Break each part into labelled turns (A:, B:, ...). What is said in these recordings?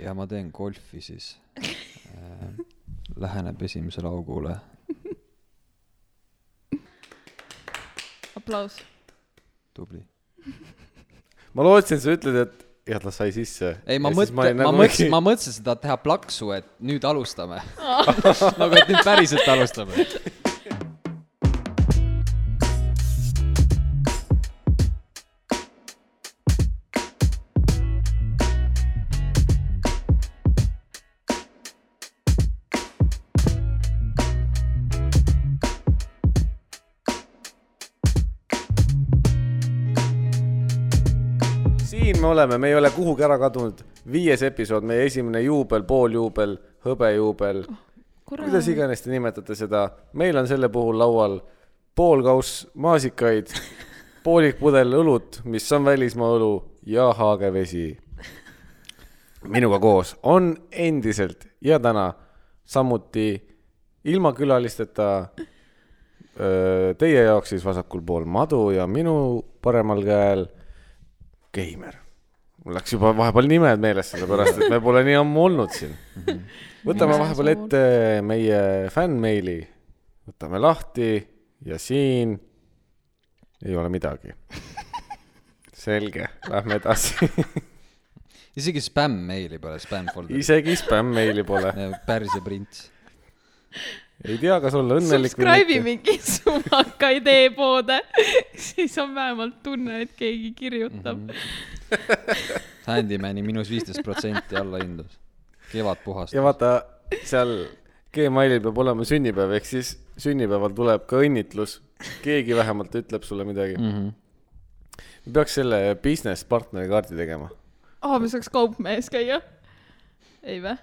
A: ja ma teen golfi siis äh, . Läheneb esimesele augule .
B: aplaus .
A: tubli .
C: ma lootsin , sa ütled , et jah , ta sai sisse .
A: ei , ma mõtlen , ma
C: nagu-
A: mõtlesin , ma mõtlesin seda teha plaksu , et nüüd alustame . nagu , et nüüd päriselt alustame .
C: siin me oleme , me ei ole kuhugi ära kadunud . viies episood , meie esimene juubel , pooljuubel , hõbejuubel , kuidas . iganes te nimetate seda . meil on selle puhul laual pool kauss maasikaid , poolik pudel õlut , mis on välismaa õlu ja haagevesi . minuga koos on endiselt ja täna samuti ilma külalisteta öö, Äh, teie jaoks siis vasakul pool madu ja minu paremal käel Keimer . mul läks juba vahepeal nimed meelest , sellepärast et me pole nii ammu olnud siin . võtame vahepeal ette meie fännmeili , võtame lahti ja siin ei ole midagi . selge , lähme edasi .
A: isegi spämm-meili pole , spämm-folder .
C: isegi spämmmeili pole ,
A: päris ja prints .
C: ei tea , kas olla õnnelik
B: Subscribe'i . mingi sumaka idee poode , siis on vähemalt tunne , et keegi kirjutab mm .
A: Mhm. Handymani miinus viisteist protsenti allahindlus . kevad puhastas .
C: ja vaata seal Gmailil peab olema sünnipäev , ehk siis sünnipäeval tuleb ka õnnitlus . keegi vähemalt ütleb sulle midagi mm .
A: Mhm.
C: -hmm. peaks selle business partnerikaardi tegema .
B: -hmm. aa , me saaks kaupmehes käia . ei vä ?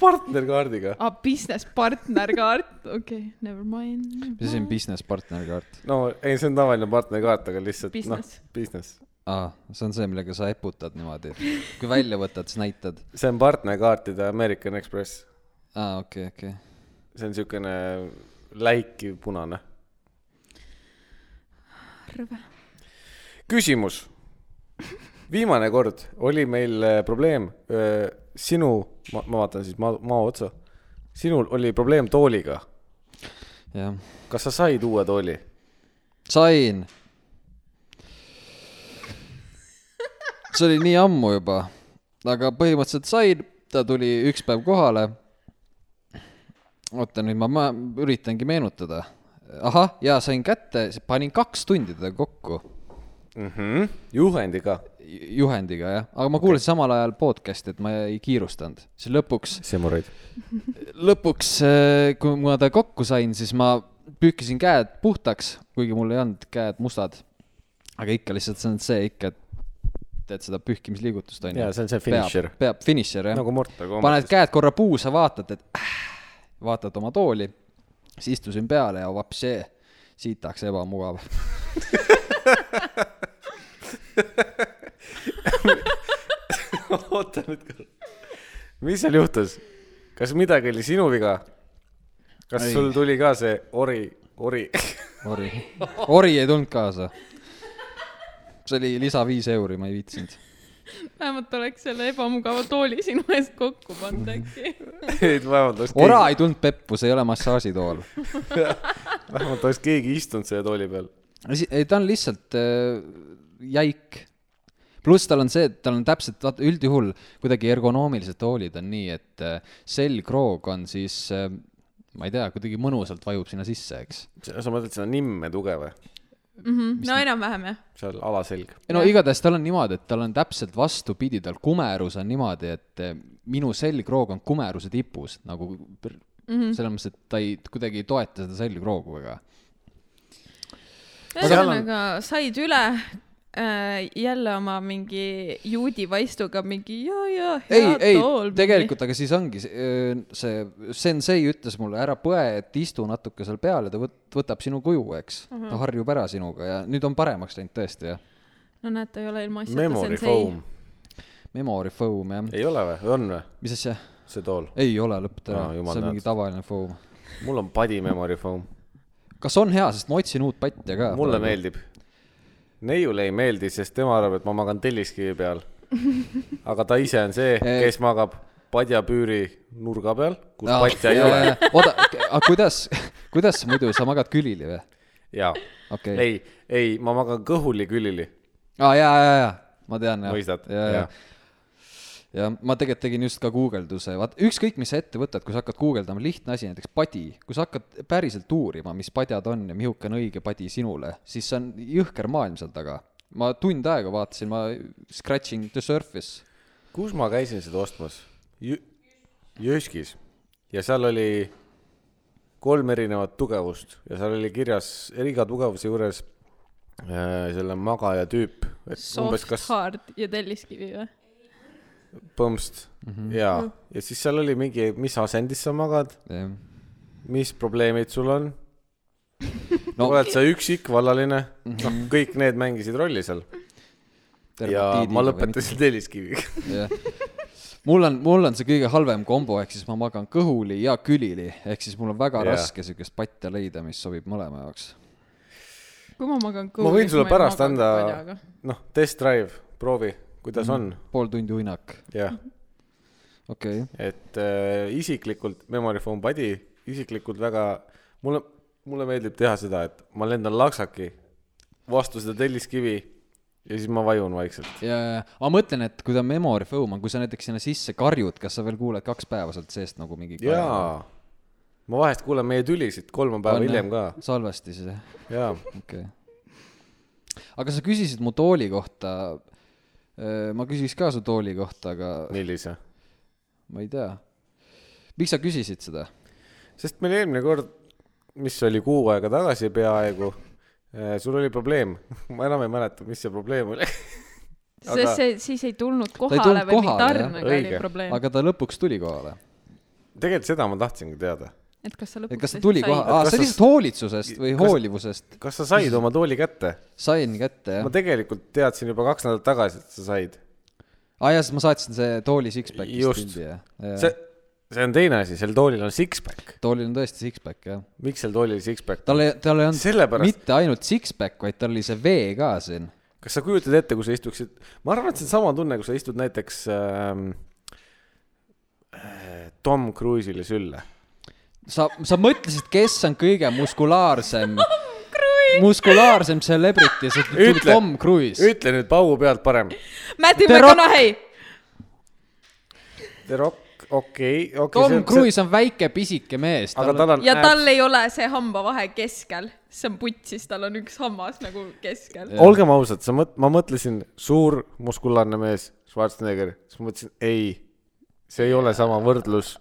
C: partnerkaardiga .
B: aa , business partner kaart , okei okay, , never mind .
A: mis see on business partner kaart ?
C: no ei , see on tavaline partnerikaart , aga lihtsalt noh ,
B: Business.
C: business .
A: aa , Ah, see on see , millega sa eputad niimoodi . kui välja võtad , siis näitad .
C: see on partnerkaartide American Express .
A: aa , okei , okei .
C: see on siukene läikiv punane .
B: rõve .
C: küsimus . viimane kord oli meil äh, probleem , sinu , ma ma vaatan siis maa , maa otsa . sinul oli probleem tooliga .
A: jah .
C: kas sa said uue tooli ?
A: sain . see oli nii ammu juba , aga põhimõtteliselt sain , ta tuli üks päev kohale . oota nüüd ma, ma üritangi meenutada . ahah , ja sain kätte , panin kaks tundi teda kokku
C: mm
A: Mhm.
C: -hmm. juhendiga .
A: ju- juhendiga jah , aga ma kuulasin okay. samal ajal podcast'i , et ma ei kiirustanud , siis lõpuks ,
C: semoreid .
A: lõpuks , kui ma ta kokku sain , siis ma pühkisin käed puhtaks , kuigi mul ei olnud käed mustad . aga ikka lihtsalt see on see ikka , et teed seda pühkimisliigutust onju .
C: Jaa, see on see finisher.
A: peab, peab finisher jah
C: nagu . Mortal
A: paned
C: Combatis .
A: käed korra puu , sa vaatad , et äh, vaatad oma tooli , siis istusin peale ja vapsee , sitaks ebamugav .
C: oota nüüd korra . mis seal juhtus ? kas midagi oli sinu viga ? kas
A: Ei.
C: ei. sul tuli ka see ori , ori ?
A: ori , ori ei tulnud kaasa . see oli lisa viis euri , ma ei viitsinud .
B: vähemalt oleks selle ebamugava tooli sinu eest kokku pannud
A: Mhm.
B: äkki .
C: et vähemalt oleks
A: ora
C: keegi ,
A: ei tulnud peppu , see ei ole massaažitool .
C: vähemalt oleks keegi istunud selle tooli peal .
A: ei , ta on lihtsalt äh, jäik . pluss tal on see , et tal on täpselt , vaata üldjuhul kuidagi ergonoomilised toolid on nii , et äh, selgroog on siis äh, ma ei tea , kuidagi mõnusalt vajub sinna sisse , eks .
C: sa mõtled seda nimme tuge või ?
B: Mhm. no enam-vähem jah .
C: seal alaselg .
A: no igatahes tal on niimoodi , et tal on täpselt vastupidi , tal kumerus on niimoodi , et äh, minu selgroog on kumeruse tipus nagu pr- selles mõttes , et ta ei , kuidagi ei toeta seda selgroogu väga .
C: Aga seal on-
B: ühesõnaga said üle äh, jälle oma mingi juudi vaistuga mingi ja , ja ,
A: ei
B: hea ,
A: ei
B: tool .,
A: tegelikult , aga siis ongi see- öö, see , sensei ütles mulle , ära põe , et istu natuke seal peal ja ta võt- , võtab sinu kuju , eks uh . -huh. ta harjub ära sinuga ja nüüd on paremaks läinud tõesti jah .
B: no näed , ta ei ole ilma asjata
C: Memory
B: sensei
C: foam ..
A: Memory foam jah .
C: ei ole või ? on või ?
A: mis asja ?
C: see tool .
A: ei ole lõpp
C: Aa,
A: täna no, ,
C: jumal
A: see on mingi
C: tänatud.
A: tavaline foam .
C: mul on padi memory foam . kas
A: kas on hea , sest ma otsin uut patja ka .
C: mulle . meeldib . neiule ei meeldi , sest tema arvab , et ma magan telliskivi peal . aga ta ise on see , kes magab padjapüüri nurga peal , kus
A: Aa,
C: patja ei ole .
A: oota , aga kuidas , kuidas muidu , sa magad külili või ?
C: jaa ,
A: okei okay. .
C: ei , ei , ma magan kõhuli külili ,
A: aa ah, , jaa , jaa , jaa , ma tean , jah .
C: mõistad ?
A: jaa , jaa . ja ma tegelikult tegin just ka guugelduse , vaat ükskõik , mis sa ette võtad , kui sa hakkad guugeldama , lihtne asi , näiteks padi , kui sa hakkad päriselt uurima , mis padjad on ja mihuke on õige padi sinule , siis see on jõhker maailm seal taga . ma tund aega vaatasin , ma scratching the surface .
C: kus ma käisin seda ostmas Jü ? Jõskis ja seal oli kolm erinevat tugevust ja seal oli kirjas eri- iga tugevuse juures äh, selle magaja tüüp , et umbes
B: soft ,
C: kas
B: hard ja telliskivi või ?
C: põmst mm -hmm. ja , ja siis seal oli mingi , mis asendis sa magad ,
A: no
C: mis probleemid sul on no. , oled sa üksik , vallaline , noh , kõik need mängisid rolli seal ja ma . lõpetasin telliskiviga .
A: nagu jah , mul on , mul on see kõige halvem kombo , ehk siis ma magan kõhuli ja külili , ehk siis mul on väga
C: Jah.
A: yeah. raske siukest patja leida , mis sobib mõlema jaoks .
B: kui ma magan
C: ma võin sulle pärast anda , noh , test drive , proovi , kuidas mm.
A: pool tundi uinak ,
C: on , jah ,
A: okei okay. .
C: et äh, isiklikult memory foam padi , isiklikult väga , mulle , mulle meeldib teha seda , et ma lendan laksaki vastu seda telliskivi ja siis ma vajun vaikselt .
A: ja , ja , ma mõtlen , et kui ta memory foam on , kui sa näiteks sinna sisse karjud , kas sa veel kuuled kaks päeva sealt seest nagu mingi .
C: jaa , ma vahest kuulen meie tülisid kolm päeva hiljem ka ,
A: salvestis jah ,
C: jaa .
A: okei okay. . aga sa küsisid mu tooli kohta . ma küsiks ka su tooli kohta , aga
C: millise ?
A: ma ei tea . miks sa küsisid seda ?
C: sest meil eelmine kord , mis oli kuu aega tagasi peaaegu , sul oli probleem , ma enam ei mäleta , mis see probleem oli .
B: sest see siis ei tulnud
A: ei
B: kohale
A: tulnud
B: või mingi
A: kohale, jah.
B: tarnega oli
C: Õige.
B: probleem aga... .
A: aga ta lõpuks tuli kohale
C: tegelikult seda ma tahtsingi teada .
B: et kas sa
A: et
B: lõpuks Ah,
A: kas ta tuli kohe , aa , see
C: kas sa-
A: on lihtsalt hoolitsusest või
C: kas-
A: hoolivusest ,
C: kas sa said oma tooli kätte ?
A: sain kätte jah
C: ma . tegelikult teadsin juba kaks nädalat tagasi , et sa said .
A: aa jaa , siis Ah, ma saatsin see tooli six-pack'ist
C: Just.
A: pildi jah
C: see
A: ja. .,
C: see on teine asi , sel toolil on six-pack .
A: toolil on tõesti six-pack jah .
C: miks sel toolil six-pack ?
A: tal ei , tal ei olnud
C: Sellepärast-
A: mitte ainult six-pack , vaid tal oli see vee ka siin .
C: kas sa kujutad ette , kui sa istuksid , ma arvan , et see on sama tunne , kui sa istud näiteks ähm, äh, Tom Cruise'ile sülle .
A: sa , sa mõtlesid , kes on kõige muskulaarsem , muskulaarsem celebrity , sa ütled
C: Ütle.
A: Tom Cruise .
C: ütle nüüd paugu pealt parem .
B: Matthew
A: The Rock-
B: McConaughey ,
C: The Rock , okei , okei .
A: Tom Cruise on väike pisike mees ,
C: aga
A: tal on ,
C: tal on Äh,
B: ja tal ei ole see hambavahe keskel , see on putsis , tal on üks hammas nagu keskel .
C: olgem ausad , sa mõt- , ma mõtlesin suur muskularne mees , Schwarzenegger , siis ma mõtlesin ei , see ei ole sama võrdlus .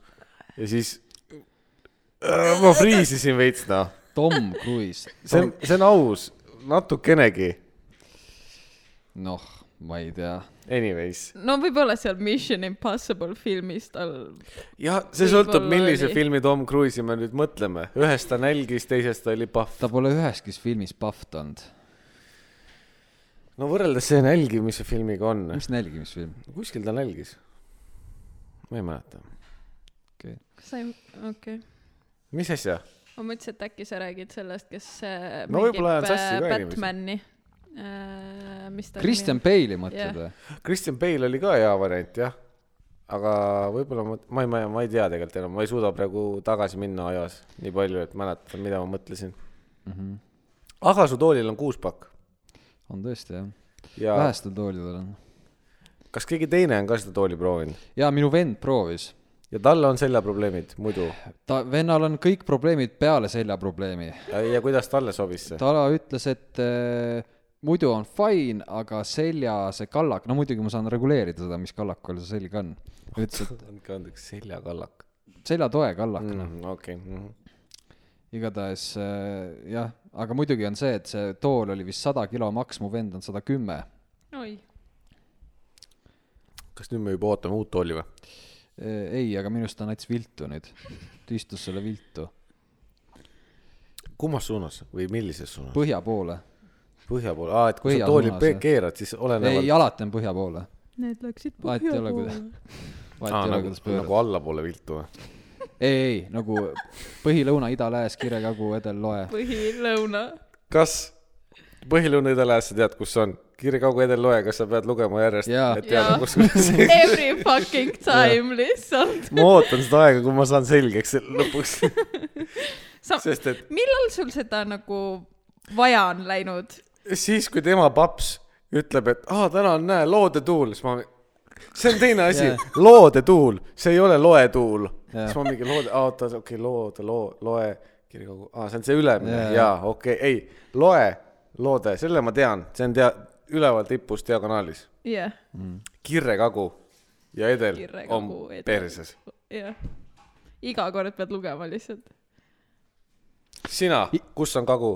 C: ja siis äh, ma friisisin veits noh ,
A: Tom Cruise ,
C: see on , see on aus , natukenegi .
A: noh , ma ei tea .
C: Anyways ,
B: no võib-olla seal Mission Impossible filmis tal ,
C: jah , see sõltub ,
B: Võib-olla
C: millise
B: oli.
C: filmi Tom Cruise'i me nüüd mõtleme , ühes ta nälgis , teises ta oli pahv .
A: ta pole üheski filmis pahvt olnud .
C: no võrreldes see nälgimise filmiga on ,
A: mis nälgimisfilm ?
C: kuskil ta nälgis . ma ei mäleta ,
A: okei okay. .
B: kas sa ei , okei okay.
C: mis asja ?
B: ma mõtlesin , et äkki sa räägid sellest , kes äh,
C: No
B: mängib
C: võib-olla ajan sassi
B: äh,
C: ka inimesi.
B: Batman'i . Äh, mis ta
A: Christian
B: nimi
A: Bale'i mõtled
B: Jah.
A: või ?
C: Kristjan Bale oli ka hea variant jah , aga võib-olla ma , ma ei , ma ei , ma ei tea tegelikult enam , ma ei suuda praegu tagasi minna ajas nii palju , et mäletada , mida ma mõtlesin mm . -hmm. aga su toolil on kuus pakk
A: on tõesti jah ,
C: ja Vähest.
A: vähestel toolidel on .
C: kas keegi teine on ka seda tooli proovinud
A: ja minu vend proovis ,
C: ja tal on seljaprobleemid muidu
A: ta , vennal on kõik probleemid peale seljaprobleemi .
C: ja, ja kuidas talle sobis see ?
A: Tala ütles , et äh, muidu on fine , aga selja see kallak , no muidugi ma saan reguleerida seda , mis kallakul see selg on . ütles ,
C: andke andeks , seljakallak
A: et seljatoe kallak , noh .
C: mm, . okei okay. ,
A: igatahes äh, jah , aga muidugi on see , et see tool oli vist sada kilo maks , mu vend on sada kümme .
B: on ? oi ,
C: kas nüüd me juba ootame uut tooli või ?
A: Äh, ei , aga minu arust ta näitas viltu nüüd , ta istus selle viltu
C: kummas suunas või millises suunas ?
A: põhja poole .
C: põhja poole , aa , et kui
A: Põhja
C: sa tooli
A: suunas,
C: pe-
A: jah.
C: keerad , siis
A: ei ,
C: olenevalt .
A: alati on põhja poole .
B: need läksid
A: Vahet ei
B: põhja
A: ole,
B: poole
A: kuidas- . vahet ei
C: aa ,
A: ole ,
C: nagu
A: kuidas , pöörad
C: nagu . allapoole viltu või ?
A: ei , ei nagu põhi , lõuna , ida , lääs , kire , kagu , edel , loe .
B: põhilõuna
C: kas põhilõuna idalääs , sa tead , kus see on ? kirjekauguedelloe , kas sa pead lugema järjest ,
A: Jaa.
C: et teada , kus see .
B: Every fucking time lihtsalt .
C: ma ootan seda aega , kui ma saan selgeks selle lõpuks ,
B: sa ,
C: sest et
B: millal sul seda nagu vaja on läinud ?
C: siis , kui tema paps ütleb , et aa , täna on , näe , loodetuul , siis ma , see on teine asi
A: Jaa.
C: yeah. , loodetuul , see ei ole loetuul
A: Jaa.
C: yeah. . siis ma mingi loode , aa , oota , okei okay, , loode , loo , loe , kirjakogu , aa , see on see ülemine
A: Jaa.
C: yeah. , jaa , okei okay, , ei , loe , loode , selle ma tean , see on tea- , üleval tipus diagonaalis .
B: jah ,
C: kirjekagu ja edel
B: Kirrekagu,
C: on
B: edel.
C: perses .
B: jah . iga kord pead lugema lihtsalt .
C: sina , kus on kagu ?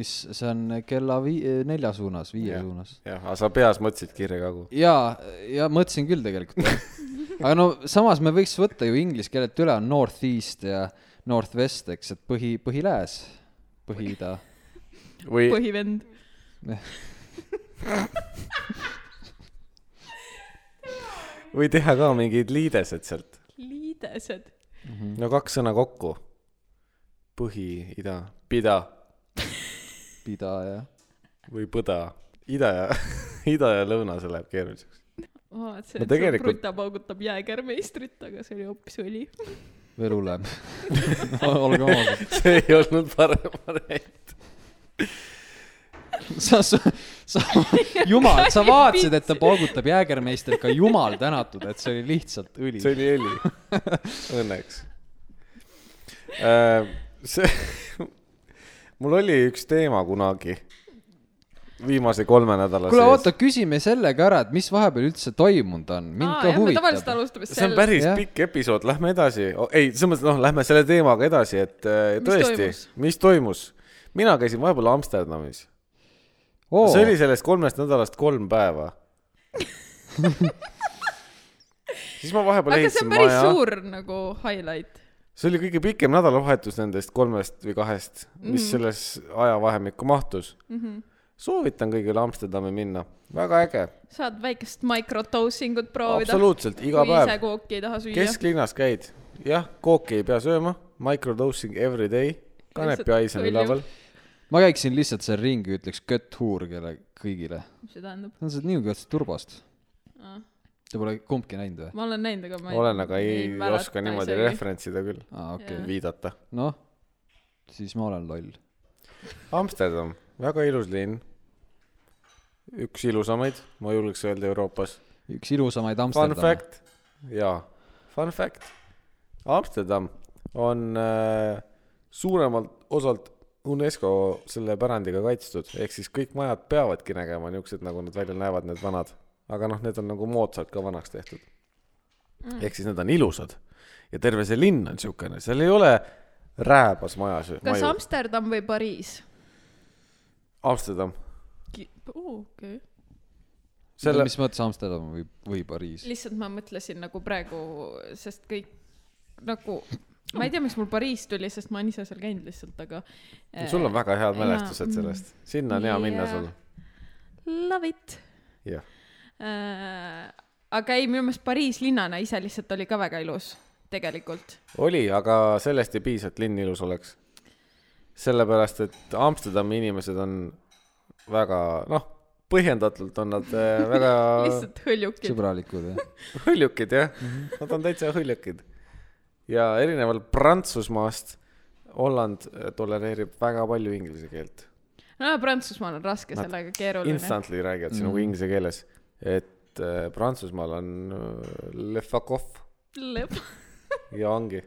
A: mis , see on kella vii- , nelja suunas , viie
C: Jah.
A: suunas .
C: jah , aga sa peas mõtlesid kirjekagu .
A: jaa , ja mõtlesin küll tegelikult . aga no samas me võiks võtta ju inglise keelelt üle on northeast ja northwest , eks , et põhi , põhilääs , põhiida .
C: või
B: põhivend .
C: või teha ka mingid liidesed sealt .
B: liidesed .
C: no kaks sõna kokku . põhi , ida , pida
A: pida ja .
C: või põda . ida ja , ida ja lõuna , see läheb keeruliseks .
B: vaatasin ,
C: No
B: et tegelikult...
C: tegelikult-
B: sul kruta paugutab jääkärmeistrit , aga see oli hoopis õli .
A: veel hullem . olge ausad .
C: see ei olnud parem variant .
A: sa , sa , sa , jumal , sa vaatasid , et ta paugutab jäägermeistrit , ka jumal tänatud , et see oli lihtsalt õli .
C: see oli õli , õnneks äh, . see , mul oli üks teema kunagi , viimase kolme nädala
A: kuule , oota , küsime selle ka ära , et mis vahepeal üldse toimunud on , mind ka
B: me tavaliselt
A: huvitab .
B: alustame
C: see on
B: sellest ,
C: päris
A: Jah.
C: pikk episood , lähme edasi oh, , ei , selles mõttes , noh , lähme selle teemaga edasi , et äh,
B: Mis
C: tõesti
B: toimus? ,
C: mis toimus ? mina käisin vahepeal Amsterdamis oh. , see oli
A: see
C: sellest kolmest nädalast kolm päeva . siis ma vahepeal
B: aga see on
C: ehitasin
B: päris
C: maja
B: maja. , suur nagu highlight .
C: see oli kõige pikem nädalavahetus nendest kolmest või kahest , mis
B: Mhm.
C: mm. selles ajavahemikku mahtus mm . -hmm. soovitan kõigil Amsterdami minna , väga äge ,
B: saad väikest microdosing ut proovida .
C: absoluutselt iga päev
B: kui ise . kooki ei taha süüa Kesk... .
C: kesklinnas käid , jah , kooki ei pea sööma , microdosing every day , kanepi
B: Lihtsalt
C: hais on
B: tolju.
C: üleval .
A: ma käiksin lihtsalt seal ringi , ütleks kötthuur kelle , kõigile .
B: mis see tähendab ?
A: see on see Newcastle turbost . Te pole kumbki näinud või ?
B: ma olen näinud , aga ma ei .
C: olen , aga ei, ei oska niimoodi referentsida küll ,
A: aa , okei
B: Jah.
A: okay. ,
C: viidata .
A: noh , siis ma olen loll .
C: Amsterdam , väga ilus linn . üks ilusamaid , ma julgeks öelda Euroopas
A: üks ilusamaid
C: fun
A: Amsterdami .
C: fact , jaa , fun fact . Amsterdam on äh, suuremalt osalt UNESCO selle pärandiga kaitstud , ehk siis kõik majad peavadki nägema niisugused , nagu nad välja näevad , need vanad . aga noh , need on nagu moodsalt ka vanaks tehtud mm. . ehk siis need on ilusad ja terve see linn on niisugune , seal ei ole rääbas majas .
B: kas Maju. Amsterdam või Pariis ?
C: Amsterdam ,
B: okei .
C: Selle-
A: mis mõttes Amsterdam või , või Pariis ?
B: lihtsalt ma mõtlesin nagu praegu , sest kõik nagu , ma ei tea , miks mul Pariis tuli , sest ma olen ise seal käinud lihtsalt , aga .
C: sul on väga head
B: jaa,
C: mälestused sellest , sinna on hea minna
B: Jaa.
C: sul .
B: äh, Love it
C: jah ,
B: äh, . aga ei , minu meelest Pariis linnana ise lihtsalt oli ka väga ilus tegelikult .
C: oli , aga sellest ei piisa , et linn ilus oleks . sellepärast , et Amsterdami inimesed on väga , noh , põhjendatult on nad äh, väga
B: lihtsalt Mhm. hõljukid .
A: sõbralikud jah ?
C: hõljukid , jah . Nad on täitsa hõljukid . ja erinevalt Prantsusmaast , Holland äh, tolereerib väga palju inglise keelt .
B: no Prantsusmaal on raske
C: Nad
B: sellega , keeruline .
C: Instantly räägivad
B: Mhm.
C: sinuga inglise keeles . et äh, Prantsusmaal on äh, le facof
B: Lep- ,
C: ja ongi .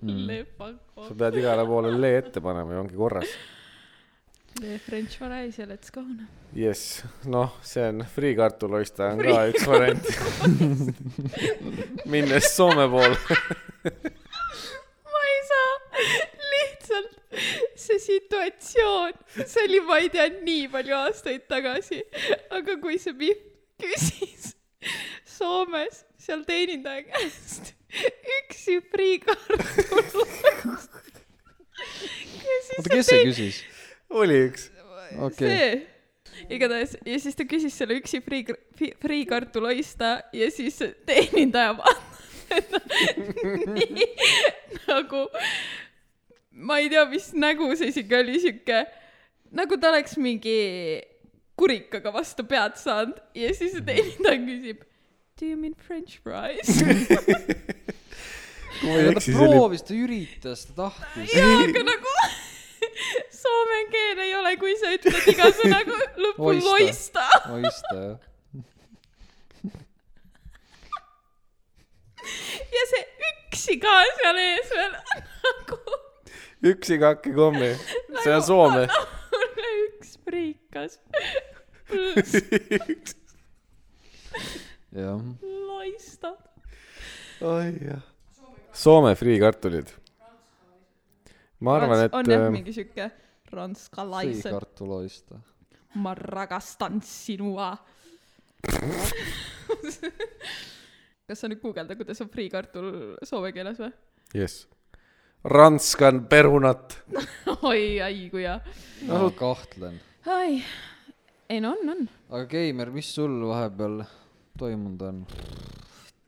A: Mm.
C: Mm.
B: lepako
C: sa . pead igale poole le ette panema ja ongi korras .
B: Le French fries ja let's go noh .
C: jess , noh , see on friikartuloista on ka üks variant . minnes Soome poole .
B: ma ei saa , lihtsalt see situatsioon , see oli , ma ei tea , nii palju aastaid tagasi , aga kui see Pihv küsis Soomes seal teenindaja käest üksi friikartul .
A: oota , kes see küsis ?
C: oli üks .
A: Okei.
B: see , igatahes ja siis ta küsis selle üksi prii , prii kartuloista ja siis teenindaja vaatas nii nagu , ma ei tea , mis nägu see isegi oli , sihuke nagu ta oleks mingi kurikaga vastu pead saanud ja siis teenindaja küsib Do you mean french fries ?
C: kui ma ei
A: ta
C: eksi , see oli ,
A: proovis , ta üritas , ta tahtis .
B: jaa , aga nagu soome keel ei ole , kui sa ütled iga sõna ku- lõpul
A: Loista.
B: loista .
A: mõista jah .
B: ja see üksi ka seal ees veel nagu .
C: üks iga hakki kommi , see on Soome .
B: mulle üks priikas .
A: jah .
B: loista .
C: Soome friikartulid . ma arvan , et
B: on jah
C: ähm,
B: mingi sihuke ranskalaisen ,
A: friikartul oista .
B: ma rakastan sinua . kas sa nüüd guugeldad , kuidas on friikartul soome keeles või ?
C: jess . Ranskan perunat .
B: oi , ai kui hea .
A: ma kahtlen .
B: ai , ei no on , on .
A: aga Keimer , mis sul vahepeal toimunud on ?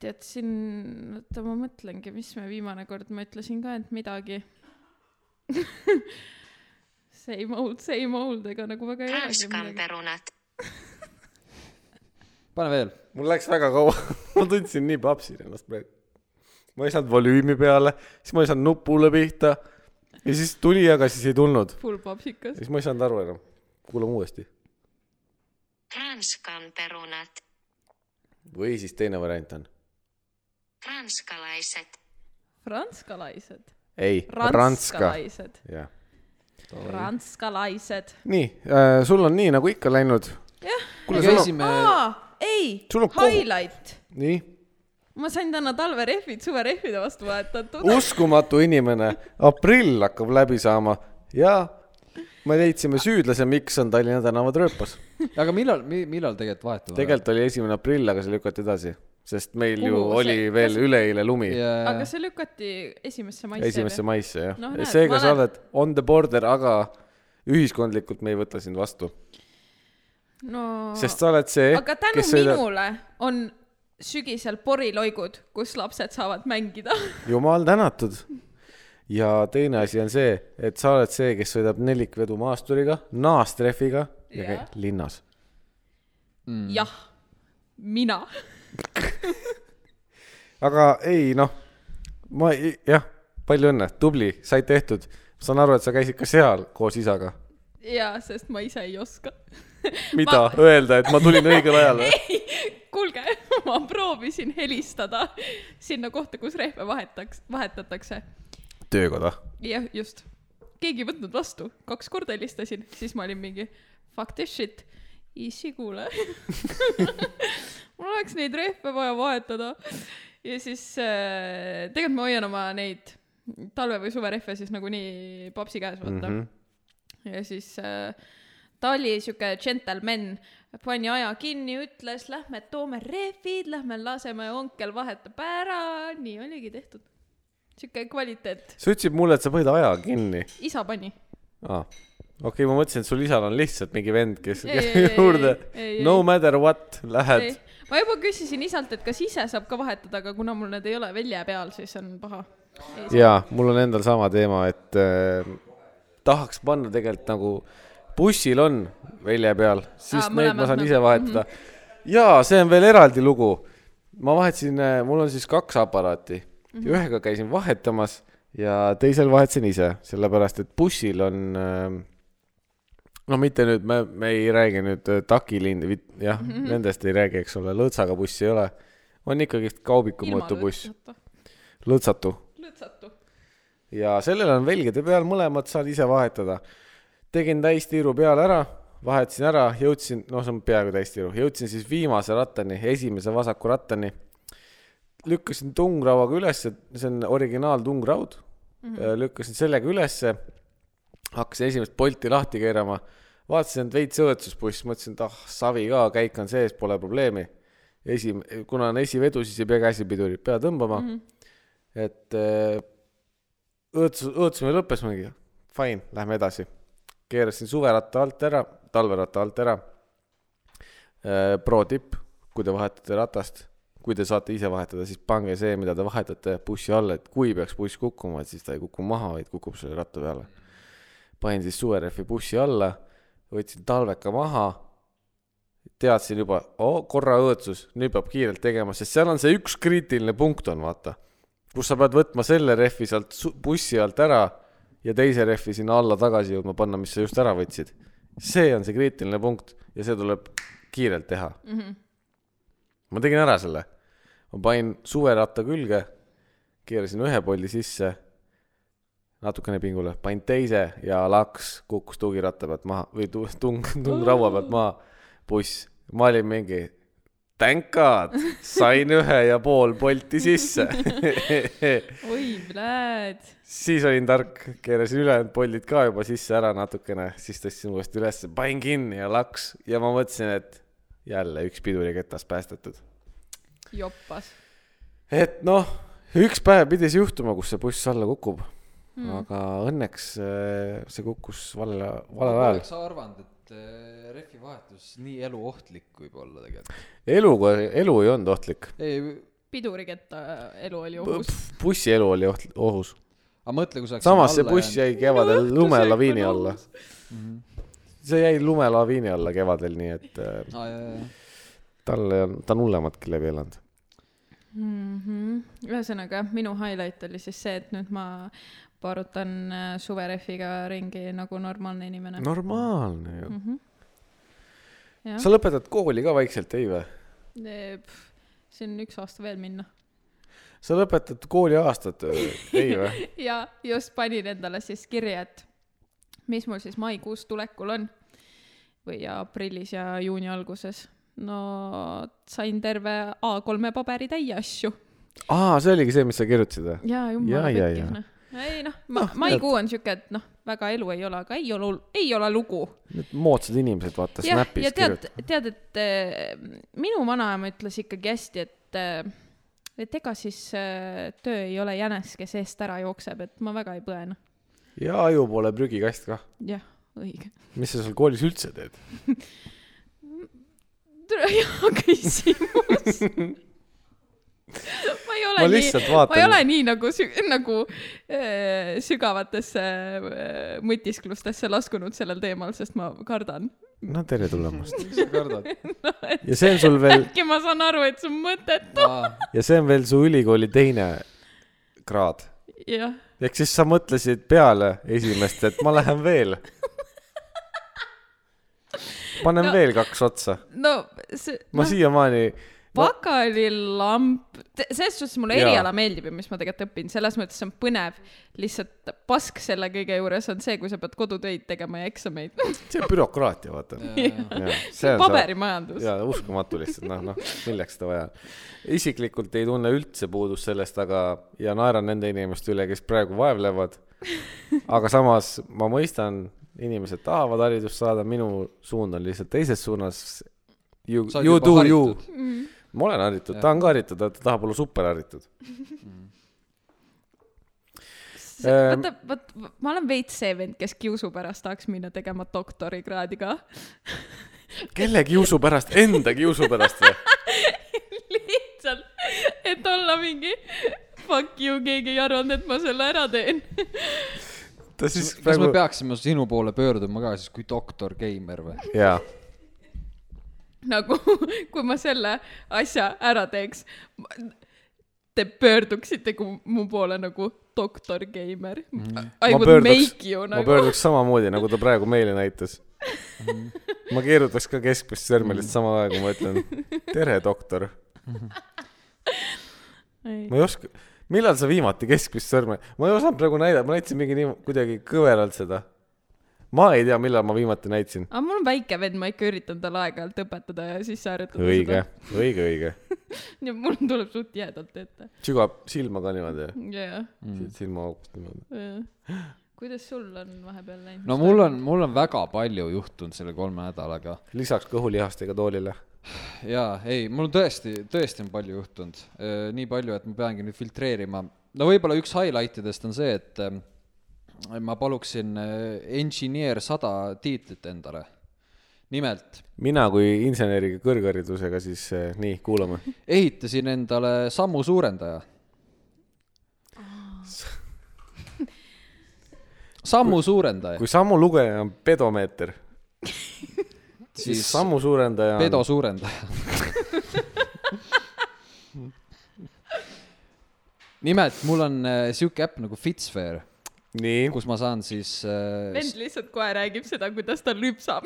B: tead siin , oota ma mõtlengi , mis me viimane kord , ma ütlesin ka , et midagi . Same old , same old , ega nagu väga ei olegi
D: Ranskan
B: midagi .
D: perunat ,
A: pane veel .
C: mul läks väga kaua , ma tundsin nii papsil ennast praegu . ma ei saanud volüümi peale , siis ma ei saanud nupule pihta ja siis tuli , aga siis ei tulnud .
B: Full popsikas
C: ja . siis ma ei saanud aru enam . kuulame uuesti .
D: Ranskan perunat ,
C: või siis teine variant on .
D: ranskalaiset ,
B: franskalaised .
C: ei , Ranska .
B: ranskalaised .
C: jah .
B: ranskalaised .
C: nii äh, , sul on nii nagu ikka läinud .
B: jah ,
A: me
C: kuule , sul on ,
A: käisime ,
B: aa , ei ,
C: Sul on kohu-
B: highlight .
C: nii ,
B: ma sain täna talverehvid suverehvide vastu vahetatud .
C: uskumatu inimene , aprill hakkab läbi saama ja me leidsime süüdlase , miks on Tallinna tänavad rööpas .
A: aga millal , millal tegelikult vahetame ?
C: tegelikult oli esimene aprill , aga see lükati edasi , sest meil ju
B: Kuhu see-
C: oli veel üleeile lumi
B: aga
A: ja
B: see lükati esimesse maisse .
C: esimesse maisse jah
B: Noh,
C: no,
B: näed, .
C: seega
B: ma
C: sa
B: olen-
C: oled on the border , aga ühiskondlikult me ei võta sind vastu ,
B: no...
C: sest sa oled see ,
B: aga tänu minule on sügisel poriloigud , kus lapsed saavad mängida .
C: jumal tänatud . ja teine asi on see , et sa oled see , kes sõidab nelikvedu maasturiga , naastrehviga ja
B: Jah.
C: käib linnas .
B: jah , mina .
C: aga ei noh , ma ei- jah , palju õnne , tubli , sai tehtud . saan aru , et sa käisid ka seal koos isaga .
B: jaa , sest ma ise ei oska .
C: mida ma... öelda , et ma tulin õigel ajal või ?
B: kuulge , ma proovisin helistada sinna kohta , kus rehve vahetaks , vahetatakse .
C: töökoda .
B: jah , just . keegi ei võtnud vastu , kaks korda helistasin , siis ma olin mingi fuck this shit , issi kuule . mul oleks neid rehve vaja vahetada . ja siis äh, tegelikult ma hoian oma neid talve või suverehve siis nagunii papsi käes , vaata mm . -hmm. ja siis äh, ta oli sihuke džentelmen , pani aja kinni , ütles , lähme toome rehvid , lähme laseme , onkel vahetab ära , nii oligi tehtud . sihuke kvaliteet
C: sa ütlesid mulle , et sa panid aja kinni .
B: isa pani .
C: aa , okei okay, , ma mõtlesin , et sul isal on lihtsalt mingi vend , kes
B: Ei, ei, ei,
C: juurde
B: ei, ei,
C: no
B: ei.
C: matter what lähed .
B: ma juba küsisin isalt , et kas ise saab ka vahetada , aga kuna mul need ei ole välja peal , siis on paha .
C: jaa , mul on endal sama teema , et äh, tahaks panna tegelikult nagu bussil on välja peal ,
B: Aa,
C: siis Aa, neid
B: mõlemad
C: ma saan
B: nagu- Mhm.
C: ise vahetada mm . -hmm. jaa , see on veel eraldi lugu . ma vahetasin , mul on siis kaks aparaati mm ,
B: Mhm.
C: -hmm. ühega käisin vahetamas ja teisel vahetasin ise , sellepärast et bussil on äh, no mitte nüüd me , me ei räägi nüüd äh, takilind , jah mm ,
B: Mhm.
C: -hmm. nendest ei räägi , eks ole , lõõtsaga bussi ei ole . on ikkagist kaubiku mõõtu buss , lõõtsatu
B: lõõtsatu .
C: ja sellel on velgede peal , mõlemad saan ise vahetada . tegin täistiiru peale ära , vahetasin ära , jõudsin , noh , see on peaaegu täistiiru , jõudsin siis viimase rattani , esimese vasaku rattani . lükkasin tungrauaga ülesse , see on originaaltungraud mm , -hmm. lükkasin sellega ülesse , hakkasin esimest polti lahti keerama , vaatasin , et veits õõtsusbuss , mõtlesin , et ah , savi ka , käik on sees , pole probleemi . esim- , kuna on esivedu , siis ei pea käsipidurit pea tõmbama mm . -hmm. et äh, õõtsu , õõtsumine lõppes mingi , fine , lähme edasi . keerasin suveratta alt ära , talveratta alt ära . Pro tipp , kui te vahetate ratast , kui te saate ise vahetada , siis pange see , mida te vahetate bussi alla , et kui peaks buss kukkuma , et siis ta ei kuku maha , vaid kukub selle ratta peale . panin siis suverehvi bussi alla võtsin talveka maha teadsin juba, oo, korra õõtsus, nüüd peab kiirelt tegema, sest seal on see üks kriitiline punkt on, vaata, kus sa pead võtma selle rehvi sealt su- bussi alt ära ja teise rehvi sinna alla tagasi jõudma panna, mis sa just ära võtsid. see on see kriitiline punkt ja see tuleb kiirelt teha mm .
B: Mhm.
C: -hmm. ma tegin ära selle, ma panin suveratta külge, keerasin ühe poldi sisse, natukene pingule, panin teise ja laks kukkus tugiratta pealt maha või tu- tung, tung raua pealt maha buss, ma olin mingi thank god , sain ühe ja pool Bolti sisse .
B: oi , pläed .
C: siis olin tark , keerasin ülejäänud Boltid ka juba sisse ära natukene , siis tõstsin uuesti ülesse , panin kinni ja laks ja ma mõtlesin , et jälle üks piduriketas päästetud .
B: joppas .
C: et noh , üks päev pidi see juhtuma , kus see buss alla kukub hmm. , aga õnneks eh, see kukkus valel , valel ajal .
A: sa arvanud , et äh, rehvi vahetus nii eluohtlik võib olla tegelikult ?
C: eluga , elu ei olnud ohtlik .
A: ei ,
B: piduriketta äh, elu oli ohus .
C: bussi elu oli oht- , ohus
A: aga mõtle , kui sa oleks
C: samas see
A: sinna alla
C: buss
A: jäänud.
C: jäi kevadel
B: õhtusöök
C: lumelaviini
B: on
C: alla
B: ohus. .
C: see jäi lumelaviini alla kevadel , nii et äh,
A: Aa, jaa, jaa.
C: talle on , ta on hullematki läbi elanud .
B: Mhm. ühesõnaga jah, minu highlight oli siis see , et nüüd ma paarutan äh, suverehviga ringi nagu normaalne inimene .
C: normaalne ju .
B: Mhm, jah ,
C: sa lõpetad kooli ka vaikselt , ei või ?
B: siin üks aasta veel minna .
C: sa lõpetad kooliaastat , ei või ?
B: ja just panin endale siis kirja , et mis mul siis maikuus tulekul on või ja aprillis ja juuni alguses . no sain terve A3-e paberi täie asju .
C: aa , see oligi see , mis sa kirjutasid või ?
B: jaa ,
C: Jaa,
B: jumala
C: jaa,
B: pekkis
C: jaa.
B: noh . ei noh , ma
C: Noh, ,
B: maikuu on siuke , et noh , väga elu ei ole , aga ei ole , ei ole lugu .
C: Need moodsad inimesed , vaata ,
B: jah , ja
C: Snapis
B: tead
C: kirjutavad .,
B: tead , et äh, minu vanaema ütles ikkagi hästi , et äh, et ega siis äh, töö ei ole jänes , kes eest ära jookseb , et ma väga ei põe noh .
C: ja aju pole prügikast kah .
B: jah , õige .
C: mis sa seal koolis üldse teed ?
B: hea küsimus . ma ei ole
C: ma
B: nii ,
C: lihtsalt
B: ma ei ole
C: vaatan .
B: nii nagu sü- , nagu äh, sügavatesse äh, mõtisklustesse laskunud sellel teemal , sest ma kardan .
C: no tere tulemast .
A: miks sa kardad ?
C: ja see on sul veel ,
B: äkki ma saan aru , et see on mõttetu .
C: ja see on veel su ülikooli teine kraad
B: jah ,
C: ehk siis sa mõtlesid peale esimest , et ma lähen veel . panen
B: No.
C: no. veel kaks otsa .
B: no see ,
C: ma no.
B: noh ,
C: siiamaani ,
B: pakalilamp , selles suhtes mulle
C: Jaa.
B: eriala meeldib ja mis ma tegelikult õpin , selles mõttes on põnev . lihtsalt pask selle kõige juures on see , kui sa pead kodutöid tegema ja eksameid .
C: see on bürokraatia , vaata . see
B: paberimajandus .
C: jaa , uskumatu lihtsalt , noh , noh , milleks seda vaja on . isiklikult ei tunne üldse puudust sellest , aga , ja naeran nende inimeste üle , kes praegu vaevlevad . aga samas ma mõistan , inimesed tahavad haridust saada , minu suund on lihtsalt teises suunas . You ,
A: Sa oled
C: you
A: juba
C: do you
A: haritud.
C: ma olen haritud , ta on ka haritud , aga ta tahab olla superharitud .
B: See-
C: Ähm.
B: vaata , vot ma olen veits see vend , kes kiusu pärast tahaks minna tegema doktorikraadi ka .
C: kelle kiusu pärast , enda kiusu pärast või ?
B: lihtsalt , et olla mingi fuck you , keegi ei arvanud , et ma selle ära teen .
C: ta siis
A: kas me
C: praegu ,
A: peaksime sinu poole pöörduma ka siis kui doktor Geimer või ?
C: jaa ,
B: nagu , kui ma selle asja ära teeks , te pöörduksite ku- mu poole nagu doktor Geimer . I
C: Mm. Ma
B: would
C: pöörduks-
B: make you
C: ma
B: nagu .
C: pöörduks samamoodi , nagu ta praegu meile näitas . ma keerutaks ka keskmist sõrme lihtsalt samal ajal , kui ma ütlen tere , doktor . ma ei oska , millal sa viimati keskmist sõrme , ma ei osanud praegu näidata , ma näitasin mingi nii kuidagi kõveralt seda . ma ei tea , millal ma viimati näitasin .
B: aga mul on väike vend , ma ikka üritan talle aeg-ajalt õpetada ja sisse harjutada
C: õige , õige , õige .
B: seda . ja mul tuleb suht jäädalt ette .
C: sügab silma ka niimoodi
B: jajah .
C: mm. , silmaaugust niimoodi .
B: Jah. kuidas sul on vahepeal läinud ?
A: no mul on , mul on väga palju juhtunud selle kolme nädalaga .
C: lisaks kõhulihastega toolile .
A: jaa , ei , mul tõesti , tõesti on palju juhtunud . nii palju , et ma peangi nüüd filtreerima . no võib-olla üks highlight idest on see , et ähm, ma paluksin äh, engineer sada tiitlit endale . nimelt
C: mina kui inseneriga kõrgharidusega , siis eh, nii , kuulame .
A: ehitasin endale sammu suurendaja . sammu suurendaja .
C: kui sammu lugeja on pedomeeter , siis
A: siis
C: sammu suurendaja
A: pedo suurendaja . nimelt mul on äh, siuke äpp nagu Fitsphere ,
C: on nii ,
A: kus ma saan siis äh,
B: vend lihtsalt kohe räägib seda , kuidas ta lüpsab .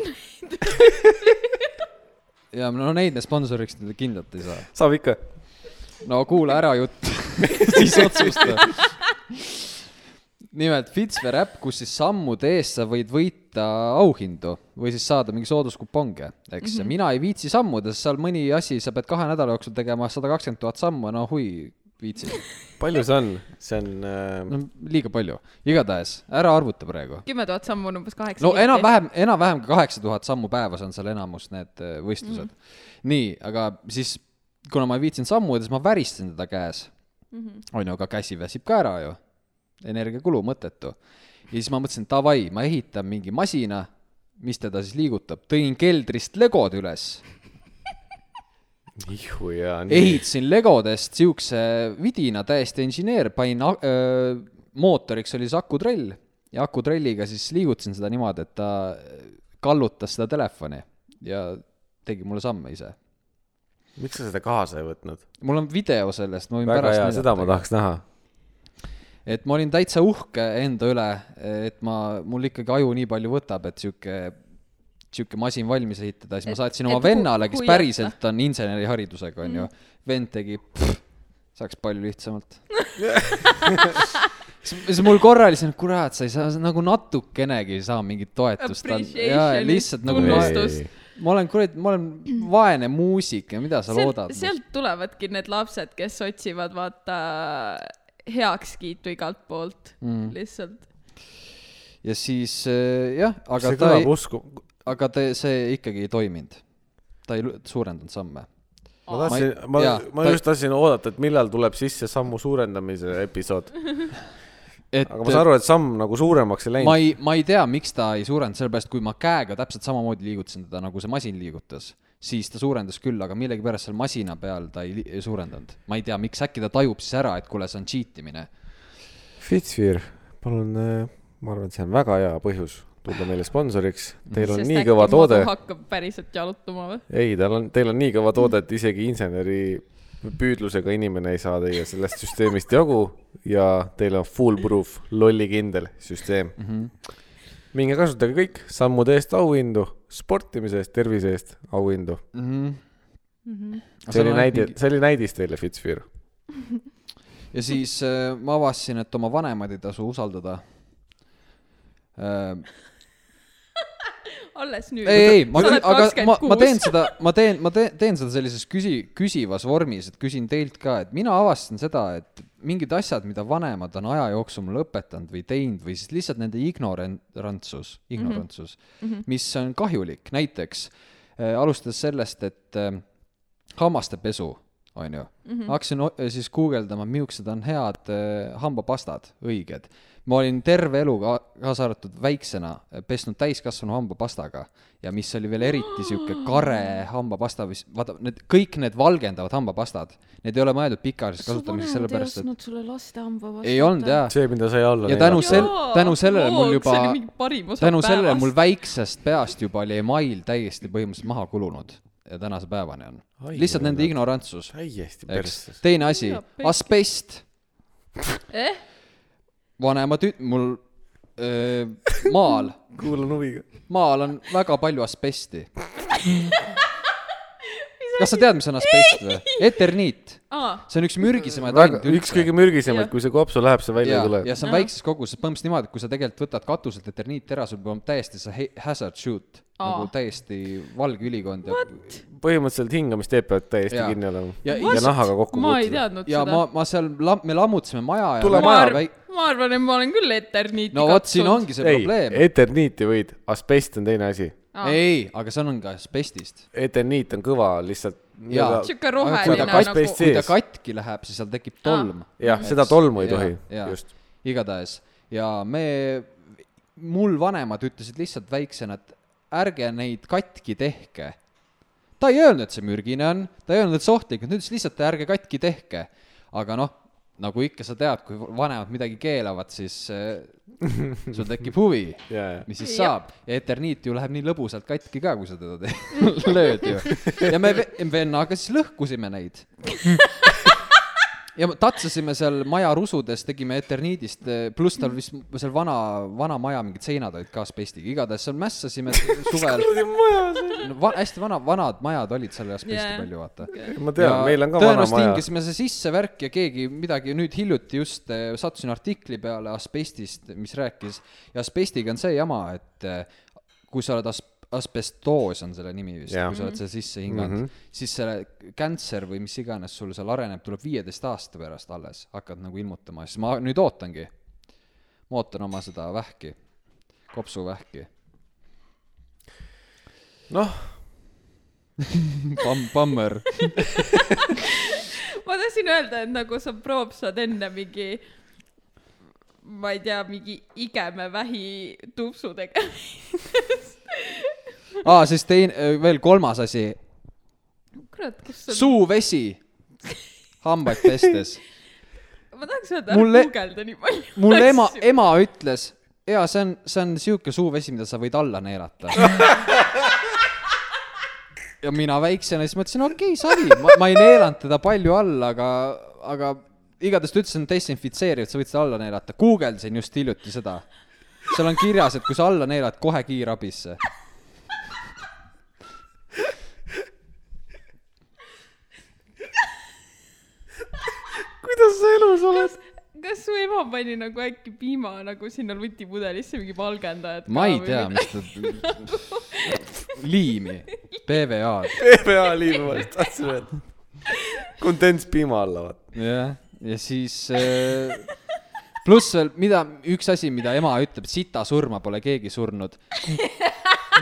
A: ja no neid me sponsoriks kindlalt ei saa .
C: saab ikka .
A: no kuula ära jutt , siis otsusta . nimelt Fitsver äpp , kus siis sammude eest sa võid võita auhindu või siis saada mingi sooduskuponge , eks , ja mina ei viitsi sammuda , sest seal mõni asi , sa pead kahe nädala jooksul tegema sada kakskümmend tuhat sammu , no hui , viitsi .
C: palju see on ? see on äh,
A: no liiga palju , igatahes ära arvuta praegu .
B: kümme tuhat sammu on umbes kaheksa .
A: no . enam-vähem , enam-vähem ka kaheksa tuhat sammu päevas on seal enamus need äh, võistlused mm . -hmm. nii , aga siis , kuna ma ei viitsinud sammuda , siis ma väristasin teda käes on ju , aga käsi väsib ka ära ju . energiakulu mõttetu . ja siis ma mõtlesin, davai , ma ehitan mingi masina , mis teda siis liigutab . tõin keldrist legod üles ,
C: ihu ja nii .
A: ehitasin legodest siukse vidina , täiesti inseneer , panin a- öö, mootoriks oli siis akutrell ja akutrelliga siis liigutasin seda niimoodi , et ta kallutas seda telefoni ja tegi mulle samme ise .
C: miks sa seda kaasa ei võtnud ?
A: mul on video sellest , ma võin
C: väga
A: pärast
C: hea , seda
A: näidata.
C: ma tahaks näha .
A: et ma olin täitsa uhke enda üle , et ma , mul ikkagi aju nii palju võtab , et sihuke , sihuke masin valmis ehitada , siis ma
B: Et-
A: saatsin
B: et
A: oma
B: hu-
A: vennale , kes
B: huviata.
A: päriselt on inseneriharidusega , onju . vend tegi , saaks palju lihtsamalt . siis mul korraliselt , kurat , sa ei saa sa nagu natukenegi ei saa mingit toetust .
B: Appreciation'i
A: lihtsalt nagu ma,
B: tunnustust.
A: ma olen kuradi , ma olen vaene muusik ja mida sa
B: sealt
A: loodad , noh.
B: sealt tulevadki need lapsed , kes otsivad vaata heakskiitu igalt poolt mm. lihtsalt .
A: ja siis äh, jah , aga
C: see
A: ta ei
C: kõlab , usku- .
A: aga ta , see ikkagi ei toiminud . ta ei lu- suurendanud samme .
C: ma
A: Ma ei-
C: tahtsin , ma
A: jaa, ,
C: ma
A: ta-
C: just tahtsin oodata , et millal tuleb sisse sammu suurendamise episood ,
A: et
C: aga ma saan aru , et samm nagu suuremaks ei
A: ma
C: läinud .
A: ei , ma ei tea , miks ta ei suurendanud , sellepärast kui ma käega täpselt samamoodi liigutasin teda , nagu see masin liigutas , siis ta suurendas küll , aga millegipärast seal masina peal ta ei, li- ei suurendanud . ma ei tea , miks äkki ta tajub siis ära , et kuule , see on cheat imine .
C: Fitzfear , palun , ma arvan , et see on väga hea põhjus tulla meile sponsoriks , teil on
B: Sest
C: nii
B: äkki
C: kõva
B: madu
C: toode ,
B: hakkab päriselt jalutama või ?
C: ei , tal on , teil on nii kõva toode , et isegi inseneri püüdlusega inimene ei saa teie sellest süsteemist jagu ja teil on foolproof , lollikindel süsteem mm .
A: Mhm.
C: -hmm. minge kasutage kõik , sammude eest auhindu , sportimise eest , tervise eest auhindu . Mhm. see oli
A: noh,
C: näide , see oli näidis teile , Fitzfear .
A: ja siis äh, ma avastasin , et oma vanemaid ei tasu usaldada äh, .
B: alles nüüd .
A: ei , ei , ma
B: Sa
A: küll
B: oled ,
A: aga ma , ma
B: 26.
A: teen seda , ma teen , ma teen , teen seda sellises küsi- , küsivas vormis , et küsin teilt ka , et mina avastasin seda , et mingid asjad , mida vanemad on aja jooksul mulle õpetanud või teinud või siis lihtsalt nende ignorantsus , ignorantsus
B: Mhm.
A: mm , -hmm. mis on kahjulik , näiteks äh, alustades sellest , et äh, hammaste pesu , on ju mm . -hmm. hakkasin o- siis guugeldama , millised on head äh, hambapastad , õiged . ma olin terve elu ka , kaasa arvatud väiksena , pesnud täiskasvanu hambapastaga ja mis oli veel eriti sihuke kare hambapasta , mis , vaata need , kõik need valgendavad hambapastad , need ei ole mõeldud pikaajaliseks kasutamiseks , sellepärast et
D: ostnud sulle laste hambavastut .
A: ei olnud jaa .
C: see , mida sai alla
A: ja tänu sel-
B: Jaa, ,
A: tänu sellele mul
B: aploog, see
A: juba
B: oli mingi parim osa
A: tänu sellele
B: päevast.
A: mul väiksest peast juba oli email täiesti põhimõtteliselt maha kulunud ja tänase päevani on .
C: Ai,
A: lihtsalt nende
C: jõulad.
A: ignorantsus
C: täiesti
A: eks
C: persse .,
A: teine asi
B: Jaa, , pekki.
A: asbest
B: Eh? .
A: vanema tüt- , mul öö, maal ,
C: kuulan huviga .
A: maal on väga palju asbesti . kas sa tead , mis on asbest või ? eterniit ,
B: aa ,
A: see on üks mürgisemaid
C: väga ,
A: aineid
C: üks kõige mürgisemaid , kui see kopsu läheb , see välja
A: ja
C: ei , tule
A: ja . see on väikses koguses , põhimõtteliselt niimoodi , et kui sa tegelikult võtad katuselt eterniit ära , sul peab olema täiesti see he- hazard shoot
B: Aa.
A: nagu täiesti valge ülikond ja ,
C: põhimõtteliselt hingamisteed peavad täiesti
A: Jaa.
C: kinni olema .
A: ja ,
C: ja nahaga kokku
B: ma ei
C: puutuda .
B: teadnud
A: ja
B: seda
A: ma , ma seal , me lammutasime maja ja
C: Tule
A: maja
C: maja.
A: väik- ,
B: ma arvan , et ma olen küll Eterniiti
A: no vot , siin ongi see
C: ei ,
A: probleem .
C: eterniiti võid , asbest on teine asi
B: Aa.
A: ei , aga seal on ka asbestist .
C: eterniit on kõva lihtsalt .
A: Jaa.
B: sihuke
A: Kui
B: roheline
A: ta
B: nagu
C: kaspeist
A: kui ta
C: Sees.
A: katki läheb , siis seal tekib tolm .
C: jah , seda tolmu ei
A: Jaa,
C: tohi ,
A: jaa.
C: just .
A: igatahes ja me , mul vanemad ütlesid lihtsalt väiksena , et ärge neid katki tehke . ta ei öelnud , et see mürgine on , ta ei öelnud , et see ohtlik , ta ütles lihtsalt ärge katki tehke . aga noh , nagu ikka sa tead , kui vanemad midagi keelavad , siis äh, sul tekib huvi ,
C: ja , ja .
A: mis siis
B: Jah.
A: saab . ja Eterniit ju läheb nii lõbusalt katki ka , kui sa teda teed , lööd ju . ja me ve- vennaga siis lõhkusime neid . ja me tatsasime seal maja rusudes , tegime Eterniidist , pluss tal vist seal vana , vana maja mingid seinad olid ka asbestiga , igatahes seal mässasime suvel . no va- , hästi vana , vanad majad olid seal asbesti
B: Jaa.
A: yeah. palju , vaata
C: ma tean , meil on ka vana
A: tõenäoliselt
C: maja .
A: hingisime see sisse värk ja keegi midagi nüüd hiljuti just eh, sattusin artikli peale asbestist , mis rääkis ja asbestiga on see jama , et eh, kui sa oled as- , asbestoos on selle nimi vist ,
C: Jah. Mhm.
A: kui sa oled selle sisse hinganud mm , -hmm. siis selle cancer või mis iganes sul seal areneb , tuleb viieteist aasta pärast alles , hakkad nagu ilmutama , siis ma nüüd ootangi . ma ootan oma seda vähki , kopsuvähki ,
C: noh ,
A: pamm , pammer .
B: ma tahtsin öelda , et nagu sa proob saad enne mingi , ma ei tea , mingi igemevähi tupsu tegemist .
A: aa , siis teine , veel kolmas asi ,
B: kurat , kus sul ,
A: suuvesi , hambaid pestes
B: ma tahaks öelda ,
A: Mulle-
B: ära guugelda nii palju .
A: mul ema , e- ema ütles , jaa , see on , see on sihuke suuvesi , mida sa võid alla neelata . ja mina väiksena siis mõtlesin , okei okay, , savi , ma , ma ei neelanud teda palju alla , aga , aga igatahes ta ütles , see on desinfitseeriv , et sa võid seda alla neelata . guugeldasin just hiljuti seda . seal on kirjas , et kui sa alla neelad , kohe kiirabisse .
C: kuidas sa elus oled ?
B: kas su ema pani nagu äkki piima nagu sinna lutipudelisse mingi valgendajat ?
A: ma ei tea , mis ta , liimi , PVA-d ,
C: PPA liiva vahest , tahtsin öelda . kondentspiima alla , vaata .
A: jah , ja siis äh, pluss veel , mida , üks asi , mida ema ütleb , sita surma pole keegi surnud .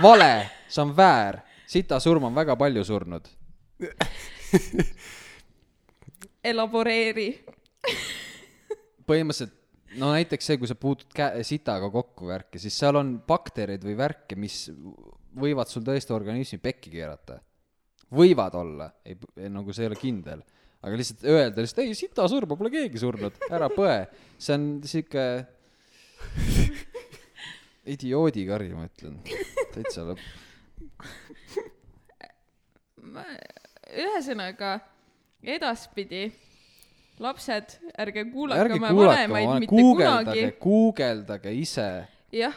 A: vale , see on väär , sita surma on väga palju surnud .
B: elaboreeri .
A: põhimõtteliselt no näiteks see , kui sa puutud kä- , sitaga kokku värki , siis seal on baktereid või värke , mis võivad sul tõesti organismi pekki keerata . võivad olla , ei , nagu see ei ole kindel , aga lihtsalt öelda lihtsalt ei , sita surma pole keegi surnud , ära põe , see on sihuke idioodikari , ma ütlen , täitsa lõpp .
B: ühesõnaga , edaspidi lapsed , ärge kuulake
A: ärge
B: oma
A: kuulake
B: vanemaid
A: oma ,
B: mitte kunagi
A: guugeldage ., guugeldage ise
B: jah ,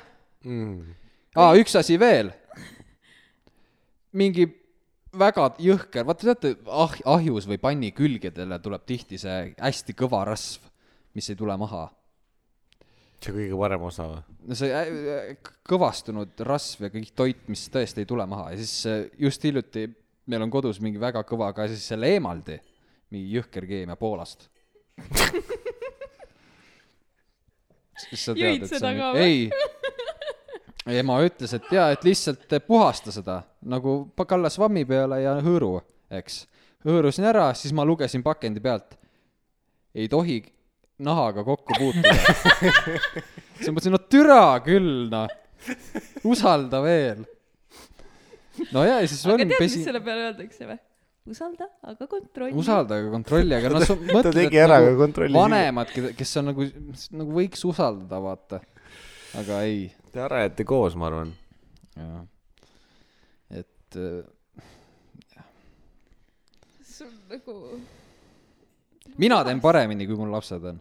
A: aa , üks asi veel . mingi väga jõhker , vaata teate , ah- , ahjus või panni külgedele tuleb tihti see hästi kõva rasv , mis ei tule maha .
C: see kõige parem osa või ?
A: no see ä- ä- k- kõvastunud rasv ja kõik toit , mis tõesti ei tule maha ja siis äh, just hiljuti meil on kodus mingi väga kõva ka siis selle eemaldi , mingi jõhker keemia Poolast . siis sa
B: Jõid
A: tead , et see
B: seda
A: on
B: ka , või?
A: ei , ema ütles , et jaa , et lihtsalt puhasta seda nagu pa- kallas vammi peale ja hõõru , eks . hõõrusin ära , siis ma lugesin pakendi pealt . ei tohi nahaga kokku puutuda . siis ma mõtlesin , no türa küll noh , usalda veel . no ja , ja siis
B: aga
A: on
B: tead , mis
A: pesi ,
B: selle peale öeldakse või ? usalda , aga kontrolli .
A: usalda aga kontrolli , aga noh , sa mõtled ,
C: tegi ära, aga kontrolli
A: vanemad , kes on nagu , nagu võiks usaldada , vaata . aga ei
C: Te ära jäite koos , ma arvan .
A: jah , et äh,
B: sul nagu ,
A: mina teen paremini , kui mul lapsed on ,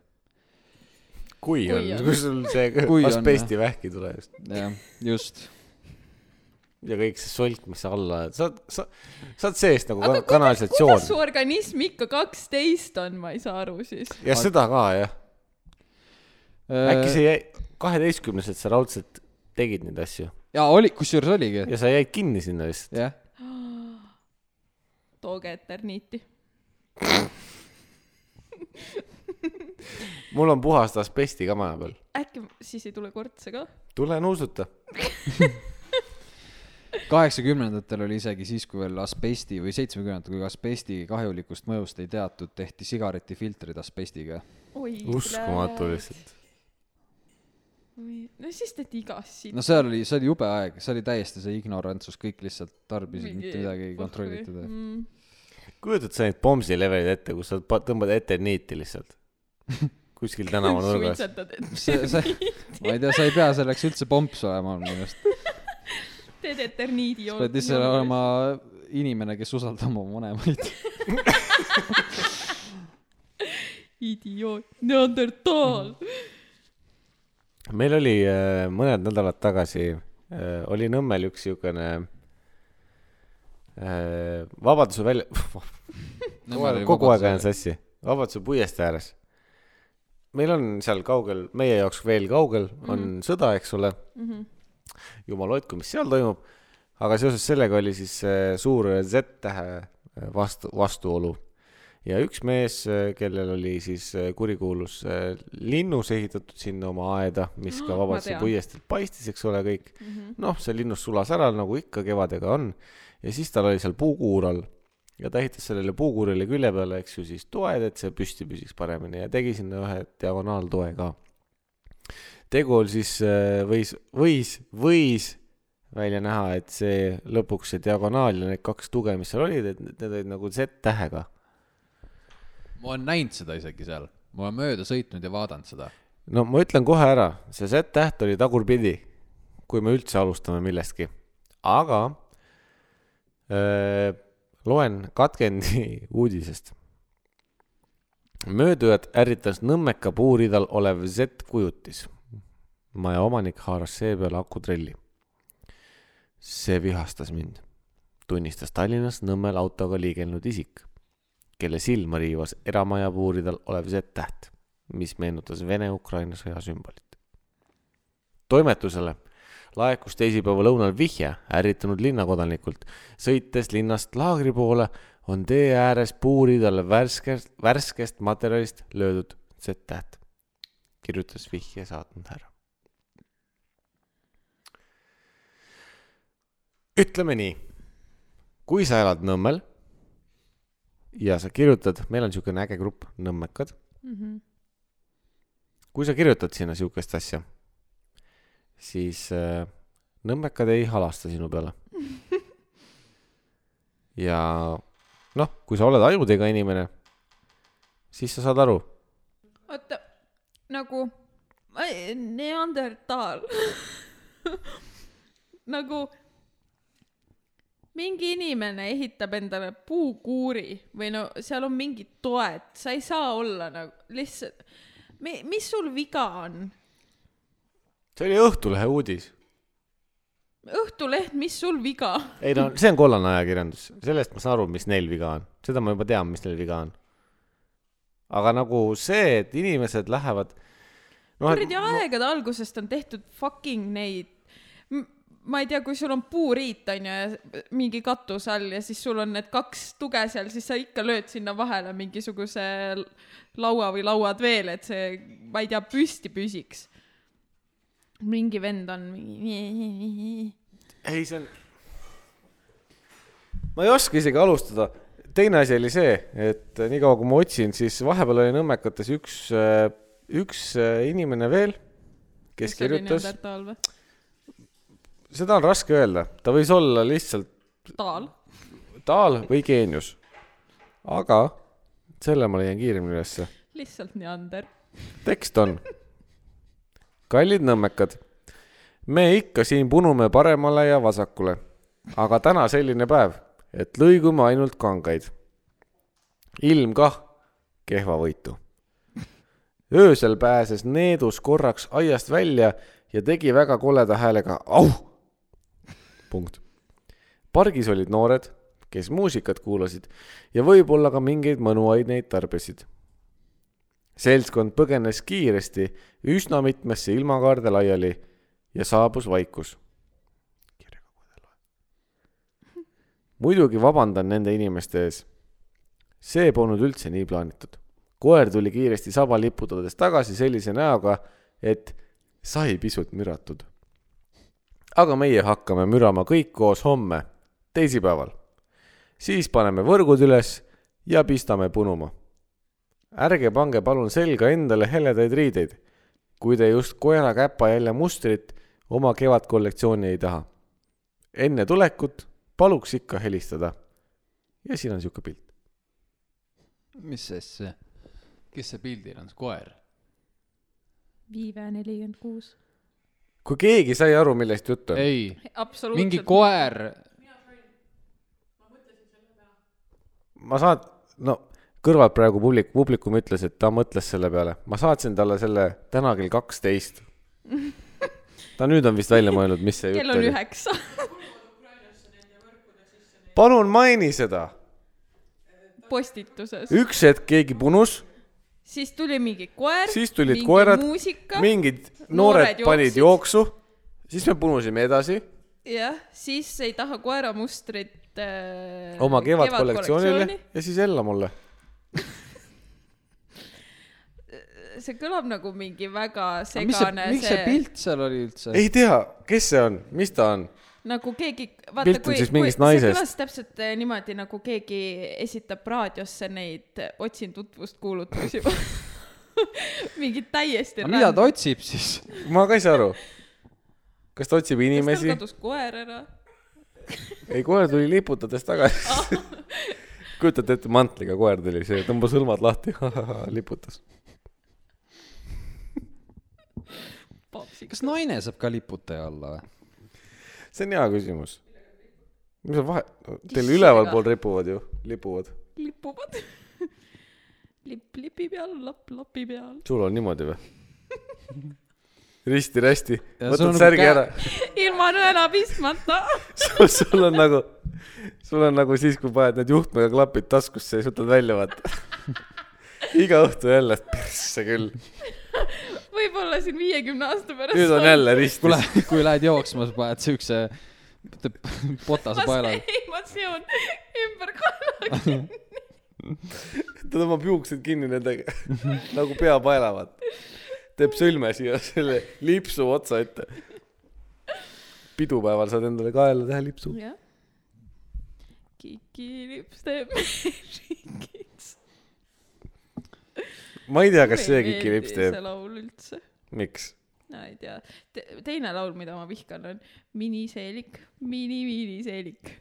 C: kui on
B: Kui on. ,
C: kui sul see
A: Kui on,
C: asbesti vähki tuleb just
A: jah , just .
C: ja kõik see solk , mis sa alla ajad , sa oled , sa , sa oled seest nagu
B: aga
C: ka-
B: kuidas , kuidas su
C: kanalisatsioon
B: organism ikka kaksteist on , ma ei saa aru siis .
C: ja seda ka jah , äkki
A: Äh,
C: sa jäi , kaheteistkümneselt sa raudselt tegid neid asju
A: jaa , oli , kusjuures oligi ,
C: ja sa jäid kinni sinna vist .
A: jah .
B: tooge eterniiti .
C: mul on puhast asbesti ka maja peal .
B: äkki siis ei tule kortse ka ?
C: tule nuusuta .
A: kaheksakümnendatel oli isegi siis , kui veel asbesti või seitsmekümnendatel , kui asbesti kahjulikust mõjust ei teatud , tehti sigaretifiltrid asbestiga .
B: oi ,
C: uskumatu . lihtsalt .
B: no siis teed igast siit
A: no seal oli , see oli jube aeg , see oli täiesti see ignorantsus , kõik lihtsalt tarbisid ,
B: Mingi
A: mitte midagi ei
B: pohhui.
A: kontrollitud .
B: mm. .
C: kujutad sa neid pomsi leveleid ette , kus sa pa- tõmbad ette niiti lihtsalt kuskil tänavanurgas .
B: suitsetad , et
A: see , see , ma ei tea , sa ei pea selleks üldse pomps olema minu meelest .
B: teed eterniidi
A: sa pead lihtsalt olema inimene , kes usaldab oma vanemaid .
B: idioot , neandertaal .
C: meil oli äh, mõned nädalad tagasi äh, oli Nõmmel üks siukene äh, Vabaduse välja , kogu aeg ajan sassi , Vabaduse puiestee ääres . meil on seal kaugel , meie jaoks veel kaugel on mm
B: Mhm.
C: -hmm. sõda , eks ole mm . -hmm. jumal hoidku , mis seal toimub . aga seoses sellega oli siis äh, suur Z-tähe äh, vastu , vastuolu ja üks mees , kellel oli siis äh, kurikuulus äh, linnus ehitatud sinna oma aeda , mis ka
B: Ah, Ma
C: Vabaduse
B: tean.
C: puiesteelt paistis , eks ole , kõik mm -hmm. noh , see linnus sulas ära , nagu ikka kevadega on ja siis tal oli seal puukuur all ja ta ehitas sellele puukuurile külje peale , eks ju , siis toed , et see püsti püsiks paremini ja tegi sinna ühe diagonaaltoe ka . tegu oli siis äh, võis , võis , võis välja näha , et see lõpuks see diagonaal ja need kaks tuge , mis seal olid , et need olid nagu Z-tähega
A: ma olen näinud seda isegi seal , ma olen mööda sõitnud ja vaadanud seda .
C: no ma ütlen kohe ära , see Z-täht oli tagurpidi , kui me üldse alustame millestki , aga öö, loen katkendi uudisest . möödujat ärritas Nõmmeka puuriidal olev Z-kujutis . maja omanik haaras seepeale akutrelli . see vihastas mind , tunnistas Tallinnas Nõmmel autoga liigelnud isik , kelle silma riivas eramaja puuriidal olev Z-täht mis meenutas Vene-Ukraina sõja sümbolit . toimetusele laekus teisipäeva lõunal vihje ärritunud linnakodanikult . sõites linnast laagri poole , on tee ääres puuridel värskest , värskest materjalist löödud Z-täht , kirjutas vihje saatnud härra . ütleme nii , kui sa elad Nõmmel ja sa kirjutad , meil on niisugune äge grupp , Nõmmekad ,
B: Mm-hmm.
C: kui sa kirjutad sinna sihukest asja , siis äh, nõmmekad ei halasta sinu peale . ja noh , kui sa oled ajudega inimene , siis sa saad aru ,
B: oota , nagu ai, neandertaal nagu mingi inimene ehitab endale puukuuri või no seal on mingid toed , sa ei saa olla nagu lihtsalt , mis sul viga on ?
C: see oli Õhtulehe uudis .
B: Õhtuleht , mis sul viga on ?
C: ei no see on kollane ajakirjandus , sellest ma saan aru , mis neil viga on , seda ma juba tean , mis neil viga on . aga nagu see , et inimesed lähevad noh ,
B: kuradi aegade algusest on tehtud fucking neid , ma ei tea , kui sul on puuriit onju ja mingi katuse all ja siis sul on need kaks tuge seal , siis sa ikka lööd sinna vahele mingisuguse l- laua või lauad veel , et see , ma ei tea , püsti püsiks . mingi vend on mingi .
C: ei , see on . ma ei oska isegi alustada . teine asi oli see , et eh, niikaua kui ma otsin , siis vahepeal oli Nõmmekates üks , üks äh, inimene veel , kes kirjutas ,
B: taal või ?
C: seda on raske öelda , ta võis olla lihtsalt
B: taal .
C: taal või geenius . aga selle ma leian kiiremini ülesse .
B: lihtsalt neander .
C: tekst on . kallid nõmmekad , me ikka siin punume paremale ja vasakule , aga täna selline päev , et lõigume ainult kangaid . ilm kah , kehva võitu . öösel pääses Needus korraks aiast välja ja tegi väga koleda häälega auh . punkt . pargis olid noored , kes muusikat kuulasid ja võib-olla ka mingeid mõnuaineid tarbisid seltskond põgenes kiiresti üsna mitmesse ilmakaarde laiali ja saabus vaikus . muidugi vabandan nende inimeste ees . see polnud üldse nii plaanitud . koer tuli kiiresti saba liputades tagasi sellise näoga , et sai pisut müratud . aga meie hakkame mürama kõik koos homme , teisipäeval . siis paneme võrgud üles ja pistame punuma ärge pange palun selga endale heledaid riideid , kui te just koera käpa jälje mustrit oma kevadkollektsiooni ei taha . enne tulekut paluks ikka helistada . ja siin on sihuke pilt .
A: mis asja ? kes see pildil on , see koer ?
B: viive nelikümmend kuus .
C: kui keegi sai aru , millest jutt on .
A: ei ,
B: absoluutselt .
A: mingi . koer ,
C: ma saat- , no kõrvalt praegu publik , publikum ütles , et ta mõtles selle peale . ma saatsin talle selle täna kell kaksteist . ta nüüd on vist välja mõelnud , mis see
B: kell
C: jutt
B: on
C: oli .
B: üheksa .
C: palun maini seda .
B: postituses .
C: üks hetk keegi punus ,
B: siis tuli mingi koer .
C: siis tulid koerad ,
B: muusika .
C: mingid
B: noored
C: noored panid jooksu , siis me punusime edasi
B: jah , siis ei taha koeramustrit äh, .
C: oma kevadkollektsioonile . ja siis Ella mulle .
B: see kõlab nagu mingi väga
A: mis see ,
B: segane ,
A: miks see pilt seal oli üldse ?
C: ei tea , kes see on , mis ta on ,
B: nagu keegi ,
C: Pilt
B: vaata
C: on
B: kui ,
C: siis
B: kui
C: mingist
B: see
C: naisest.
B: kõlas täpselt äh, niimoodi , nagu keegi esitab raadiosse neid äh, otsin tutvust kuulutusi . mingi täiesti .
A: aga mida ta otsib siis ?
C: ma ka ei saa aru . kas ta otsib
B: inimesi .
C: inimesi ?
B: kadus koer ära .
C: ei , koer tuli liputades tagasi . kujutate ette , mantliga koer tuli , see tõmbas hõlmad lahti , liputas .
B: papsiks .
A: kas naine saab ka liputaja olla või ?
C: see on hea küsimus . mis on vahe , teil
B: Issand,
C: ülevalpool ripuvad ju , lipuvad .
B: lipuvad . lipp lipi peal , lapp lapi peal .
C: sul on niimoodi või ? risti-rästi ,
A: Ja sul on
C: võtad
A: nagu
C: särgi
A: käe-
C: ära ,
B: ilma nõela pistmata .
C: sul on nagu , sul on nagu siis , kui paned need juhtmega klapid taskusse ja siis võtad välja , vaata . iga õhtu jälle , et persse küll .
B: võib-olla siin viiekümne aasta pärast .
C: nüüd on jälle ristis .
A: kuule , kui lähed jooksma , sa paned siukse potase
B: paelad
A: paelal ..
B: ei , ma seon ümber kanna kinni .
C: ta tõmbab juuksed kinni nendega nagu pea paelavad teeb sõlme siia selle lipsu otsa ette pidupäeval saad endale kaela teha lipsu
B: jah . kikilips teeb ringiks .
C: ma ei tea kas see kikilips teeb
B: see laul üldse .
C: miks
B: no ei tea Te . teine laul , mida ma vihkan , on Miniseelik , mini-miniseelik .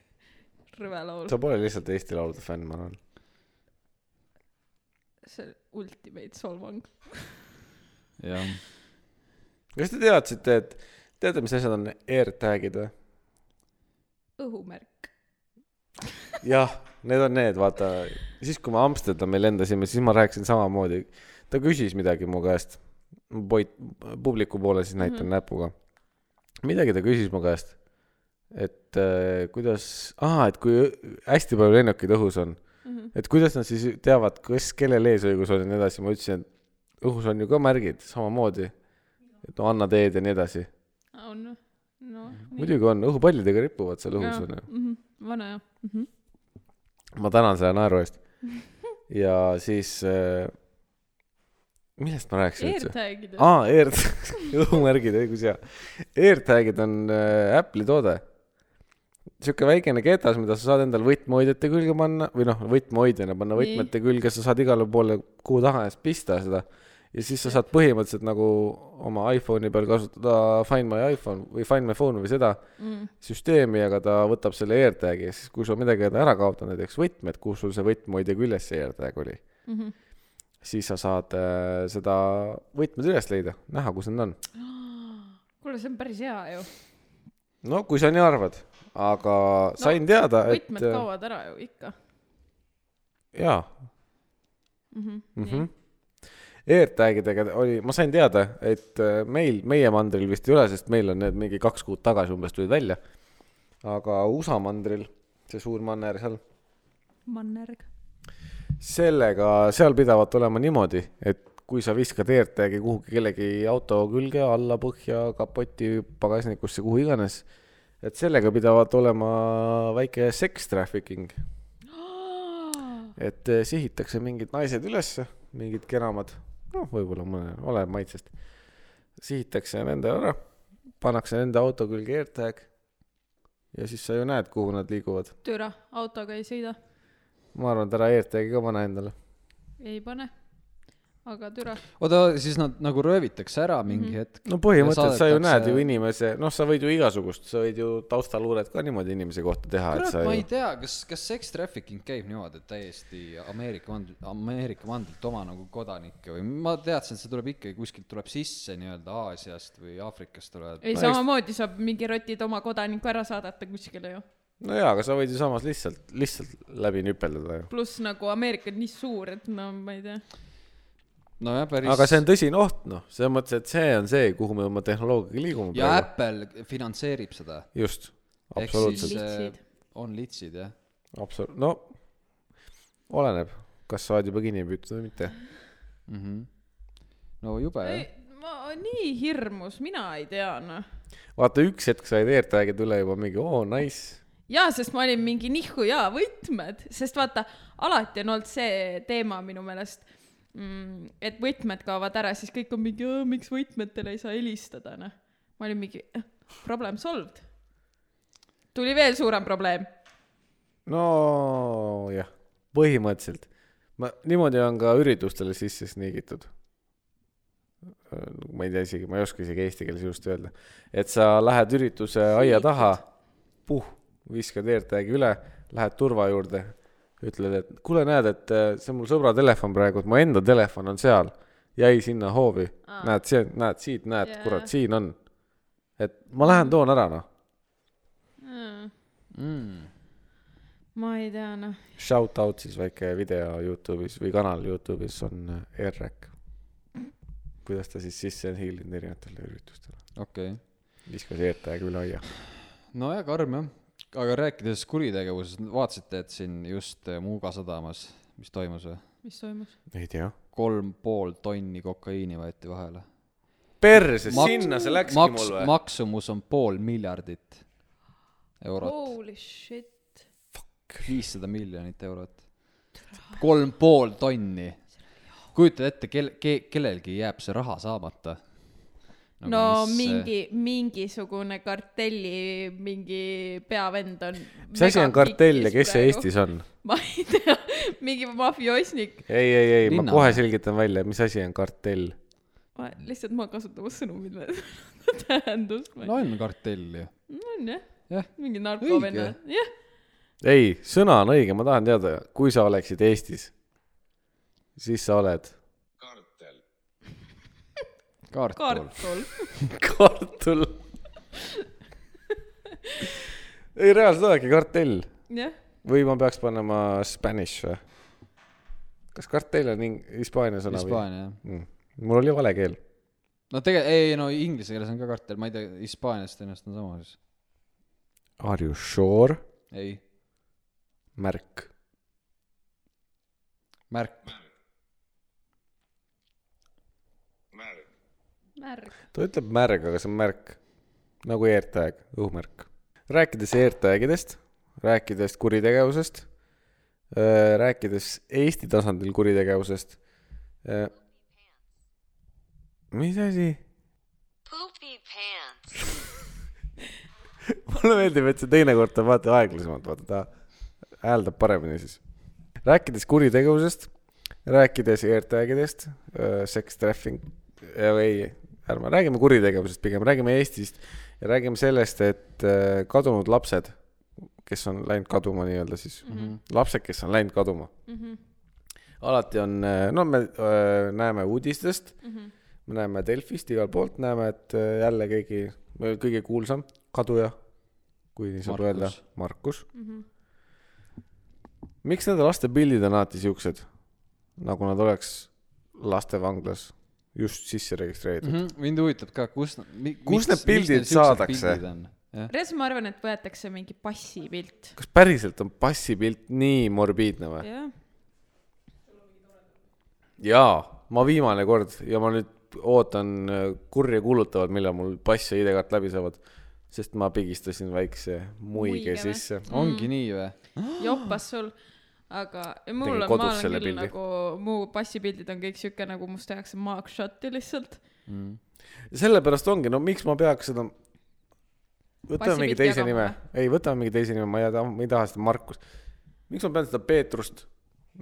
B: rõve laul .
C: sa pole lihtsalt Eesti Laulude fänn ma arvan
B: see on ultimate solvang .
A: jah ,
C: kas te teadsite et teate mis asjad on AirTagid või
B: õhumärk .
C: jah , need on need , vaata , siis kui me Amsterdami lendasime , siis ma rääkisin samamoodi . ta küsis midagi mu käest , poit- , publiku poole siis näitan mm -hmm. näpuga . midagi ta küsis mu käest , et äh, kuidas , aa , et kui hästi palju lennukeid õhus on mm , -hmm. et kuidas nad siis teavad , kes , kellel eesõigus on ja nii edasi , ma ütlesin , et õhus on ju ka märgid samamoodi . et no anna teed ja nii edasi .
B: on , noh, no .
C: muidugi on , õhupallidega ripuvad seal õhus on ju .
B: ju . vana jah mm -hmm. .
C: ma tänan selle naeru eest . ja siis äh, , millest ma rääkisin üldse ?
B: AirTagid on
C: aa , Air , õhumärgid , õigus ja . AirTagid on äh, Apple'i toode . sihuke väikene ketas , mida sa saad endal võtmehoidjate külge panna või noh , võtmehoidjana panna
B: Nii.
C: võtmete külge , sa saad igale poole kuhu tahes pista seda . ja siis sa saad põhimõtteliselt nagu oma iPhone'i peal kasutada Find my iPhone või Find my phone või seda
B: mm. .
C: süsteemi , aga ta võtab selle AirTagi , siis kui sul midagi oled ära kaotanud , näiteks võtmed , kus sul see võtmehoidja küljes see AirTag oli ,
B: Mm -hmm.
C: siis sa saad äh, seda võtmed üles leida , näha , kus nad on .
B: kuule , see on päris hea ju .
C: no kui sa nii arvad , aga no, sain teada , et
B: võtmed kaovad ära ju ikka
C: äh, jaa
B: mm . -hmm.
C: mm . -hmm. AirTagidega oli , ma sain teada , et äh, meil , meie mandril vist ei ole , sest meil on need mingi kaks kuud tagasi umbes tulid välja . aga USA mandril , see suur manner seal ,
B: mannerg .
C: sellega , seal pidavat olema niimoodi , et kui sa viskad AirTagi kuhugi kellegi auto külge , alla põhja , kapoti , pagasnikusse , kuhu iganes , et sellega pidavat olema väike sex trafficking , et eh, sihitakse mingid naised ülesse , mingid kenamad , noh , võib-olla mõne , oleneb maitsest , sihitakse nende ära , pannakse nende auto külge AirTag ja siis sa ju näed , kuhu nad liiguvad .
B: türa , autoga ei sõida ,
C: ma arvan , et ära AirTagi ka pane endale .
B: ei pane . aga türa ,
A: oota , siis nad nagu röövitakse ära mingi mm -hmm. hetk .
C: no põhimõtteliselt sa ju näed
A: saadetakse-
C: ju inimese , noh , sa võid ju igasugust , sa võid ju taustaluuret ka niimoodi inimese kohta teha , et
A: kurat
C: sa ,
A: ma ei
C: ju .
A: tea , kas , kas sex trafficking käib niimoodi , et täiesti Ameerika mandrilt , Ameerika mandrilt oma nagu kodanikke või ma teadsin , et see tuleb ikkagi kuskilt tuleb sisse nii-öelda Aasiast või Aafrikast tulevad .
B: ei samamoodi saab mingi rotid oma kodaniku ära saadata kuskile ju .
C: no jaa , aga sa võid ju samas lihtsalt , lihtsalt läbi nüpeldada ju .
B: pluss nagu Ameerika on nii suur , et no ma ei tea .
A: nojah , päris .
C: aga see on tõsine oht , noh , selles mõttes , et see on see , kuhu me oma tehnoloogiaga liigume
A: ja
C: praegu .
A: Apple finantseerib seda .
C: just ,
A: ehk siis
C: absoluutselt ,
A: äh,
B: Litsid.
A: on litsid jah .
C: absoluut- , no oleneb , kas sa oled juba kinni püütud või mitte .
A: no jube
B: ei
A: jah .,
B: ma , nii hirmus , mina ei tea noh .
C: vaata , üks hetk said AirTagid üle juba mingi oo oh, , nice .
B: jaa , sest ma olin mingi nihku jaa , võtmed , sest vaata , alati on olnud see teema minu meelest mm, , et võtmed kaovad ära , siis kõik on mingi , miks võtmetele ei saa helistada , noh . ma olin mingi , problem solved . tuli veel suurem probleem .
C: nojah , põhimõtteliselt . ma , niimoodi on ka üritustele sisse sniigitud . ma ei tea isegi , ma ei oska isegi eesti keeles just öelda . et sa lähed ürituse aia taha , puh , viskad AirTagi üle , lähed turva juurde , ütled , et kuule , näed , et äh, see on mul sõbra telefon praegu , et mu enda telefon on seal , jäi sinna hoovi . näed , see , näed siit , näed yeah.
B: Jaa. ,
C: kurat , siin on . et ma lähen toon ära , noh .
A: Mm,
B: ma ei tea , noh .
C: Shout out siis väike video Youtube'is või kanal Youtube'is on äh, ERREK . E kuidas ta siis sisse on hiilinud erinevatele üritustele .
A: okei okay. .
C: viskas ERTAG üle aia .
A: nojah , karm jah . aga rääkides kuritegevusest , vaatasite , et siin just äh, Muuga sadamas , mis toimus või ?
B: mis toimus ?
C: ei tea .
A: kolm pool tonni kokaiini võeti vahele
C: perse ,
A: Maks-
C: sinna see läkski
A: maks-
C: mul või ?
A: maksumus on pool miljardit eurot ,
B: Holy shit .
A: viissada miljonit eurot , kolm pool tonni . kujuta ette , kel- , ke- , kellelgi jääb see raha saamata Nagu
C: Nagu
B: no, no mingi , mingisugune kartelli mingi peavend on .
C: mis asi on kartell ja kes see ? Eestis on ?
B: ma ei tea , mingi mafioosnik .
C: ei , ei , ei , ma
A: Linna-
C: kohe selgitan välja , mis asi on kartell .
B: ma
C: Mm.
B: lihtsalt , ma kasutan sõnu , mille tähendust ma ei
A: no on kartell ju ,
B: no, . on jah ,
A: jah .
B: mingi narkovennad , jah .
C: ei , sõna on õige , ma tahan teada , kui sa oleksid Eestis , siis sa oled
A: kartul .
B: kartul .
C: kartul . ei , reaalselt oledki kartell
B: jah ,
C: või ma peaks panema Spanish või ? kas kartell on ing- , hispaania sõna või ?
A: Hispaania jah .
C: Mm. mul oli vale keel .
A: no tegelikult , ei no inglise keeles on ka kartell , ma ei tea , Hispaaniast ennast on sama siis .
C: Are you sure ?
A: ei ,
C: märk .
A: märk ,
B: märg .
C: ta ütleb märg , aga see on märk . nagu AirTag , õhumärk . rääkides AirTagidest , rääkides kuritegevusest , rääkides Eesti tasandil kuritegevusest . mis asi ?
D: Poopy pants.
C: mulle meeldib , et see teinekord ta vaata aeglasemalt , vaata ta hääldab paremini siis . rääkides kuritegevusest , rääkides ERTAG-idest , sex trafficking , ei , ärme räägime kuritegevusest pigem , räägime Eestist ja räägime sellest , et öö, kadunud lapsed , kes on läinud kaduma nii-öelda siis mm , -hmm. lapsed , kes on läinud kaduma mm . -hmm. alati on , no me öö, näeme uudistest mm , -hmm. me näeme Delfist igalt poolt näeme , et öö, jälle keegi , kõige kuulsam kaduja , kui nii saab
A: Markus.
C: öelda , Markus mm .
B: Mhm.
C: -hmm. miks nende laste pildid on alati siuksed , nagu nad oleks lastevanglas just sisse registreeritud mm ?
A: mm . -hmm. mind huvitab ka , kus ,
C: Kus need pildid saadakse?
A: jah ,
B: res , ma arvan , et võetakse mingi passipilt .
C: -hmm. kas päriselt on passipilt nii morbiidne või ?
B: jah ,
C: jaa , ma viimane kord ja ma nüüd ootan äh, kurja kuulutavad , millal mul pass ja ID-kaart läbi saavad , sest ma pigistasin väikse muige
B: Muige või?
C: sisse .
A: ongi
B: Mm.
A: nii või ?
B: joppas sul . aga mul
C: Tegin
B: on ,
C: kodus
B: ma olen
C: selle
B: küll
C: pildi.
B: nagu , mu passipildid on kõik sihuke nagu must tehakse mugshot'i lihtsalt .
C: sellepärast ongi , no miks ma peaks seda , võtame
B: Passi
C: mingi
B: pilti
C: teise
B: jagama
C: nime , ei , võtame mingi teise nime , ma ei taha , ma ei taha seda Markus . miks ma pean seda Peetrust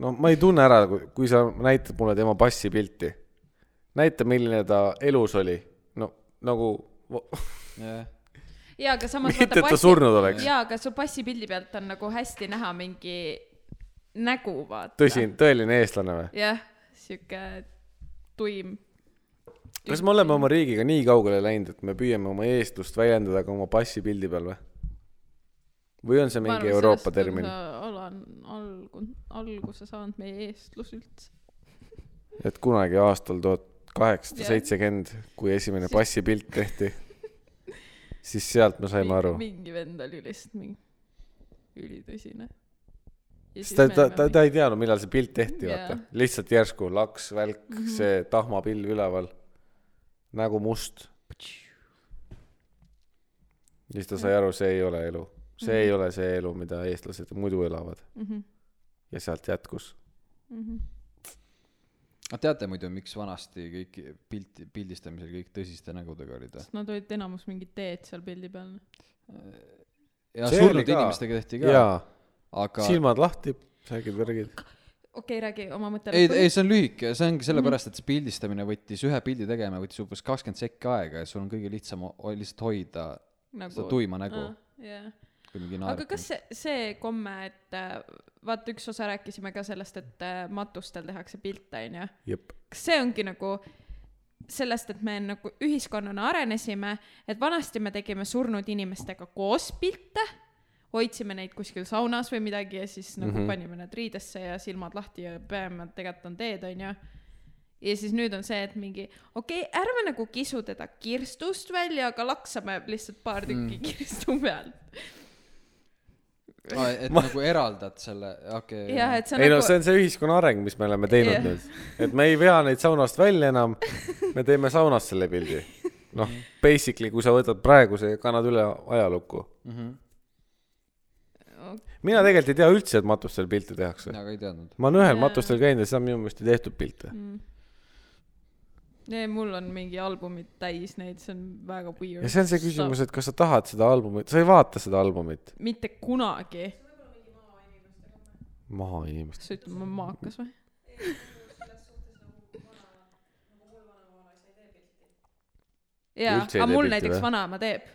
C: no ma ei tunne ära , kui sa näitad mulle tema passipilti , näita , milline ta elus oli , no nagu ,
A: jah .
B: jaa , aga samas
C: Mitte, et ta surnud oleks.
B: jaa , aga su passipildi pealt on nagu hästi näha mingi nägu , vaata .
C: tõsi , tõeline eestlane või ?
B: jah , sihuke tuim .
C: kas me oleme oma riigiga nii kaugele läinud , et me püüame oma eestlust väljendada ka oma passipildi peal või ? või on see mingi Euroopa termin ,
B: alan äh, algu- , alguse saanud meie eestlus üldse .
C: et kunagi aastal tuhat kaheksasada
B: Jah.
C: seitsekümmend , kui esimene passipilt tehti , siis sealt me saime aru .
B: mingi vend oli lihtsalt mingi ülitõsine .
C: sest ta , ta , ta , ta ei teadnud , millal see pilt tehti ,
B: Jaa.
C: vaata . lihtsalt järsku laks , välk , see tahmapilv üleval , nägu must . ja siis ta sai aru , see ei ole elu . see ei ole see elu , mida eestlased muidu elavad .
B: Mhm,
C: ja sealt jätkus .
A: aga teate muidu , miks vanasti kõik pilti , pildistamisel kõik tõsiste nägudega olid või ?
B: sest nad olid enamus mingid teed seal pildi peal .
A: ja
C: See oli
A: surnud
C: ka.
A: inimestega tehti ka ,
C: jaa ,
A: aga
C: silmad lahti , särgid , värgid .
B: okei , räägi oma mõte
A: ei , ei , see on lühike , see ongi sellepärast , et see pildistamine võttis , ühe pildi tegemine võttis umbes kakskümmend sekki aega ja sul on kõige lihtsam o- lihtsalt hoida seda tuima nägu ,
B: nagu- Ah, jah
A: kui mingi
B: aga
A: naerab .
B: kas see , see komme , et äh, vaata , üks osa rääkisime ka sellest , et äh, matustel tehakse pilte , onju .
C: jep .
B: kas see ongi nagu sellest , et me nagu ühiskonnana arenesime , et vanasti me tegime surnud inimestega koos pilte , hoidsime neid kuskil saunas või midagi ja siis nagu mm
C: Mhm.
B: -hmm. panime nad riidesse ja silmad lahti ja peame , tegelikult on teed , onju . ja siis nüüd on see , et mingi , okei okay, , ärme nagu kisu teda kirstust välja , aga laksame lihtsalt paar tükki mm. kirstu pealt .
A: aa , et ma... nagu eraldad selle , okei okay, .
B: jah , et see on
C: ei no
B: nagu
C: see on see ühiskonna areng , mis me oleme teinud
B: Jah.
C: nüüd . et me ei vea neid saunast välja enam , me teeme saunas selle pildi . noh , basically , kui sa võtad praeguse ja kannad üle ajalukku
A: mm . -hmm.
C: mina tegelikult ei tea üldse , et matustel pilte tehakse .
A: aga Nagu ei teadnud .
C: ma olen ühel
B: Jaa.
C: matustel käinud ja seal minu meelest ei tehtud pilte .
B: ei , mul on mingi albumid täis neid , see on väga weird .
C: ja see on see küsimus , et kas sa tahad seda albumit , sa ei vaata seda albumit .
B: mitte kunagi .
C: maainimest .
B: kas sa ütled , ma olen maakas või ? jaa ,
C: Üldse ei
B: aga
C: tee
B: mul
C: pilti
B: näiteks
C: või?
B: vanaema teeb .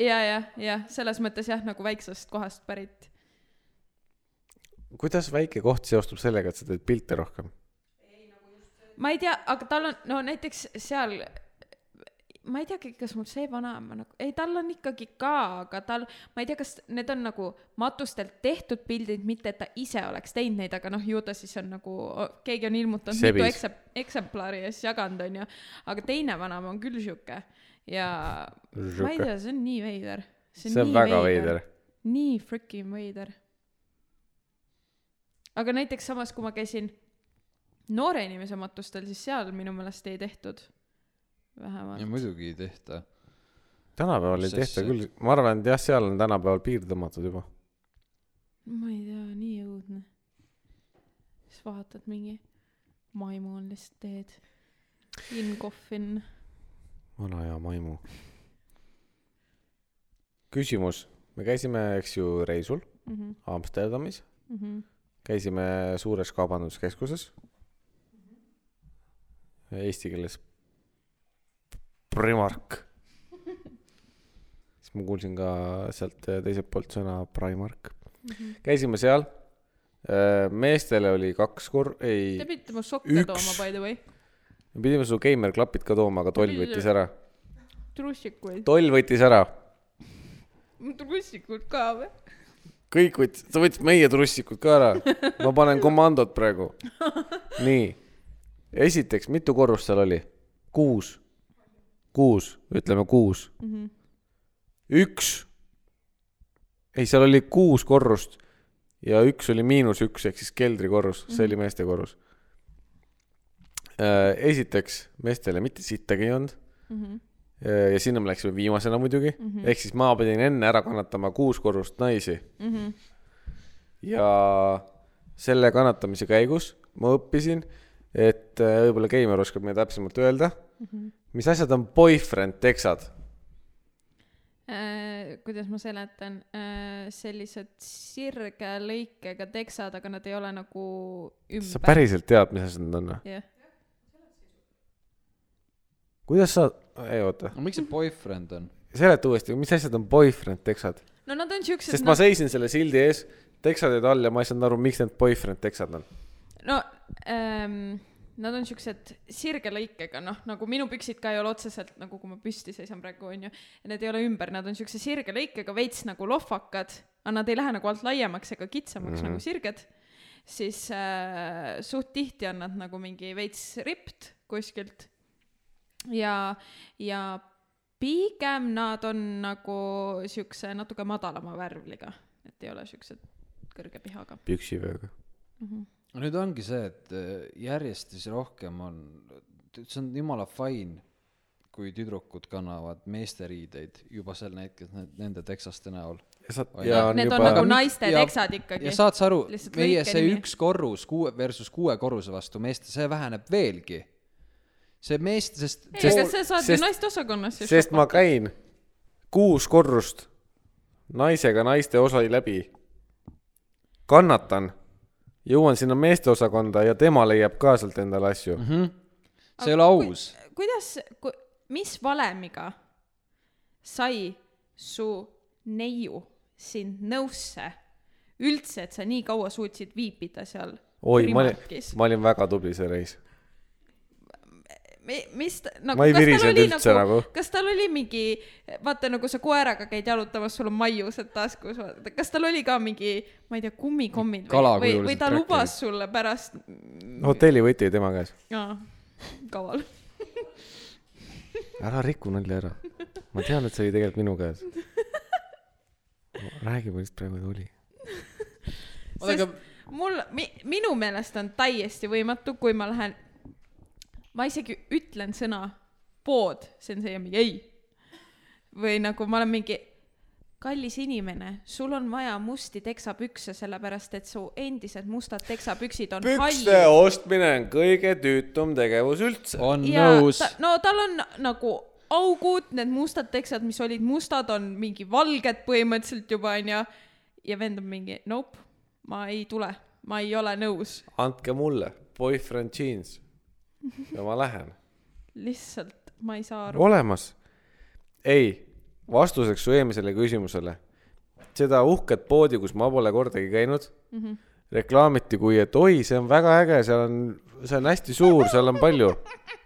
B: ja , ja , ja selles mõttes jah , nagu väiksest kohast pärit .
C: kuidas väike koht seostub sellega , et sa teed pilte rohkem ?
B: ma ei tea , aga tal on , no näiteks seal , ma ei teagi , kas mul see vanaema nagu , ei , tal on ikkagi ka , aga tal , ma ei tea , kas need on nagu matustelt tehtud pildid , mitte et ta ise oleks teinud neid , aga noh , ju ta siis on nagu , keegi on ilmutanud Sebis. mitu
C: Sebis.
B: eksem- , eksemplari ja siis jaganud , onju . aga teine vanaema on küll sihuke ja ma ei tea , see on nii veider .
C: see on väga veider .
B: nii freaking veider . aga näiteks samas , kui ma käisin noore inimese matustel , siis seal minu meelest ei tehtud vähemalt
A: ja . muidugi ei tehta .
C: tänapäeval ei
A: Mis
C: tehta
A: asja?
C: küll , ma arvan , et jah , seal on tänapäeval piir tõmmatud juba .
B: ma ei tea , nii õudne . siis vaatad mingi maimu on lihtsalt teed . In coffin .
C: vana hea maimu . küsimus , me käisime , eks ju , reisul
B: Mhm,
C: Amsterdamis , käisime suures kaubanduskeskuses . Eesti keeles Primark . siis ma kuulsin ka sealt teiselt poolt sõna Primark .
B: mhm.
C: käisime seal . meestele oli kaks kor- , ei
B: Te , pidite mu sokke
C: Üks.
B: tooma by the way .
C: me pidime su gamer klapid ka tooma , aga toll võttis ära .
B: trussikuid .
C: toll võttis ära
B: trussikud ka või ?
C: kõik võttis , ta võttis meie trussikud ka ära . ma panen komandot praegu . nii , esiteks , mitu korrust seal oli ? kuus , kuus , ütleme kuus mm . -hmm.
B: Mhm,
C: üks , ei , seal oli kuus korrust ja üks oli miinus üks ehk siis keldrikorrus , see oli meeste korrus . esiteks , meestele mitte sittagi ei olnud
B: mhm,
C: Äh, ja sinna me läksime viimasena muidugi mm -hmm. , ehk siis ma pidin enne ära kannatama kuus korrust naisi mm .
B: mhm.
C: -hmm. ja selle kannatamise käigus ma õppisin , et äh, võib-olla Keimar
B: Mhm.
C: oskab meile täpsemalt öelda mm , -hmm. mis asjad on boyfriend teksad .
B: äh, kuidas ma seletan äh, , sellised sirge lõikega teksad , aga nad ei ole nagu
C: sa
B: ümber .
C: päriselt tead , mis asjad need on või ?
B: jah ,
C: kuidas sa , ei oota ,
A: no miks see boyfriend on ?
C: seleta uuesti , mis asjad on boyfriend teksad ?
B: no nad on siuksed ,
C: sest
B: no,
C: ma seisin selle sildi ees , teksad olid all ja ma ei saanud aru , miks need boyfriend teksad on .
B: no ähm, nad on siuksed sirge lõikega , noh nagu minu püksid ka ei ole otseselt nagu , kui ma püsti seisan praegu onju , need ei ole ümber , nad on siukse sirge lõikega veits nagu lohvakad , aga nad ei lähe nagu alt laiemaks ega kitsamaks mm -hmm. nagu sirged , siis äh, suht tihti on nad nagu mingi veits ript kuskilt ja , ja pigem nad on nagu siukse natuke madalama värvliga , et ei ole siuksed kõrge pihaga .
C: püksivööga .
A: no nüüd ongi see , et äh, järjest siis rohkem on , see on jumala fine , kui tüdrukud kannavad meesteriideid juba seal näiteks ne- nende teksaste näol .
C: ja sa ,
A: Oi.
C: ja
A: No,
C: on
B: Need on
C: juba
B: nagu
A: Aga mi-
B: naiste
A: ja-
B: teksad ikkagi
A: ja . saad sa aru ,
B: Lihtsalt
A: meie
B: lõike
A: see
B: nimi.
A: üks korrus kuue versus kuue korruse vastu meeste , see väheneb veelgi . see meest , sest
B: ei ,
A: sest-
B: aga sa saad ju
C: sest-
B: naiste osakonnas ju
C: sest ma käin kuus korrust naisega naiste osa läbi , kannatan , jõuan sinna meeste osakonda ja tema leiab ka sealt endale asju mm . -hmm.
A: see ei ole aus .
B: shopata. kuidas ku, , mis valemiga sai su neiu sind nõusse üldse , et sa nii kaua suutsid viibida seal
C: oi , ma olin
B: Primarkis? ,
C: ma olin väga tubli see reis .
B: Mi- mis ta nagu
C: Ma ei
B: kas tal
C: virisenud
B: oli
C: üldse nagu.
B: kas tal oli mingi vaata nagu sa koeraga käid jalutamas sul on maiused taskus vaata kas tal oli ka mingi ma ei tea kummikommid või või
A: Kalakujulised
B: või ta
A: traktorid.
B: lubas sulle pärast
C: hotelli võti oli tema käes .
B: aa kaval
C: ära riku nalja ära . ma tean , et see oli tegelikult minu käes . räägi , millest praegu tuli .
A: oota , aga
B: mul mi- minu meelest on täiesti võimatu kui ma lähen ma isegi ütlen sõna pood see on see ja mingi ei või nagu ma olen mingi kallis inimene sul on vaja musti teksapükse sellepärast et su endised mustad teksapüksid on
C: pükste
B: hallid
C: ostmine on kõige tüütum tegevus üldse .
A: on
B: ja
A: nõus
B: ta, . no tal on nagu augud need mustad teksad mis olid mustad on mingi valged põhimõtteliselt juba onju ja vend on mingi nope ma ei tule ma ei ole nõus
C: andke mulle boyfriend jeans ja ma lähen
B: lihtsalt ma ei saa aru .
C: olemas . ei , vastuseks su eelmisele küsimusele , seda uhket poodi , kus ma pole kordagi käinud mm , -hmm. reklaamiti kui , et oi , see on väga äge , seal on , see on hästi suur , seal on palju .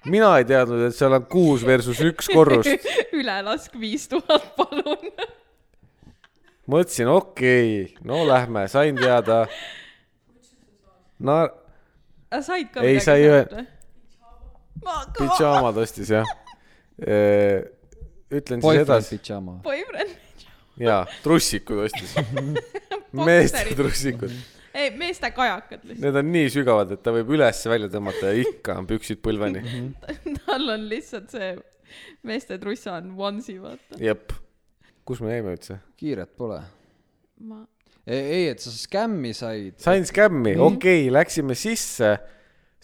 C: mina ei teadnud , et seal on kuus versus üks korrust .
B: ülelask viis tuhat , palun .
C: mõtlesin , okei okay, , no lähme , sain teada . no
B: said ka
C: Ei,
B: midagi
C: sa ei
B: sealt
C: öel-
B: või ? ma kõva
C: pidžaama tõstis jah . ütlen siis
A: boyfriend
C: edasi ,
A: pidžama .
B: boyfriend .
C: jaa , trussiku tõstis , meeste . trussikud .
B: ei , meeste kajakad lihtsalt .
C: Need on nii sügavad , et ta võib üles-välja tõmmata ja ikka on püksid põlveni .
B: tal on lihtsalt see meeste trussa on onesie , vaata .
C: jep . kus me jäime üldse ?
A: kiiret pole .
B: ma ,
A: ei , et sa skämmi said .
C: sain skämmi , okei okay, , läksime sisse ,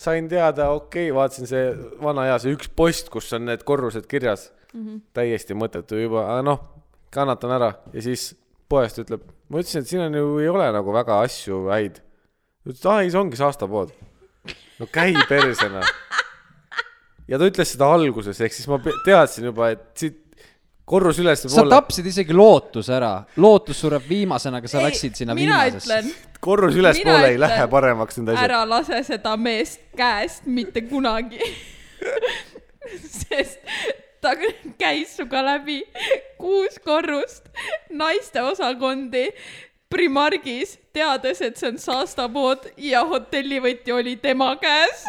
C: sain teada , okei okay, , vaatasin see vana hea , see üks post , kus on need korrused kirjas mm . -hmm. täiesti mõttetu juba , aga noh , kannatan ära ja siis poest ütleb , ma ütlesin , et siin on ju , ei ole nagu väga asju häid . ütles , et aa ei , see ongi saastapood . no käi persena . ja ta ütles seda alguses , ehk siis ma pe- teadsin juba , et siit korrus
A: sa
C: ülespoole ,
A: tapsid isegi lootuse ära . lootus sureb viimasena , aga sa läksid sinna
B: mina
A: viimasesse .
B: ütlen ,
C: korrus
B: mina
C: ülespoole ei
B: ütlen,
C: lähe paremaks need asjad .
B: ära lase seda meest käest mitte kunagi . sest ta käis sinuga läbi kuus korrust naiste osakondi Primargis , teades , et see on saastapood ja hotellivõti oli tema käes .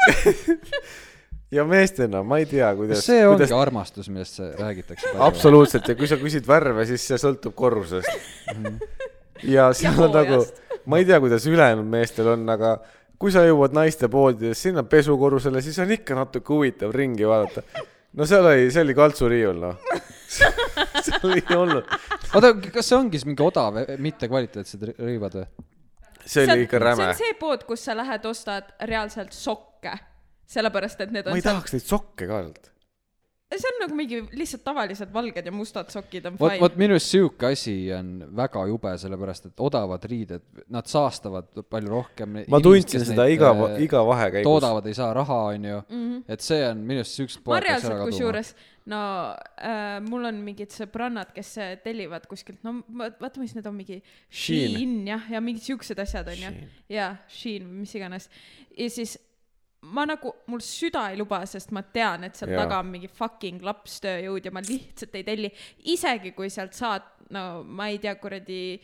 C: ja meestena ma ei tea , kuidas ,
A: see ongi
C: kuidas
A: Kuidas... armastus , millest sa- räägitakse .
C: absoluutselt ja kui sa küsid värve , siis see sõltub korrusest . ja seal on nagu
B: Mhm. hooajast. ,
C: ma ei tea , kuidas ülejäänud meestel on , aga kui sa jõuad naistepoodi ja sinna pesukorrusele , siis on ikka natuke huvitav ringi vaadata . no seal oli , see oli kaltsuriiul noh . seal ei olnud ,
A: oota , kas see ongi siis mingi odav , mittekvaliteetsed ri- rõivad või ?
C: see oli ikka
B: see
C: räme
B: on . see pood , kus sa lähed , ostad reaalselt sokke , sellepärast et need
C: ma
B: on
C: ei tahaks neid sokke ka sealt .
B: see on nagu mingi lihtsalt tavalised valged ja mustad sokid on
A: vot ,
B: fine .
A: vot minu arust sihuke asi on väga jube , sellepärast et odavad riided , nad saastavad palju rohkem .
C: ma tundsin seda iga , iga vahekäigus .
A: äh, toodavad ei saa raha , onju . et see on minu arust siukest
B: ma
A: pood peaks ära
B: reaalselt
A: kaduma .
B: kusjuures , no äh, mul on mingid sõbrannad , kes äh, tellivad kuskilt , no ma- vaata , mis need on , mingi
C: Shein.
B: Shein jah , ja mingid siuksed asjad onju . jaa , Shein või mis iganes . ja siis ma nagu , mul süda ei luba , sest ma tean , et seal
C: Jaa.
B: taga on mingi fucking lapstööjõud ja ma lihtsalt ei telli , isegi kui sealt saad , no ma ei tea , kuradi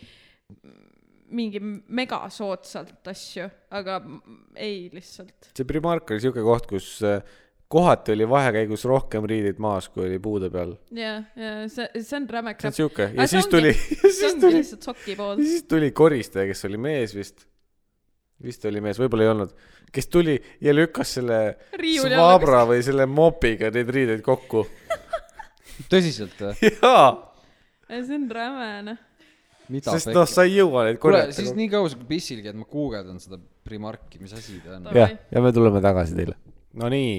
B: mingi megasoodsalt asju , aga m- ei lihtsalt .
C: see Primark oli siuke koht , kus äh, kohati oli vahekäigus rohkem riideid maas , kui oli puude peal .
B: jah , ja see , see on räme
C: see on
B: crap .
C: siuke
B: Aga
C: ja
B: see
C: siis
B: ongi-
C: tuli , ja
B: see
C: siis
B: ongi
C: tuli ,
B: lihtsalt soki pool
C: ja . siis tuli koristaja , kes oli mees vist , vist oli mees , võib-olla ei olnud , kes tuli ja lükkas selle
B: Riiuli alla
C: svabra või selle mopiga neid riideid kokku .
A: tõsiselt , äh,
C: jaa ,
B: see on räme , noh .
A: mida
C: sest noh , sa ei jõua neid
A: kuule ,
C: korjata
A: siis . nii kaua sa pissilgi , et ma guugeldan seda Primarki , mis asi ta on
B: Ta- . Jah, ,
C: ja me tuleme tagasi teile . Nonii ,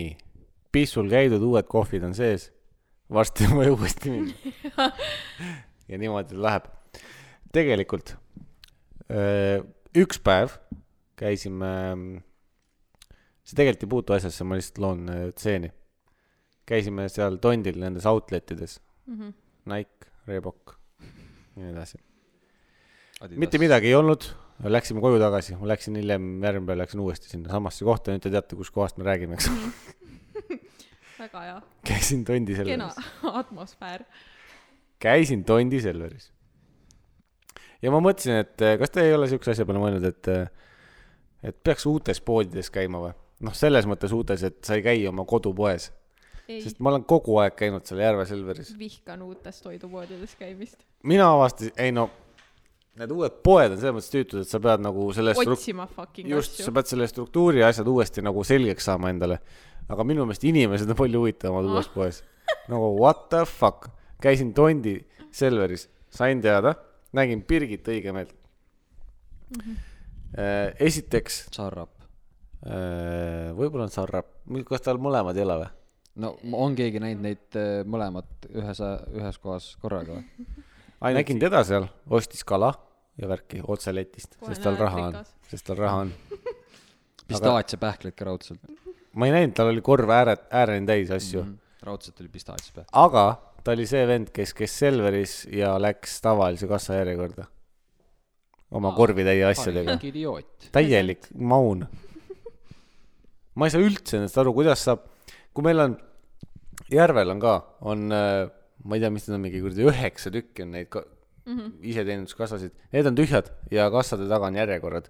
C: pissul käidud , uued kohvid on sees . varsti on vaja uuesti minna . ja niimoodi ta läheb . tegelikult öö, üks päev käisime , see tegelikult ei puutu asjasse , ma lihtsalt loon öö, stseeni . käisime seal tondil nendes outlet ides . Nike , Reebok ja nii edasi . mitte . midagi ei olnud , läksime koju tagasi , ma läksin hiljem , järgmine päev läksin uuesti sinnasamasse kohta , nüüd te teate , kuskohast me räägime , eks
B: Mhm.
C: ole .
B: väga hea ,
C: käisin Tondi
B: kena
C: Selveris ,
B: atmosfäär .
C: käisin Tondi Selveris . ja ma mõtlesin , et eh, kas te ei ole siukse asja peale mõelnud , et , et peaks uutes poodides käima või ? noh , selles mõttes uutes , et sa ei käi oma kodupoes ,
B: ei ,
C: sest ma olen kogu aeg käinud seal Järve Selveris .
B: vihkan uutes toidupoodides käimist .
C: mina avastasin , ei no , need uued poed on selles mõttes tüütud , et sa pead nagu selle stru-
B: otsima fucking
C: just , sa
B: asju .
C: pead selle struktuuri ja asjad uuesti nagu selgeks saama endale . aga minu meelest inimesed on palju huvitavamad
B: Noh.
C: uues poes . nagu what the fuck , käisin Tondi Selveris , sain teada , nägin Birgit õigemeelt .
B: Mhm.
C: esiteks ,
A: Sarrap .
C: võib-olla on Sarrap , kas tal mõlemad ei ole või ?
A: no on keegi näinud neid eh, mõlemat ühes , ühes kohas korraga või ?
C: nägin teda seal , ostis kala ja värki otse letist ,
B: Kohe
C: sest tal
B: näed,
C: raha on
B: rikas. ,
C: sest tal raha on .
A: pistaatsia pähkleid ka raudselt .
C: ma ei näinud , tal oli korv ääre , ääreni täis asju
A: Mhm. raudselt oli pistaatsia pähkel .
C: aga ta oli see vend , kes käis Selveris ja läks tavalise kassa järjekorda . oma korvitäie asjadega .
A: idioot .
C: täielik maun . ma ei saa üldse endast aru , kuidas saab , kui meil on , järvel on ka , on , ma ei tea , mis need on , mingi kuradi üheksa tükki on neid ka- Mhm. iseteeninduskassasid , need on tühjad ja kassade taga on järjekorrad .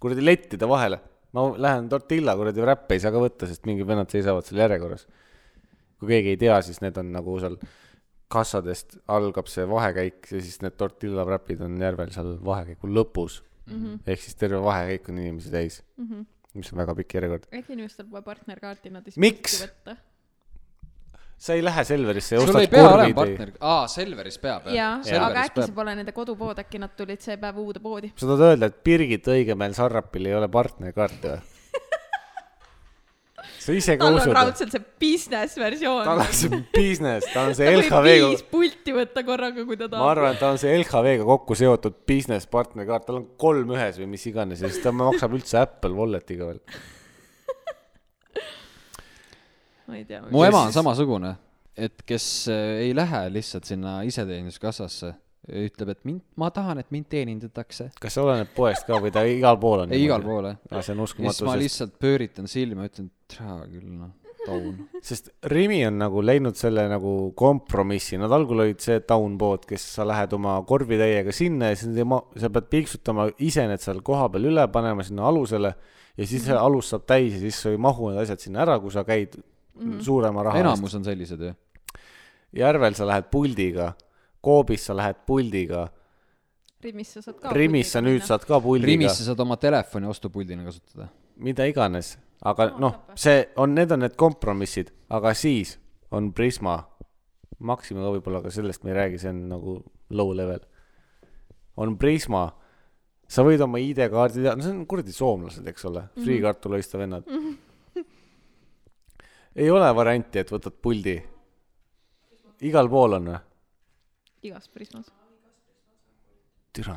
C: kuradi lettide vahele , ma lähen tortilla kuradi räppe ei saa ka võtta , sest mingid vennad seisavad seal järjekorras . kui keegi ei tea , siis need on nagu seal kassadest algab see vahekäik ja siis need tortilla wrap'id on järvel seal vahekäigu lõpus mm .
B: Mhm.
C: -hmm. ehk siis terve vahekäik on inimesi täis mm , -hmm. mis on väga pikk järjekord .
B: äkki inimestel pole partnerkaarti , nad ei
C: Miks?
B: saagi võtta .
C: sa ei lähe Selverisse ja
A: sul ei
C: ostad
A: pea olema
C: korvid .
A: partner , aa , Selveris peab
B: jaa , aga
A: Selveris
B: äkki see
A: peab .
B: pole nende kodupood , äkki nad tulid see päev uude poodi .
C: sa tahad öelda , et Birgit Õigemäel Sarrapil ei ole partnerkaarti või ? sa ise ka
B: tal on
C: usud ,
B: raudselt see business
C: tal
B: versioon .
C: on see business , ta on
B: ta
C: see
B: võib
C: LHV-ga
B: viis pulti võtta korraga , kui ta
C: ma
B: tahab .
C: arvan , et ta on see LHV-ga kokku seotud business partner kaart , tal on kolm ühes või mis iganes ja siis ta maksab üldse Apple Walletiga veel .
B: ma ei tea .
A: mu ema on samasugune , et kes eh, ei lähe lihtsalt sinna iseteeninduskassasse , ütleb , et mind , ma tahan , et mind teenindatakse .
C: kas see oleneb poest ka või ta igal pool on
A: ei , igal ? pool , jah .
C: see on
A: ja siis
C: uskumatu ,
A: ma
C: sest ,
A: lihtsalt pööritan silma , ütlen , et tere küll , noh , taun .
C: sest Rimi on nagu läinud selle nagu kompromissi , nad algul olid see downpood , kes sa lähed oma korvitäiega sinna ja siis nad ei ma- , sa pead piiksutama ise need seal kohapeal üle panema sinna alusele ja siis
A: Mhm.
C: see alus saab täis ja siis sa ei mahu need asjad sinna ära , kui sa käid suurema raha eest .
A: Mhm. enamus on sellised ju .
C: Järvel sa lähed puldiga , Koobis sa lähed puldiga ,
B: Rimis sa saad ka .
C: Rimis sa nüüd . saad ka puldiga
A: Rimis , sa saad oma telefoni ostupuldina kasutada .
C: mida iganes , aga noh , see on , need on need kompromissid , aga siis on Prisma , Maxima ka võib-olla , aga sellest me ei räägi , see on nagu low level . on Prisma , sa võid oma ID-kaardi teha , no see on kuradi soomlased , eks ole , friikartuliõiste vennad . ei ole varianti , et võtad puldi igal pool on või ?
B: igas prismas .
C: türa .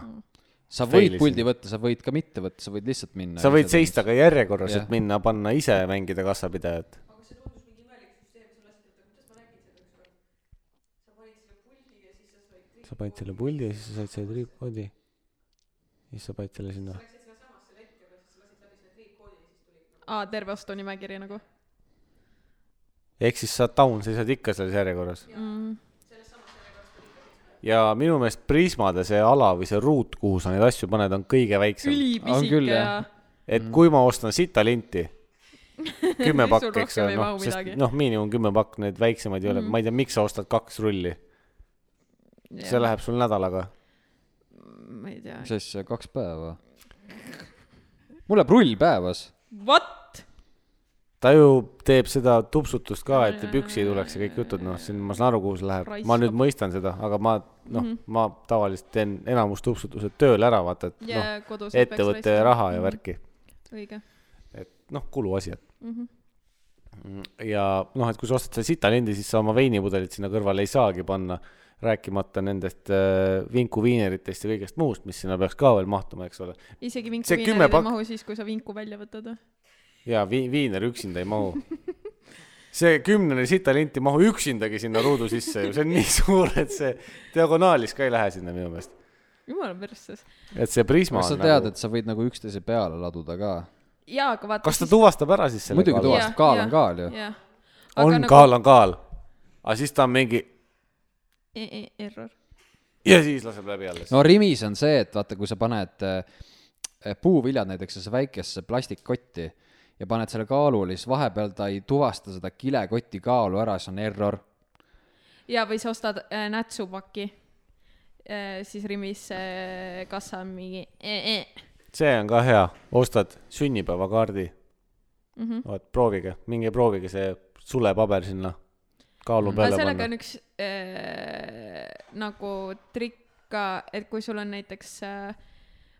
A: sa võid
C: Failisin.
A: puldi võtta , sa võid ka mitte võtta , sa võid lihtsalt minna .
C: sa võid seista . ka järjekorras ,
A: Jah.
C: et minna , panna ise mängida kassapidajat . sa panid selle puldi ja siis sa said selle triipkoodi . siis sa panid selle sinna .
B: aa , terve ostunimekiri nagu
C: ehk siis sa down seisad ikka selles järjekorras .
B: mm. .
C: ja minu meelest Prismade see ala või see ruut , kuhu sa neid asju paned , on kõige väiksem .
A: On
B: ülipisike
A: küll,
B: ja
A: jah.
C: et kui ma ostan sitalinti , kümme
B: Mm. Sul
C: pakki , eks
B: rohkem ei
C: ole , noh
B: mahu , midagi. Mm.
C: sest noh , miinimum kümme pakk , neid väiksemaid ei ole , ma ei tea , miks sa ostad kaks rulli , see
B: Jah,
C: läheb sul nädalaga
B: ma ei tea .
A: mis asja , kaks päeva ? mul läheb rull päevas .
B: What ?
C: ta ju teeb seda tupsutust ka , et püksi ei tuleks ja kõik jutud , noh , siin ma saan aru , kuhu see läheb . ma
B: Raiskab.
C: nüüd
B: Mhm.
C: mõistan seda , aga ma , noh , ma tavaliselt teen enamus tupsutused tööl ära , vaata , et
B: ja
C: noh ,
B: kodus .
C: ettevõtte raha
B: Mhm.
C: ja . värki ,
B: õige . Mhm.
C: et noh , kuluasjad . ja noh , et kui sa ostad selle sitalindi , siis sa oma veinipudelit sinna kõrvale ei saagi panna , rääkimata nendest äh, vinkuviineritest ja kõigest muust , mis sinna peaks ka veel mahtuma , eks ole .
B: isegi vinku
C: See kümme
B: viinerid
C: pak-
B: ei mahu siis , kui sa vinku välja võtad .
C: jaa , vi- , viiner üksinda ei mahu . see kümnene sitalint ei mahu üksindagi sinna ruudu sisse ju , see on nii suur , et see diagonaalis ka ei lähe sinna minu meelest .
B: jumala persses .
C: et see prisma
A: kas sa
C: on
A: tead ,
C: nagu ,
A: et sa võid nagu üksteise peale laduda ka ?
B: jaa , aga vaata .
C: kas ta tuvastab ära siis selle
A: muidugi
C: kaala?
A: tuvastab , kaal on kaal ju .
B: jah .
C: on nagu... . kaal , on kaal . aga siis ta on mingi
B: e- Error .
C: ja siis laseb läbi alles no. .
A: no Rimis on see , et vaata , kui sa paned äh, puuviljad näiteks sellesse väikesse plastikkotti ja paned selle kaalule , siis vahepeal ta ei tuvasta seda kilekoti kaalu ära , siis on error .
B: jaa , või sa ostad äh, nätsupaki äh, , siis Rimis äh, kassa on mingi äh, äh.
C: see on ka hea , ostad sünnipäevakaardi mm .
B: Mhm.
C: -hmm. vot proovige , minge proovige see sulepaber sinna kaalu
B: aga
C: peale
B: sellega
C: panna
B: on . üks äh, nagu trikk ka , et kui sul on näiteks äh,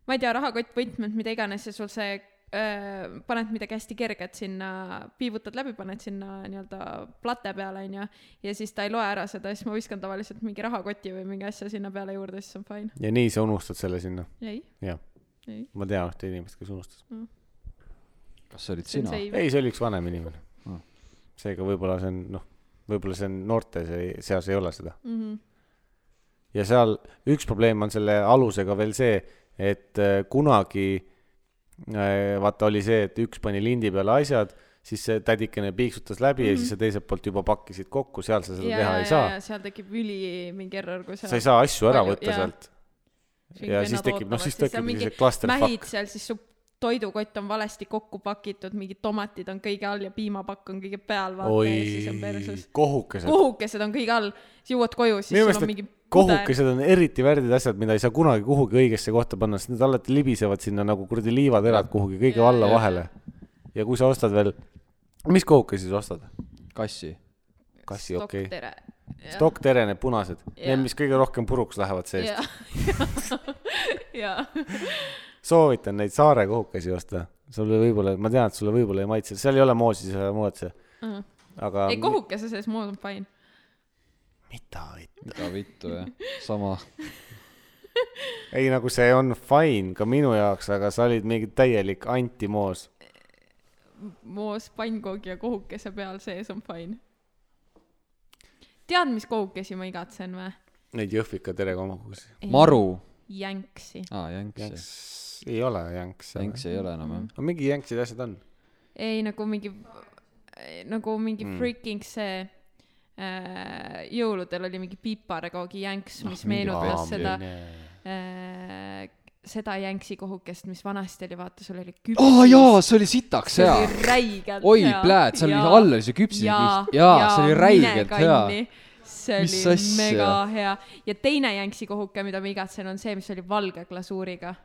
B: ma ei tea , rahakott , võtmed , mida iganes ja sul see äh, paned midagi hästi kerget sinna , piivutad läbi , paned sinna nii-öelda plate peale , onju , ja siis ta ei loe ära seda , siis ma viskan tavaliselt mingi rahakoti või mingi asja sinna peale juurde , siis on fine .
C: ja nii sa unustad selle sinna ,
B: ei ,
C: jah .
B: ei ,
C: ma tean ühte inimest , kes unustas .
A: kas see olid
B: see on
A: sina ?
B: save .
C: ei , see oli üks vanem inimene
A: Aa.
C: mm. . seega võib-olla see on noh , võib-olla see on noorte see- seas ei ole seda .
B: Mm -hmm.
C: ja seal üks probleem on selle alusega veel see , et äh, kunagi äh, vaata oli see , et üks pani lindi peale asjad , siis see tädikene piiksutas läbi mm -hmm. ja siis sa teiselt poolt juba pakkisid kokku , seal sa seda ja, teha ei saa .
B: seal tekib üli mingi error , kui sa .
C: sa ei saa asju ära
B: palju-
C: võtta
B: jaa.
C: sealt ja siis tekib , noh siis tekib see
B: mähid
C: clusterfuck .
B: seal , siis su toidukott on valesti kokku pakitud , mingid tomatid on kõige all ja piimapakk on kõige peal , vaata ja siis on
C: oi
B: perses .,
C: kohukesed .
B: kohukesed on kõige all , siis jõuad koju , siis sul
C: minu meelest
B: on
C: need
B: mingi puder .
C: kohukesed on eriti värdid asjad , mida ei saa kunagi kuhugi õigesse kohta panna , sest need alati libisevad sinna nagu kuradi liivaterad kuhugi kõige
B: Jaa,
C: alla
B: jaa,
C: vahele . ja kui sa ostad veel , mis kohukesi sa ostad ?
A: kassi .
C: kassi , okei okay. .
B: tere .
C: Stock Tere , need punased ,
B: Jaa.
C: need , mis kõige rohkem puruks lähevad seest .
B: ja , ja ,
C: soovitan neid saare kohukesi osta . sulle võib-olla , ma tean , et sulle võib-olla ei maitse , seal ei ole moosi , seal ei ole mootse . aga
B: ei kohukese sees mood on fine .
C: mida võit-
A: mida vittu jah , sama .
C: ei , nagu see on fine ka minu jaoks , aga sa olid mingi täielik antimoos .
B: moos pannkoogi ja kohukese peal sees on fine . tead , mis kohukesi ma igatsen või ?
C: Neid Jõhvika Tere kohukesi .
A: maru .
B: jänksi .
A: aa , jänks .
C: jänks ei ole jänks .
A: jänks ei ole
B: Mhm.
A: enam jah .
C: aga mingi jänksid asjad on .
B: ei nagu mingi , nagu mingi
A: Hmm.
B: mm. freaking see äh, jõuludel oli mingi piparkoogi
A: Ah,
B: jänks , mis no, meenutas seda äh, , seda jänksi kohukest , mis vanasti oli , vaata , sul oli küps .
A: aa Ah, jaa , see oli sitaks
B: see
A: hea .
B: oli räigelt
A: oi
B: hea .
A: pläät , seal oli all oli see küpsisekiht . jaa , see oli räigelt hea .
B: see
A: Mis
B: oli
A: asja?
B: mega hea ja teine jänksi kohuke , mida ma igatsen , on see , mis oli valge glasuuriga .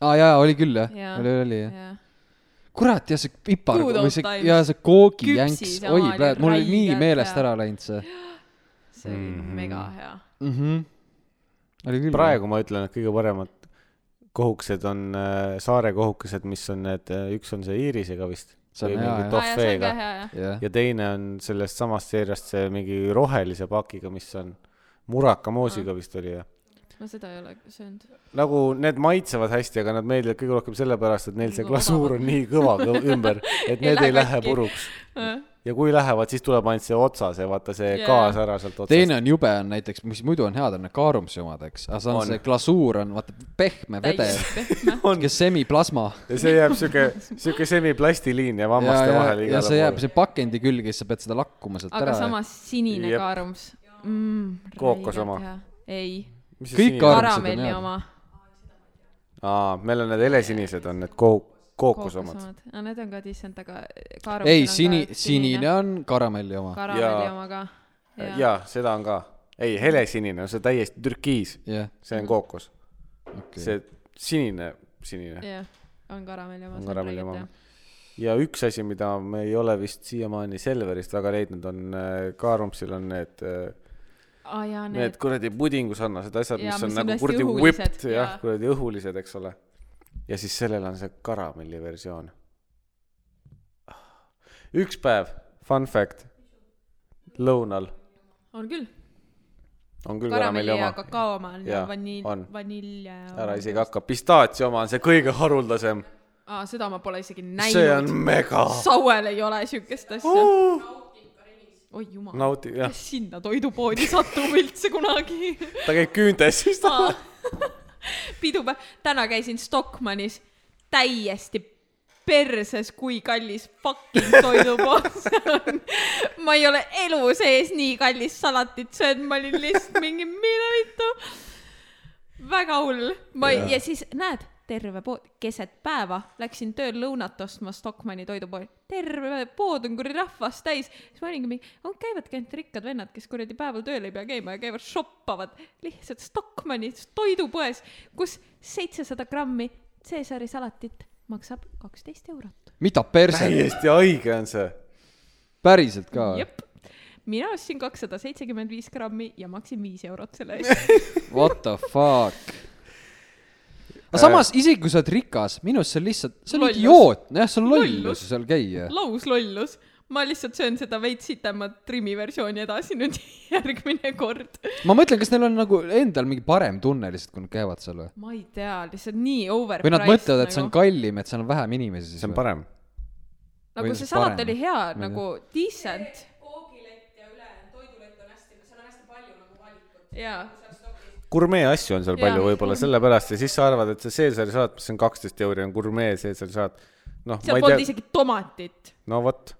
A: aa jaa , oli küll jah ,
B: Jaa.
A: oli , oli jah .
B: jah ,
A: kurat jah , see pipar
B: Good old
A: või see
B: times.
A: ja see koogijänks
B: Küpsis , ja
A: oi
B: maal ja
A: pläät , mul oli nii
B: räigelt
A: meelest
B: ja-
A: ära läinud see
B: see oli
A: Mhm.
B: mm -hmm. mega hea .
A: mhmh , oli küll .
C: praegu ma ütlen , et kõige paremad kohukesed on äh, saare kohukesed , mis on need , üks on äh, see Iirisega vist .
A: see on
C: Või
A: hea
C: mingi
A: jah
C: top-
A: top... ,
B: aa jaa , see on ka
C: Toffeega.
B: hea jah .
A: jah ,
C: ja teine on sellest samast seeriast see mingi rohelise pakiga , mis on muraka moosiga vist oli jah .
B: ma seda ei ole söönud .
C: nagu need maitsevad hästi , aga nad meeldivad kõige rohkem sellepärast , et neil see
B: Nagu
C: glasuur on nii kõva kõ- ümber , et
B: Ei
C: need
B: lähe
C: ei lähe
B: katki.
C: puruks . ja kui lähevad , siis tuleb ainult see otsa , see vaata see
B: Jaa.
C: gaas ära sealt otsast .
A: teine on jube on näiteks , mis muidu on head , on need kaarumsi omad , eks , aga see on
C: On.
A: see glasuur on vaata pehme vedel ,
B: täiesti pehme .
C: on ,
A: kes semiplasma
C: ja see jääb siuke , siuke semiplastilinn jääb
A: ja ,
C: hammaste
A: ja ,
C: vahele
A: ja
C: igale
A: see jääb
C: poole .
A: see pakendi külge , siis sa pead seda lakkuma sealt
B: aga
A: ära .
B: samas sinine
C: Jep.
B: kaarums mm, .
C: Kookos oma. .
B: ei ,
A: Kõik kaarumsed on
B: karamelli
A: head.
B: oma .
C: aa , meil on need helesinised on need ko- , kookus omad ..
B: aga need on ka decent , aga kaarum .
A: ei , sini , sinine . on karamelli oma .
B: karamelli
C: Jaa.
B: oma ka .
C: Äh, jaa , seda on ka . ei , helesinine on see täiesti türkiis ,
A: jah ,
C: see on kookus .
A: okei .
C: see sinine , sinine
B: jah , on karamelli oma .
C: on karamelli oma . ja üks asi , mida me ei ole vist siiamaani Selverist väga leidnud , on äh, Kaarumpsil on need , äh,
B: aa jaa ,
C: need
B: need .
C: kuradi pudingusarnased asjad ,
B: Jaa, mis
C: mis on
B: on
C: nagu
B: hästi
C: kuradi
B: õhulised,
C: whipped , jah
B: jaa. ,
C: kuradi õhulised , eks ole . ja siis sellel on see karamelli versioon . üks päev , fun fact , lõunal
B: on küll .
C: on
B: karamelli
C: küll karamelli
B: ja
C: oma ,
B: kakao oma on
C: Jaa, on.
B: vanilj , vanilje .
C: ära isegi hakka , pistaatsia oma on see kõige haruldasem ,
B: aa , seda ma pole isegi
C: see on
B: näinud .
C: mega
B: Sauel ei ole siukest asja .
C: oh! .
B: oi jumal no. ,
C: nauti , jah ,
B: kas sinna toidupoodi satub üldse kunagi ?
C: ta käib küüntes , siis ta
B: pidupäev , täna käisin Stockmannis , täiesti perses , kui kallis fucking toidupood see on . ma ei ole elu sees nii kallist salatit söönud , ma olin lihtsalt mingi mine vittu . väga hull . ma ja. ja siis näed , terve pood , keset päeva läksin tööl lõunat ostma Stockmanni toidupoodi , terve pood on kuradi rahvast täis . siis ma olingi mingi , käivadki ainult rikkad vennad , kes kuradi päeval tööl ei pea käima ja käivad shoppavad lihtsalt Stockmannis toidupoes , kus seitsesada grammi Caesari salatit maksab kaksteist eurot .
A: mida perse ,
C: täiesti haige on see .
A: päriselt ka ?
B: jep , mina ostsin kakssada seitsekümmend viis grammi ja maksin viis eurot selle eest .
A: What the fuck ?
C: Äh.
A: aga samas , isegi kui sa oled rikas , minu arust see on lihtsalt , see on
B: Lollus.
A: idioot , jah , see on lollus
B: Lollus.
A: seal käia .
B: lauslollus , ma lihtsalt söön seda veits sitemat Trimi versiooni edasi nüüd järgmine kord .
A: ma mõtlen , kas neil on nagu endal mingi parem tunne lihtsalt , kui nad käivad seal või ?
B: ma ei tea , lihtsalt nii overpriced .
A: või nad mõtlevad , et see on kallim , et seal on vähem inimesi siis
C: see on
A: või ?
C: parem .
A: või
B: nagu see
A: siis
B: salat
A: parem.
B: oli hea
A: Ma ei , tea.
B: nagu decent . jaa ,
C: gurmee asju on seal
B: Jaa.
C: palju võib-olla sellepärast ja siis sa arvad , et see Caesari salat , mis on kaksteist euri , on gurmee Caesari salat . noh , ma
B: seal
C: ei
B: polnud
C: tea ,
B: isegi tomatit .
C: no vot ,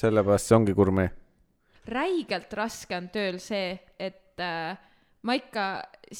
C: sellepärast see ongi gurmee .
B: räigelt raske on tööl see , et äh, ma ikka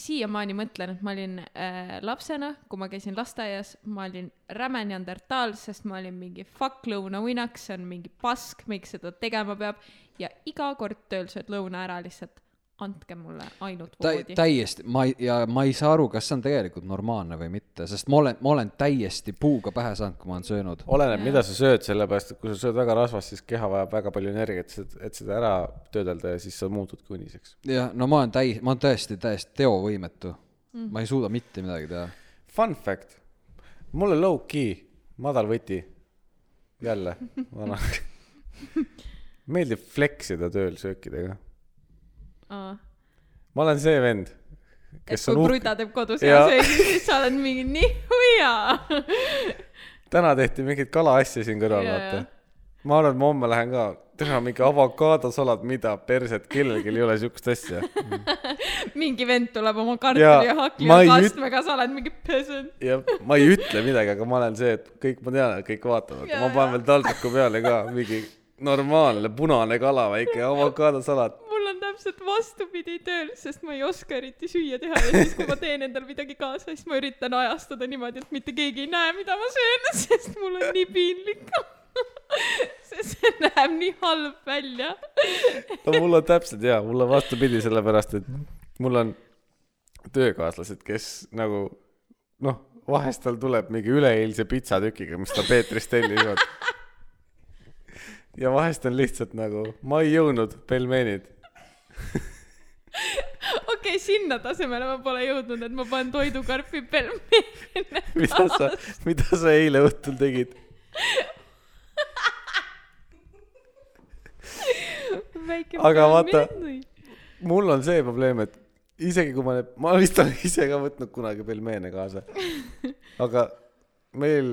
B: siiamaani mõtlen , et ma olin äh, lapsena , kui ma käisin lasteaias , ma olin räme neandertaal , sest ma olin mingi fuck lõunauinaks , see on mingi pask , miks seda tegema peab ja iga kord tööl sööd lõuna ära lihtsalt , andke mulle ainult voodi .
A: täiesti , ma ei , ja ma ei saa aru , kas see on tegelikult normaalne või mitte , sest ma olen , ma olen täiesti puuga pähe saanud , kui ma olen söönud .
C: oleneb , mida sa sööd , sellepärast et kui sa sööd väga rasvast , siis keha vajab väga palju energiat , et seda ära töödelda ja siis sa muutudki uniseks .
A: jah , no ma olen täi- , ma olen tõesti täiesti teovõimetu mm. . ma ei suuda mitte midagi teha .
C: Fun fact , mul on low-key , madal võti , jälle , vana . meeldib fleksida tööl söökidega . ma olen see vend ,
B: et
C: kes
B: kui
C: on uhke
B: Bruda teeb kodus hea
C: Jaa.
B: söögi , siis sa oled mingi nii hea .
C: täna tehti mingit kalaasja siin kõrval ,
B: Jaa,
C: vaata
B: jaa. .
C: ma arvan , et ma homme lähen ka , teha mingi avokaadosalat , mida perset , kellelgi ei ole siukest asja .
B: mingi vend tuleb oma kartuli ja
C: Jaa, ma ei
B: hakkliha
C: üt-
B: kastmega , sa oled mingi peasant .
C: ja ma ei ütle midagi , aga ma olen see , et kõik , ma tean , et kõik vaatavad ,
B: Jaa,
C: ma panen veel taldriku peale ka mingi normaalne punane kala , väike avokaadosalat .
B: mul on täpselt vastupidi tööl , sest ma ei oska eriti süüa teha ja siis , kui ma teen endal midagi kaasa , siis ma üritan ajastada niimoodi , et mitte keegi ei näe , mida ma söön , sest mul on nii piinlik . sest see näeb nii halb välja .
C: no mul on täpselt jaa , mul on vastupidi , sellepärast et mul on töökaaslased , kes nagu noh , vahest tal tuleb mingi üleeilse pitsatükiga , mis ta Peetrist tellinud . ja vahest on lihtsalt nagu , ma ei jõudnud , pelmeenid .
B: okei okay, , sinna tasemele ma pole jõudnud , et ma panen toidukarpi pelmeene .
C: mida sa , mida sa eile õhtul tegid ?
B: väike
C: Aga vaata- . mul on see probleem , et isegi kui ma need , ma vist olen ise ka võtnud kunagi pelmeene kaasa . aga meil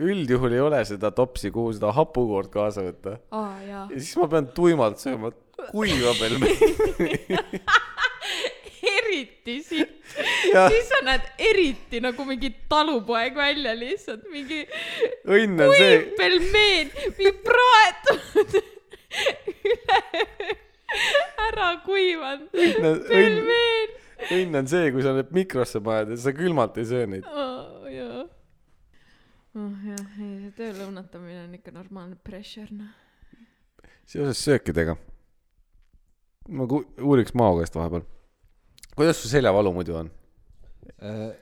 C: üldjuhul ei ole seda topsi , kuhu seda hapukoort kaasa võtta .
B: aa jaa .
C: ja siis ma pean tuimalt sööma kuiva pelmeeni .
B: eriti siit ,
C: Jah.
B: siis sa näed eriti nagu mingi talupoeg välja lihtsalt , mingi
C: õnn on see
B: kuiv , pelmeen , mingi praetud üle , ära kuivanud
C: no, õnn ,
B: pelmeen .
C: õnn on see , kui sa need mikrosse paned ja sa külmalt ei söö neid .
B: oh, . jaa . oh jah , ei see töö lõunatamine on ikka normaalne pressure noh .
C: seoses söökidega . ma ku- uuriks Mao käest vahepeal . kuidas su seljavalu muidu on ?
A: Äh,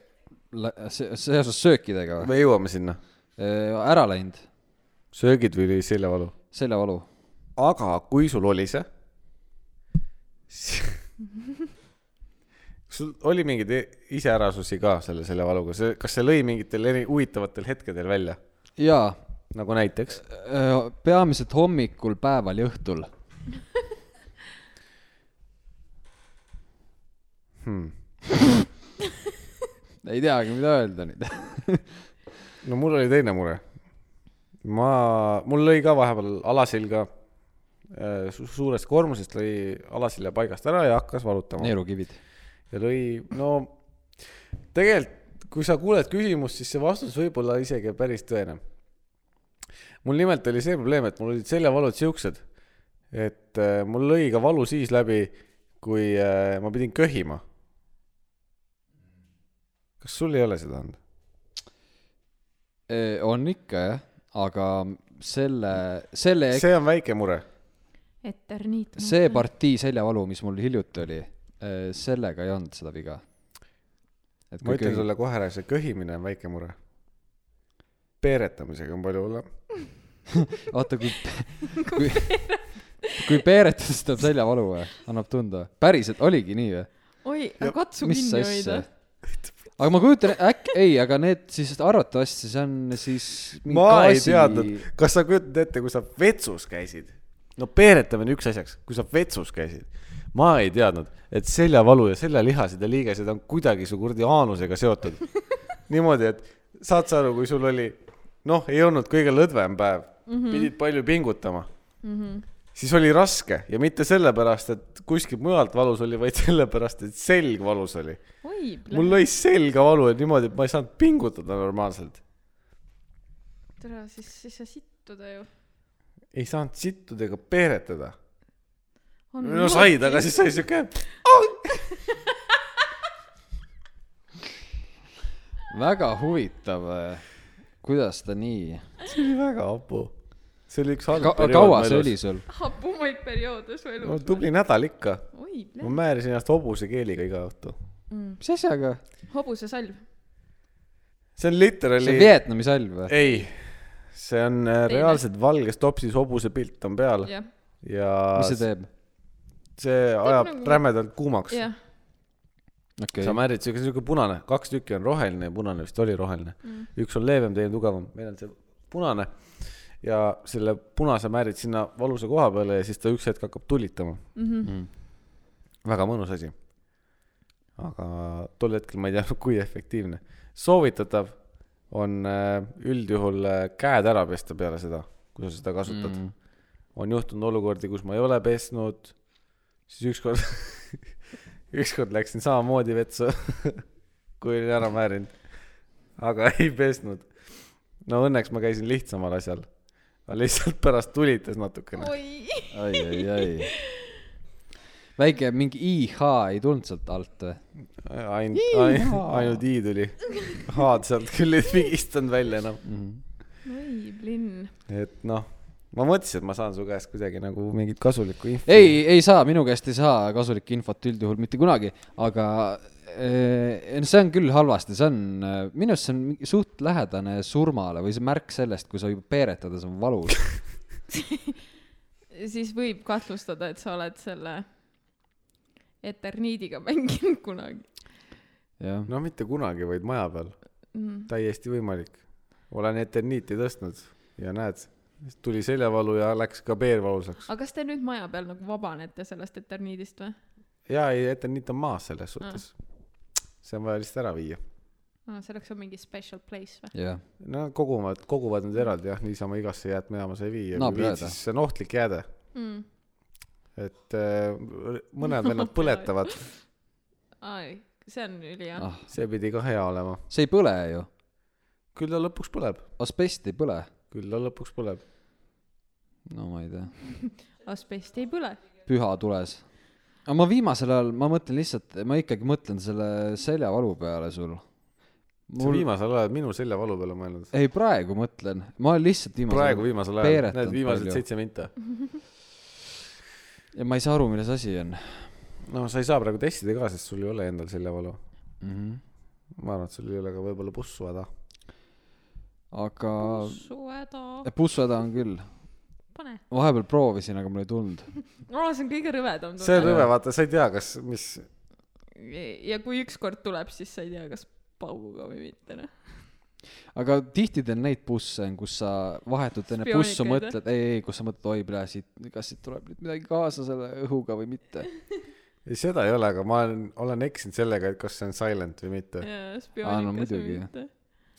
A: seoses söökidega või ?
C: me jõuame sinna .
A: ära läinud ,
C: söögid või seljavalu ?
A: seljavalu .
C: aga kui sul oli see , kas sul oli mingeid e- iseärasusi ka selle , selle valuga , see , kas see lõi mingitel eri huvitavatel hetkedel välja ,
A: jaa ,
C: nagu näiteks ?
A: peamiselt hommikul , päeval ja õhtul . ei teagi , mida öelda nüüd .
C: no mul oli teine mure . ma , mul lõi ka vahepeal alasilga äh, su , suurest koormusest lõi alasilja paigast ära ja hakkas valutama .
A: neerukivid .
C: ja lõi , no tegelikult , kui sa kuuled küsimust , siis see vastus võib-olla isegi päris tõene . mul nimelt oli see probleem , et mul olid seljavalud siuksed , et äh, mul lõi ka valu siis läbi , kui äh, ma pidin köhima . kas sul ei ole seda olnud ?
A: Äh, on ikka jah , aga selle , selle ,
C: see on väike mure .
B: Eterniit .
A: see partii seljavalu , mis mul hiljuti oli , sellega ei olnud seda viga . et
C: ma
A: kui
C: ütlen
A: köhi-
C: sulle kohe ära , see köhimine on väike mure . peeretamisega on palju hullem .
A: vaata , kui , kui , kui peeretada , siis tuleb seljavalu või , annab tunda . päriselt oligi nii või ?
B: oi , katsu
A: mis
B: kinni
A: asja
B: hoida ??
C: eh.
A: aga ma kujutan , äkki , ei , aga need siis arvatavasti see on siis mingi
C: ma ei
A: gaasi-
C: teadnud , kas sa kujutad ette , kui sa vetsus käisid ? no peeretamine üks asjaks , kui sa vetsus käisid . ma ei teadnud , et seljavalu ja seljalihased ja liigesed on kuidagi su kuradi aanusega seotud . niimoodi , et saad sa aru , kui sul oli , noh , ei olnud kõige lõdvem päev mm , -hmm. pidid palju pingutama mm . -hmm. siis oli raske ja mitte sellepärast , et kuskilt mujalt valus oli , vaid sellepärast , et selg valus oli .
B: oi ,
C: mul lõi selga valu ja niimoodi , et ma ei saanud pingutada normaalselt
B: tere , siis , siis sa sittuda ju .
C: ei saanud sittuda ega peeretada .
B: Oh,
C: no said , aga siis sai siuke ,
A: väga huvitav , kuidas ta nii
C: see oli väga hapu . see oli üks halb
A: Ka . kaua see oli ? sul ?
B: hapumaid perioode su elus
C: no . tubli nädal ikka .
B: oi ,
C: ma määrisin ennast hobusekeeliga iga õhtu .
A: mis asjaga ?
B: hobusesalv .
C: see on
A: see
C: literaali
A: on . Vietnami salv või ?
C: ei , see on äh, reaalselt valges topsis hobuse pilt on peal ja,
B: jah ,
C: ja
A: mis see
C: see,
A: teeb ?
C: see ajab
B: nagu-
C: rämedalt kuumaks .
B: jah .
A: okei
C: sa
A: okay. ,
C: määrid siuke , siuke punane , kaks tükki on roheline ja punane vist oli roheline mm. . üks on leebem , teine tugevam , meil on see punane . ja selle punase määrid sinna valusa koha peale ja siis ta üks hetk hakkab tulitama mm . -hmm. väga mõnus asi . aga tol hetkel ma ei teadnud , kui efektiivne . soovitatav on äh, üldjuhul äh, käed ära pesta peale seda , kui sa seda kasutad mm. . on juhtunud olukordi , kus ma ei ole pesnud , siis ükskord ükskord läksin samamoodi vetsu , kui olin ära määrinud , aga ei pesnud . no õnneks ma käisin lihtsamal asjal , aga lihtsalt pärast tulitas natukene .
B: oi .
A: ai , ai , ai . väike mingi IH ei tulnud sealt alt või ?
C: ainult , ainult , ainult i tuli . h-d sealt küll ei pigistanud välja enam .
B: oi , plinn .
C: et noh , ma mõtlesin , et ma saan su käest kuidagi nagu mingit kasulikku infot .
A: ei , ei saa , minu käest ei saa kasulikku infot üldjuhul mitte kunagi , aga eh, no see on küll halvasti , see on , minu arust see on mingi suht lähedane surmale või see märk sellest , kui sa juba peeretad ja see on valus .
B: siis võib kahtlustada , et sa oled selle eterniidiga mänginud kunagi
A: jah ,
C: no mitte kunagi , vaid maja peal ,
B: mm. .
C: täiesti võimalik . olen eterniiti tõstnud ja näed , tuli seljavalu ja läks ka peen valusaks .
B: aga kas te nüüd maja peal nagu vabanete sellest eterniidist või ?
C: ja ei , eterniit on maas selles suhtes .
A: Mm.
C: see on vaja lihtsalt ära viia .
B: selleks on mingi special place või ?
A: jah ,
C: Nad koguvad , koguvad nüüd eraldi jah , niisama igasse jäätmejaama sa ei vii ja kui
A: Naabrihäda.
C: viid , siis see on ohtlik jääde ,
B: mm. ?
C: et äh, mõned veel nad põletavad ,
B: ai , see on ülihea
A: Ah.
B: ah. .
C: see pidi ka hea olema .
A: see ei põle ju ,
C: küll ta lõpuks põleb ,
A: asbest ei põle .
C: küll ta lõpuks põleb .
A: no ma ei tea ,
B: asbest ei põle .
A: püha tules . aga ma viimasel ajal , ma mõtlen lihtsalt , ma ikkagi mõtlen selle seljavalu peale sul .
C: Mul... sa
A: mul ,
C: viimasel ajal oled minu seljavalu peale mõelnud ?
A: ei praegu mõtlen , ma olen lihtsalt viimasel
C: praegu viimasel ajal ,
A: peeretanud
C: need viimased
A: palju.
C: seitse minta .
A: ja ma ei saa aru , milles asi on
C: no sa ei saa praegu testida ka , sest sul ei ole endal seljavalu .
A: mm . -hmm.
C: ma arvan , et sul ei ole ka võib-olla bussu häda .
A: aga
B: su häda ,
A: bussuhäda on küll ,
B: pane .
A: vahepeal proovisin , aga mul ei tulnud .
B: aa , see on kõige rõvedam
C: see on
B: tunne .
C: rõve , vaata , sa ei tea , kas , mis ,
B: ja kui ükskord tuleb , siis sa ei tea , kas pauguga või mitte , noh .
A: aga tihti teen neid busse , kus sa vahetult enne
B: Spioonid
A: bussu
B: käid,
A: mõtled , ei , ei , kus sa mõtled , oi , plee , siit , kas siit tuleb nüüd midagi kaasa selle õhuga või mitte .
C: ei seda ei ole , aga ma olen , olen eksinud sellega , et kas see on silent või mitte .
A: Aa, no
B: spioonikas
A: muidugi.
B: või mitte .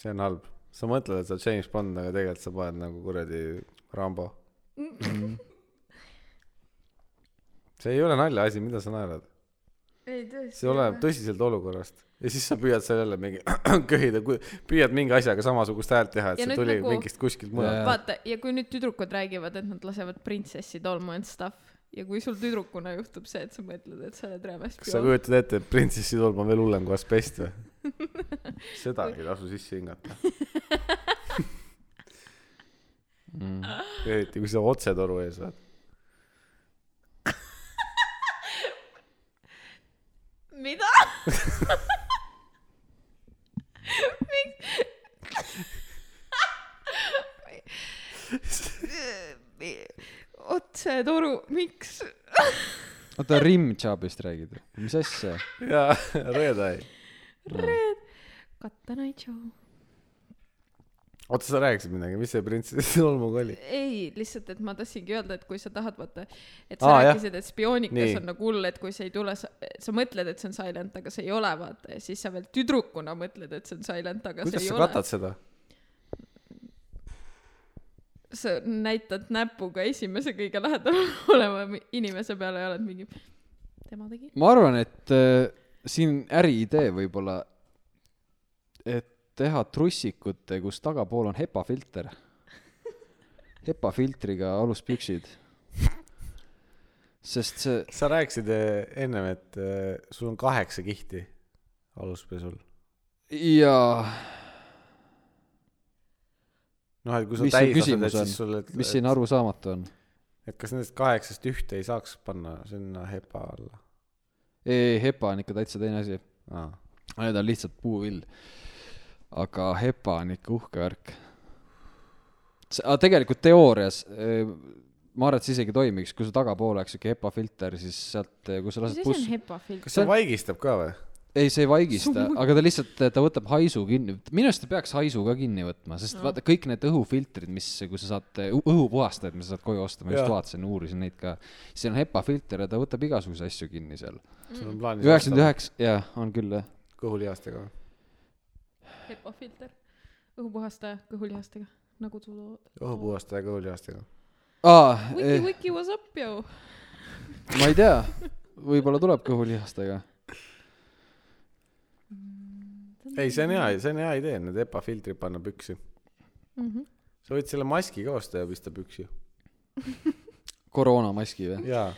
C: see on halb . sa mõtled , et sa oled James Bond , aga tegelikult sa paned nagu kuradi Rambo . see ei ole naljaasi , mida sa naerad .
B: ei tõesti .
C: see oleneb . tõsiselt olukorrast . ja siis sa püüad seal jälle mingi köhida , püüad mingi asjaga samasugust häält teha , et
B: Ja
C: see
B: nüüd
C: tuli
B: nagu-
C: nagu... mingist kuskilt mujalt .
A: Jaa.
B: vaata , ja kui nüüd tüdrukud räägivad , et nad lasevad printsessi tolmu and stuff ja kui sul tüdrukuna juhtub see , et sa mõtled , et sa oled räme
C: kas sa
B: spioon .
C: kujutad ette , et printsessi tolm on veel hullem kui asbest või ? sedagi ei tasu sisse hingata . eriti kui sa otsetoru ees oled .
B: mida ? miks ? otsetoru , miks ?
A: oota , rimjobist räägid , mis asja ?
C: jaa , reede .
B: Red , Katanai Joe .
C: oota , sa rääkisid midagi , mis see printsessi tolmuga oli ?
B: ei , lihtsalt , et ma tahtsingi öelda , et kui sa tahad , vaata , et sa
C: Aa,
B: ah,
C: jah.
B: rääkisid , et spioonikas Nii.
C: Nii.
B: on nagu hull , et kui see ei tule , sa , sa mõtled , et see on silent , aga see ei ole , vaata , ja siis sa veel tüdrukuna mõtled , et see on silent , aga
C: kuidas
B: see ei
C: sa
B: ole .
C: katad seda ?
B: sa näitad näpuga esimese kõige lähedamal oleva mi- inimese peale ja oled mingi , tema tegi .
A: ma arvan , et äh, siin äriidee võib-olla , et teha trussikute , kus tagapool on hepafilter . hepafiltriga aluspüksid . sest see ,
C: sa rääkisid eh, ennem , et eh, sul on kaheksa kihti aluspesul .
A: jaa ,
C: noh , et kui sa
A: Mis su
C: täis lased ,
A: küsimus
C: et
A: on?
C: siis sul , et ,
A: mis siin arusaamatu on ?
C: et kas nendest kaheksast ühte ei saaks panna sinna hepa alla
A: ei , E-, hepa on ikka täitsa teine asi .
C: ah. ?
A: Need on lihtsalt puuvill . aga hepa on ikka uhke värk . aga tegelikult teoorias , ma arvan , et see isegi toimiks , kui su tagapool oleks siuke hepa filter , siis sealt , kui sa
B: mis
A: lased
B: asi on
A: buss ,
B: hepafilm ?
C: kas see vaigistab ka või ?
A: ei , see ei vaigista ,
B: Sumu-
A: aga ta lihtsalt , ta võtab haisu kinni , minu arust ta peaks haisu ka kinni võtma , sest no. vaata kõik need õhufiltrid , mis , kui sa saad , õhupuhastajad , mis sa saad koju osta , ma just
C: Jaa.
A: vaatasin , uurisin neid ka . seal on hepa filter ja ta võtab igasuguseid asju kinni seal .
C: sul on plaanis
A: üheksakümmend üheksa , jaa , on küll jah .
C: osta kõhulihastega või ?
B: hepafilter , õhupuhastaja kõhulihastega , nagu sul .
C: õhupuhastaja kõhulihastega .
A: aa , eh,
C: Eh.
B: Wiki , Wiki , what's up , yo ?
A: ma ei tea , võib-olla tuleb kõhulihastega .
C: ei , see on hea , see on hea idee , need hepa filtrid panna püksi . sa võid selle maski ka osta ja pista püksi .
A: koroonamaski või ?
C: jaa ,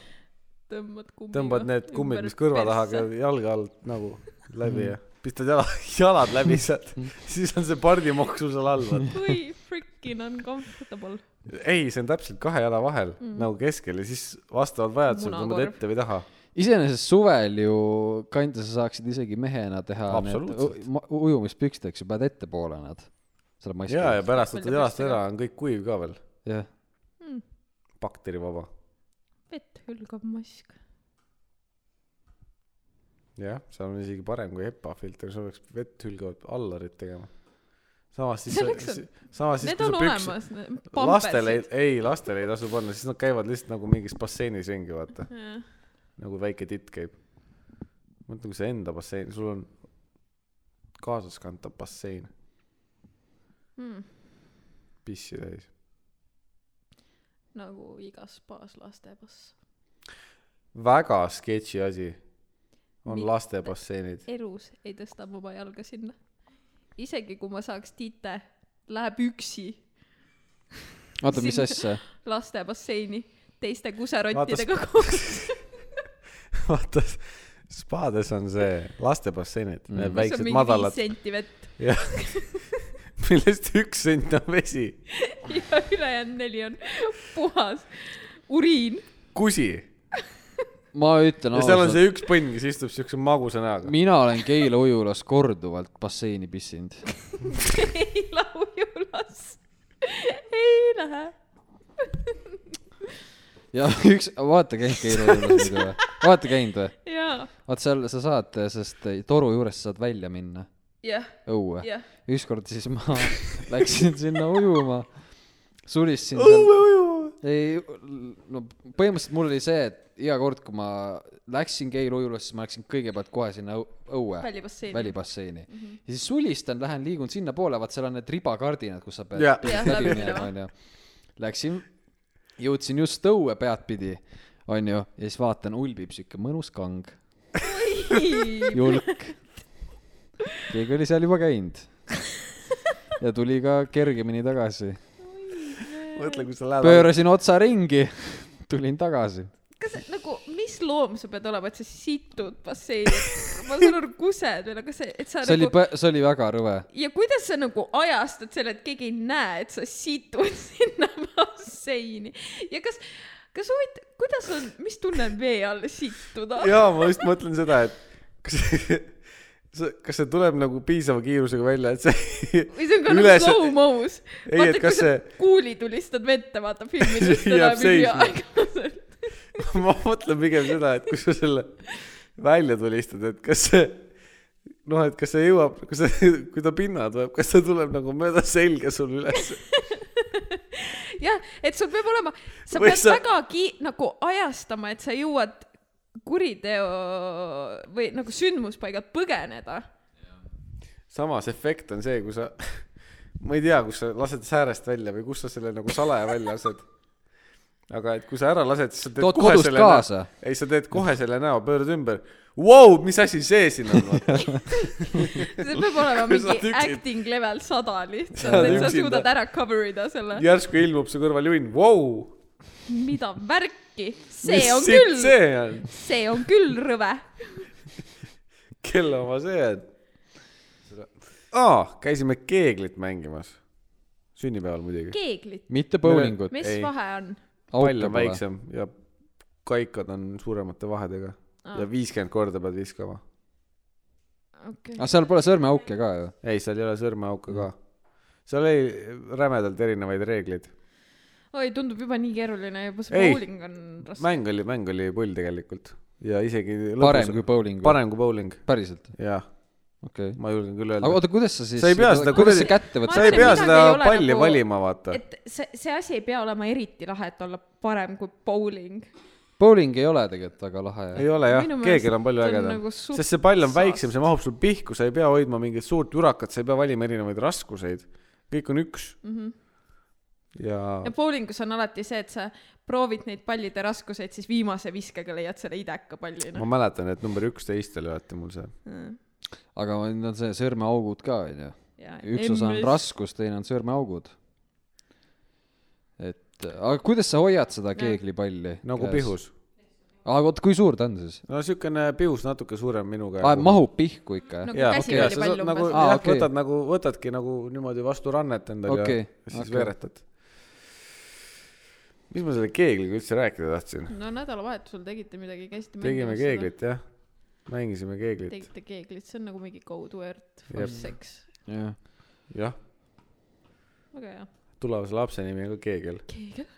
B: tõmbad kummiga .
C: tõmbad need kummid , mis kõrva taha . käivad , jalge alt nagu
B: Mhm.
C: läbi ja pistad jala , jalad läbi sealt , siis on see pardimoks sul seal all , vaata .
B: kui freaking uncomfortable .
C: ei , see on täpselt kahe jala vahel mm -hmm. nagu keskel ja siis vastavalt vajadusele
B: Mhm. Munakorv.
C: tõmbad ette või taha .
A: iseenesest suvel ju kandja sa saaksid isegi mehena teha need
C: Absoluutselt.
A: u- ma- ujumispüksid , eks ju , paned ettepoole nad , selle maski .
C: ja , ja pärast
B: Mõelda
C: võtad jalast
B: püsti ka.
C: ära , on kõik kuiv ka veel ,
A: jah ,
B: Hmm.
C: bakterivaba .
B: vett hülgab mask .
C: jah , see on isegi parem kui HEPA filter , sa peaks vett hülgavat allarit tegema . samas
B: Selleks
C: siis
B: on- ,
C: samas siis
B: Need on olemas ,
C: lastele
B: pampersid .,
C: ei , lastele ei tasu panna , siis nad käivad lihtsalt nagu mingis basseinis ringi , vaata , nagu väike titt käib . mõtle , kui sa enda bassein , sul on kaasaskantav bassein
B: Mm.
C: pissi täis .
B: nagu igas spaas lastebass .
C: väga sketši asi on
B: Mi- Äh.
C: laste basseinid .
B: elus ei tõsta mu oma jalga sinna . isegi kui ma saaks tite , läheb üksi
A: oota , mis
B: Siin-
A: asja ?
B: lastebasseini teiste
C: kuserottidega
B: kuserottidega koos .
C: vaata , spaades on see laste basseinid , need
A: Mm.
B: mis on
C: mm. väiksed
B: mingi viis
C: madalad ,
B: senti vett
C: jah , millest üks sent on vesi .
B: ja ülejäänud neli on puhas uriin .
C: kusi
A: ma ütlen
C: no, . ja seal on
A: ausalt-
C: see üks põnn , kes istub siukse magusa näoga .
A: mina olen Keila ujulas korduvalt basseini pissinud .
B: eila ujulas ei lähe .
A: ja üks , vaata käinud Keila ujulas muidu või ? vaata käinud või ?
B: jaa ,
A: vaat seal sa saad , sest toru juures sa saad välja minna ,
B: jah ,
A: õue .
B: jah .
A: ükskord siis ma läksin sinna ujuma , sulistasin seal
C: õue ujuma .
A: ei , no põhimõtteliselt mul oli see , et iga kord , kui ma läksin Keilu ujulasse , siis ma läksin kõigepealt kohe sinna õu- õue ,
B: välibasseini .
A: välibasseini mm . -hmm. ja siis sulistan , lähen liigun sinnapoole , vaat seal on need ribakardinad , kus sa pead
C: Jah.
A: pead
B: Jah,
A: läbi
B: läbi
A: minema ,
B: minema.
A: onju . Läksin , jõudsin just õue peadpidi , onju , ja siis vaatan , ulbib siuke mõnus kang , julk . keegi oli seal juba käinud . ja tuli ka kergemini tagasi .
C: mõtle , kui sa lähed .
A: pöörasin otsa ringi , tulin tagasi
B: kas nagu , mis loom sa pead olema , et sa situd basseini ? ma saan aru , kused veel , aga see , et sa
A: see oli
B: nagu ,
A: pä- , see oli väga rõve .
B: ja kuidas sa nagu ajastad selle , et keegi ei näe , et sa situd sinna basseini ja kas , kas huvitav , kuidas on , mis tunne on vee all situda ?
C: jaa , ma just mõtlen seda , et kas see , kas see tuleb nagu piisava kiirusega välja , et see
B: või see on ka nagu
C: Üles-
B: slow-mo's .
C: Ei, et kas see-
B: kuuli tulistad vette , vaata filmidest
C: See jääb
B: enam ei jää
C: seisma.
B: aeglaselt .
C: ma mõtlen pigem seda , et kui sa selle välja tulistad , et kas see , noh , et kas see jõuab , kas see , kui ta pinna tuleb , kas see tuleb nagu mööda selga sul üles
B: jah , et sul peab olema , sa
C: Või
B: pead
C: sa-
B: sa... väga ki- , nagu ajastama , et sa jõuad kuriteo või nagu sündmuspaigalt põgeneda .
C: samas efekt on see , kui sa , ma ei tea , kus sa lased säärest välja või kus sa selle nagu salaja välja lased . aga et kui sa ära lased , siis sa teed
A: Tood
C: kohe
A: kodust
C: selle
A: kaasa. ,
C: ei , sa teed kohe selle näo , pöörad ümber . Vau , mis asi see siin on ?
B: see peab olema
C: Kui sa
B: mingi
C: tüksid-
B: acting level sada
C: Sa
B: lihtsalt , et sa
C: tüksid-
B: suudad ära cover ida selle .
C: järsku ilmub su kõrval juhin , vau .
B: mida värki , see
C: mis
B: on
C: sitt
B: küll ,
C: see on ?
B: see on küll rõve .
C: kelle oma see on ? aa , käisime keeglit mängimas . sünnipäeval muidugi .
B: keeglit ,
A: mitte bowlingut .
B: mis
C: Ei.
B: vahe on ?
C: pall on väiksem ja kaikad on suuremate vahedega
B: Aa.
C: ja viiskümmend korda pead viskama .
B: okei
C: Ah.
A: aga Ah, seal pole sõrmeauke ka ju .
C: ei , seal ei ole sõrmeauka
B: Mm.
C: ka . seal oli rämedalt erinevaid reegleid .
B: oi , tundub juba nii keeruline , juba see
C: Ei.
B: bowling on raske .
C: mäng oli , mäng oli pull tegelikult ja isegi
A: parem kui bowling .
C: parem kui bowling ,
A: päriselt ,
C: jah ,
A: okei okay. .
C: ma julgen küll
A: aga
C: öelda .
A: oota , kuidas sa siis .
C: Sa ei pea seda
A: kuidas
C: kuidagi-
A: sa kätte
B: Ma
A: võtad ?
C: sa ei
B: mõtlen,
C: pea
B: midagi
C: seda
B: ei ole
C: palli
B: nagu-
C: valima , vaata .
B: et see , see asi ei pea olema eriti lahe , et olla parem kui bowling .
A: bowling ei ole tegelikult väga lahe .
C: ei ole jah
B: Minu ,
C: keegel on palju
B: meelest on
C: ägedam
B: nagu
C: nagu .
B: suht-
C: sest see pall on
B: saast.
C: väiksem , see mahub sul pihku , sa ei pea hoidma mingit suurt jurakat , sa ei pea valima erinevaid raskuseid . kõik on üks mm . -hmm. ja,
B: Mhm. ja bowlingus on alati see , et sa proovid neid pallide raskuseid , siis viimase viskega leiad selle ideka palli ,
C: ja
B: noh .
C: ma mäletan , et number üksteist oli alati mul see .
A: aga nüüd on see sõrmeaugud ka onju . üks osa on . raskus , teine on sõrmeaugud . et , aga kuidas sa hoiad seda keeglipalli ?
C: nagu Käes. . pihus .
A: aga oot , kui suur ta on siis ?
C: no siukene pihus natuke suurem minu käe .
A: aa , mahub pihku ikka no, ?
B: No Nagu käsipalli pall umbes.
C: nagu
A: Aa,
C: jah
A: okei.
C: okay. , võtad nagu , võtadki nagu niimoodi vastu rannet endale
A: Okei,
C: ja ja
A: okei.
C: siis okay. veeretad . mis ma selle keegliga üldse rääkida tahtsin ?
B: no nädalavahetusel tegite midagi , käisite
C: tegime keeglit jah , mängisime keeglit ,
B: tegite keeglit , see on nagu mingi code word
C: Jep.
B: for sex .
A: jah .
C: jah ,
B: väga hea .
C: tulevase lapse nimi on ka keegel .
B: keegel .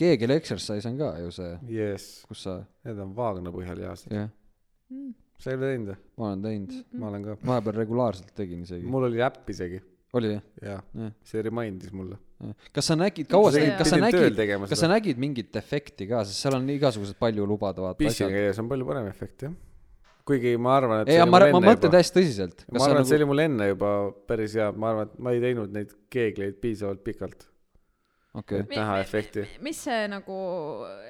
A: keegel exercise on ka ju see ,
C: jess ,
A: kus sa ,
C: need on vaagna põhjal jaast .
A: jah ,
C: sa ei ole teinud või ?
A: ma olen teinud
C: ma olen ka .
A: vahepeal regulaarselt tegin isegi .
C: mul oli äpp isegi .
A: oli jah?
C: jah
A: Jah. ,
C: see remind'is mulle .
A: kas sa nägid , kaua sa
B: Pidin- ,
A: kas sa
C: pidin tööl
A: nägid
C: tegema ,
A: kas
C: seda.
A: sa nägid mingit efekti ka , sest seal on igasugused palju lubadavad
C: pissiga
A: asjad .
C: käies on palju parem efekt jah . kuigi ma arvan , et
A: ei , ma , ma mõtlen
C: juba ,
A: täiesti nagu tõsiselt .
C: ma arvan , et see oli mul enne juba päris hea , ma arvan , et ma ei teinud neid keegleid piisavalt pikalt ,
A: okei
C: et näha efekti .
B: mis see nagu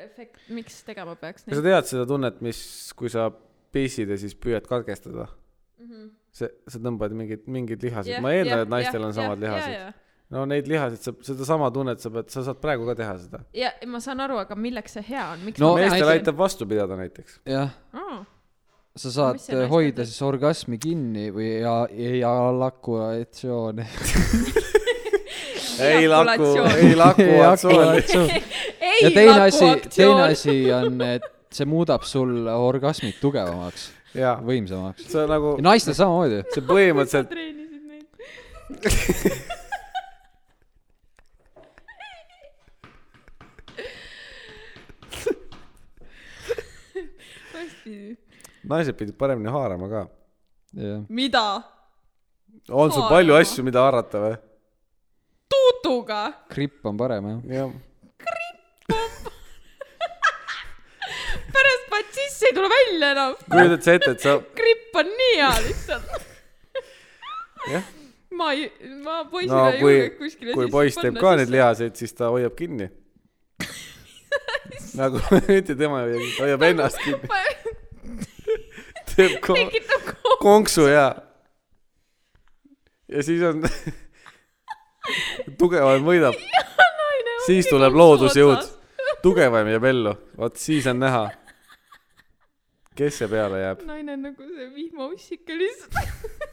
B: efekt , miks tegema peaks
C: kas sa
B: neid ?
C: tead seda tunnet , mis , kui sa pissid ja siis püüad katkestada ? see , sa tõmbad mingid , mingid lihased yeah, , ma eeldan yeah, , et naistel yeah, on samad yeah, lihased yeah, .
B: ja ,
C: Yeah. no neid lihaseid saab , sedasama tunnet sa pead , sa saad praegu ka teha seda .
B: ja ma saan aru , aga milleks see hea on , miks
A: No
B: ma pean
C: meestel
A: naised-
C: aitab vastu pidada näiteks .
A: jah ,
B: Aa,
A: sa saad
B: mis see naiste
A: hoida
B: teeb?
A: siis orgasmi kinni või ja , ja lakuatsioon .
C: ei laku ,
B: Ejakulatsioon.
C: ei laku , atsoon .
B: ei
A: ja teine asi , teine
B: lakuaktsioon .
A: asi on , et see muudab sul orgasmid tugevamaks ,
C: jaa ,
A: võimsamaks .
C: see on nagu ,
A: naistel samamoodi .
C: see põhimõtteliselt ,
B: treenisid neid . hästi .
C: naised pidid paremini haarama ka .
A: jah ,
B: mida ?
C: on sul
B: Haarama.
C: palju asju , mida haarata või ?
B: tuutuga .
A: gripp on parem jah .
C: jah ,
B: pärast paned sisse , ei tule välja enam .
C: kujutad sa ette , et sa ,
B: gripp on nii hea lihtsalt .
C: jah ,
B: ma ei , ma poisina
C: no
B: ei
C: kui
B: julge , kuskile
C: kui poiss teeb ka neid lihaseid , siis ta hoiab kinni . nagu mitte tema ei hoia , ta hoiab ennast kinni ,
B: liha- .
C: teeb ko- ,
B: tekitab kohe .
C: konksu ja . ja siis on , tugevam võidab , siis tuleb loodusjõud , tugevam jääb ellu , vot siis on näha , kes see peale jääb .
B: naine on nagu see vihmaussike lihtsalt .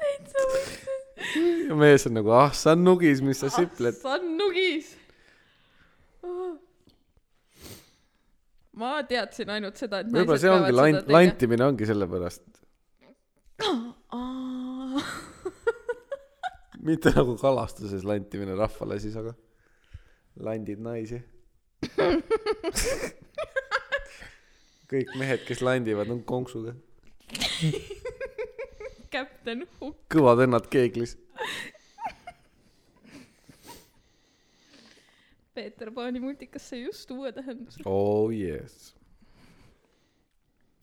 B: täitsa mõtlesin .
C: ja mees on nagu , ah sa nugis , mis sa sipled .
B: sa nugis . ma teadsin ainult seda , et
C: võib-olla see ongi lant , lantimine ongi sellepärast ,
B: lant .
C: mitte nagu kalastuses lantimine rahvale siis , aga landid naisi . kõik mehed , kes landivad , on konksuga ,
B: Captain Hook .
C: kõvad õnnad keeglis .
B: Peeter Paani multikas sai just uue tähenduse .
C: oh yes .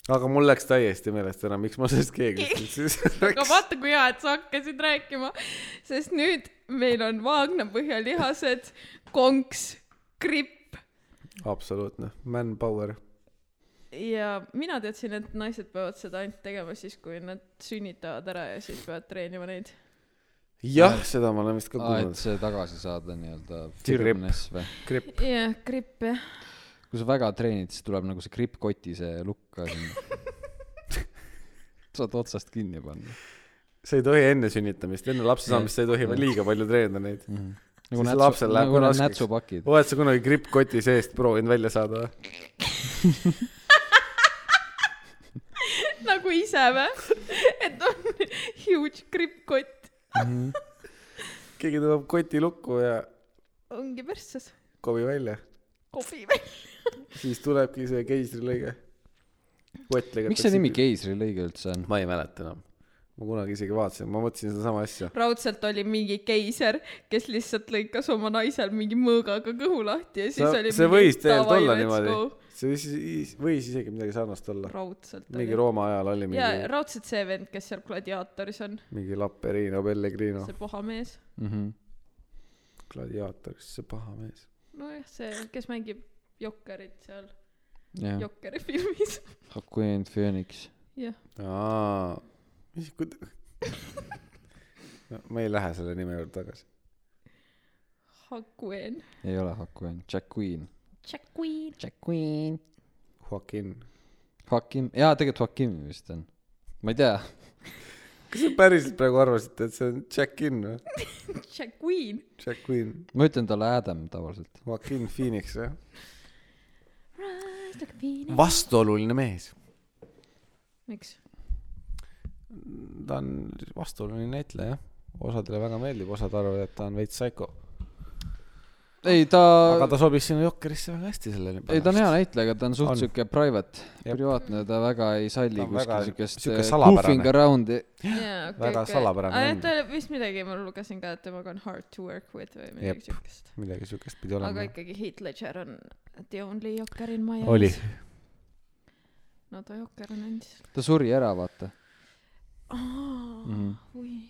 C: aga mul läks täiesti meelest ära , miks ma sellest keeglist üldse
B: aga
C: rääkisin .
B: vaata , kui hea , et sa hakkasid rääkima , sest nüüd meil on vaagna põhjalihased , konks , gripp
C: absoluutne , manpower .
B: ja mina teadsin , et naised peavad seda ainult tegema siis , kui nad sünnitavad ära ja siis peavad treenima neid .
C: jah , seda ma olen vist ka
A: et
C: kuulnud .
A: see tagasi saada nii-öelda
C: See gripp.
A: firmness või ?
C: gripp ,
B: jah , gripp jah .
A: kui sa väga treenid , siis tuleb nagu see grippkoti see lukk ka sinna . saad otsast kinni panna
C: sa ei tohi enne sünnitamist , enne lapse saamist sa ei tohi veel liiga palju treenida neid .
A: mm. .
C: Siis lapsel läheb
A: nagu
C: ka
A: need
C: raskeks.
A: nätsupakid .
C: oled sa kunagi grippkoti seest proovinud välja saada või ?
B: nagu ise või ? et on huge grippkott ,
C: Mhm. keegi tõmbab koti lukku ja
B: ongi persses ,
C: kobi välja ,
B: kobi välja .
C: siis tulebki see keisrilõige .
A: miks see nimi ? keisrilõige üldse on ?
C: ma ei mäleta enam . ma kunagi isegi vaatasin , ma mõtlesin sedasama asja .
B: raudselt oli mingi keiser , kes lihtsalt lõikas oma naisel mingi mõõgaga kõhu lahti ja siis
C: see,
B: oli
C: see
B: mingi
C: võis tegelikult
B: davai,
C: olla
B: let's
C: niimoodi
B: go. .
C: see siis võis isegi midagi sarnast olla .
B: raudselt
C: mingi Rooma ajal oli
B: ja
C: mingi ,
B: raudselt see vend , kes seal gladiaatoris on ,
C: mingi Lapperino Pellegrino ,
B: see paha mees .
A: Mhm.
C: gladiaator , siis see paha mees .
B: nojah , see , kes mängib Jokkerit seal
A: jah ,
B: Jokkeri filmis .
A: Queen Phoenix .
B: jah ,
C: aa , mis , kuid- . me ei lähe selle nime juurde tagasi .
B: Hakuen .
A: ei ole Queen , Jack Queen .
B: Jack Queen .
A: Jack Queen .
C: Joaquin .
A: Joaquin , jaa , tegelikult Joaquin vist on . ma ei tea ,
C: kas te päriselt praegu arvasite , et see on Jack-in või ?
B: Jack Queen .
C: Jack-in ,
A: ma ütlen talle Adam tavaliselt .
C: Joaquin Phoenix või ?
B: miks ?
C: vastuoluline mees . ta on vastuoluline näitleja , osadele väga meeldib , osad arvavad , et ta on veits psycho .
A: ei ta,
C: aga ta sobis sinu jokkerisse väga hästi sellele .
A: ei ta on hea näitleja , aga ta on
C: On.
A: suht siuke private ,
C: Jep.
A: privaatne , ta väga ei salli
C: Ta on väga
A: kuskil siukest
C: siuke
A: eh,
C: salapärane.
A: goofing around'i .
B: jaa , okei ,
C: Väga salapärane
B: aga
C: on.
B: jah , ta vist midagi , ma lugesin ka , et temaga on hard to work with või
C: Jep.
B: midagi siukest .
C: midagi siukest pidi
B: aga
C: olema .
B: ikkagi Heath Ledger on the only jokker in my eyes .
C: oli .
B: no ta jokker on endiselt .
A: ta suri ära , vaata . Mhm.
B: aa , oi .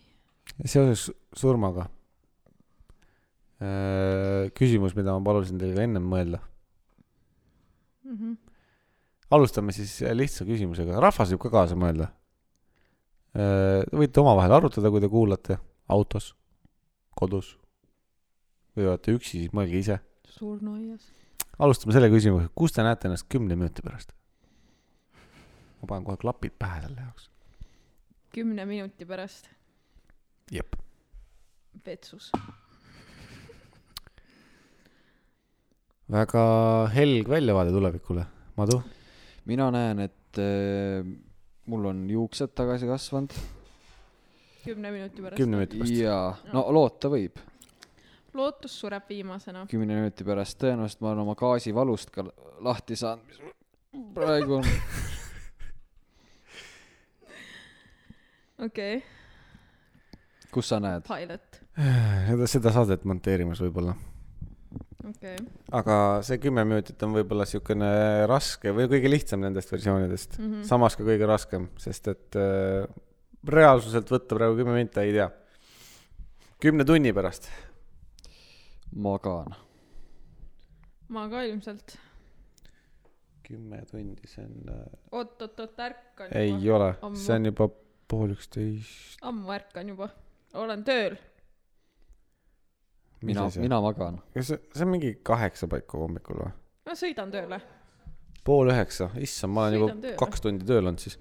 C: seoses surmaga . küsimus , mida ma palusin teil ka ennem mõelda .
B: Mhm.
C: alustame siis lihtsa küsimusega , rahvas võib ka kaasa mõelda . võite omavahel arutada , kui te kuulate autos , kodus või olete üksi , siis mõelge ise .
B: surnuaias .
C: alustame selle küsimusega , kus te näete ennast kümne minuti pärast ? ma panen kohe klapid pähe selle jaoks .
B: kümne minuti pärast
C: jep .
B: vetsus .
C: väga helg väljavaade tulevikule . Madu ,
A: mina näen , et eh, mul on juuksed tagasi kasvanud
B: kümne minuti pärast .
C: kümne minuti pärast .
A: ja no loota võib .
B: lootus sureb viimasena .
A: kümne minuti pärast tõenäoliselt ma olen oma gaasivalust ka lahti saanud , mis mul praegu on .
B: okei okay. ,
A: kus sa näed ?
B: pilot .
C: Äh, seda , seda saadet monteerimas võib-olla .
B: okei okay. .
C: aga see kümme minutit on võib-olla niisugune raske või kõige lihtsam nendest versioonidest mm ,
B: Mhm.
C: -hmm. samas ka kõige raskem , sest et äh, reaalsuselt võtta praegu kümme minutit , ei tea . kümne tunni pärast ,
A: magan .
B: ma ka ilmselt .
C: kümme tundi , see on äh, ,
B: oot-oot-oot , ärkan
C: ei
B: juba .
C: ole ,
B: Ammu.
C: see on juba pool üksteist .
B: ammu ärkan juba . olen tööl .
A: mina , mina magan .
C: kas see , see on mingi kaheksa paiku hommikul või ?
B: ma sõidan tööle .
C: pool üheksa , issand , ma olen
B: Sõidan
C: juba
B: tööle.
C: kaks tundi tööl olnud siis .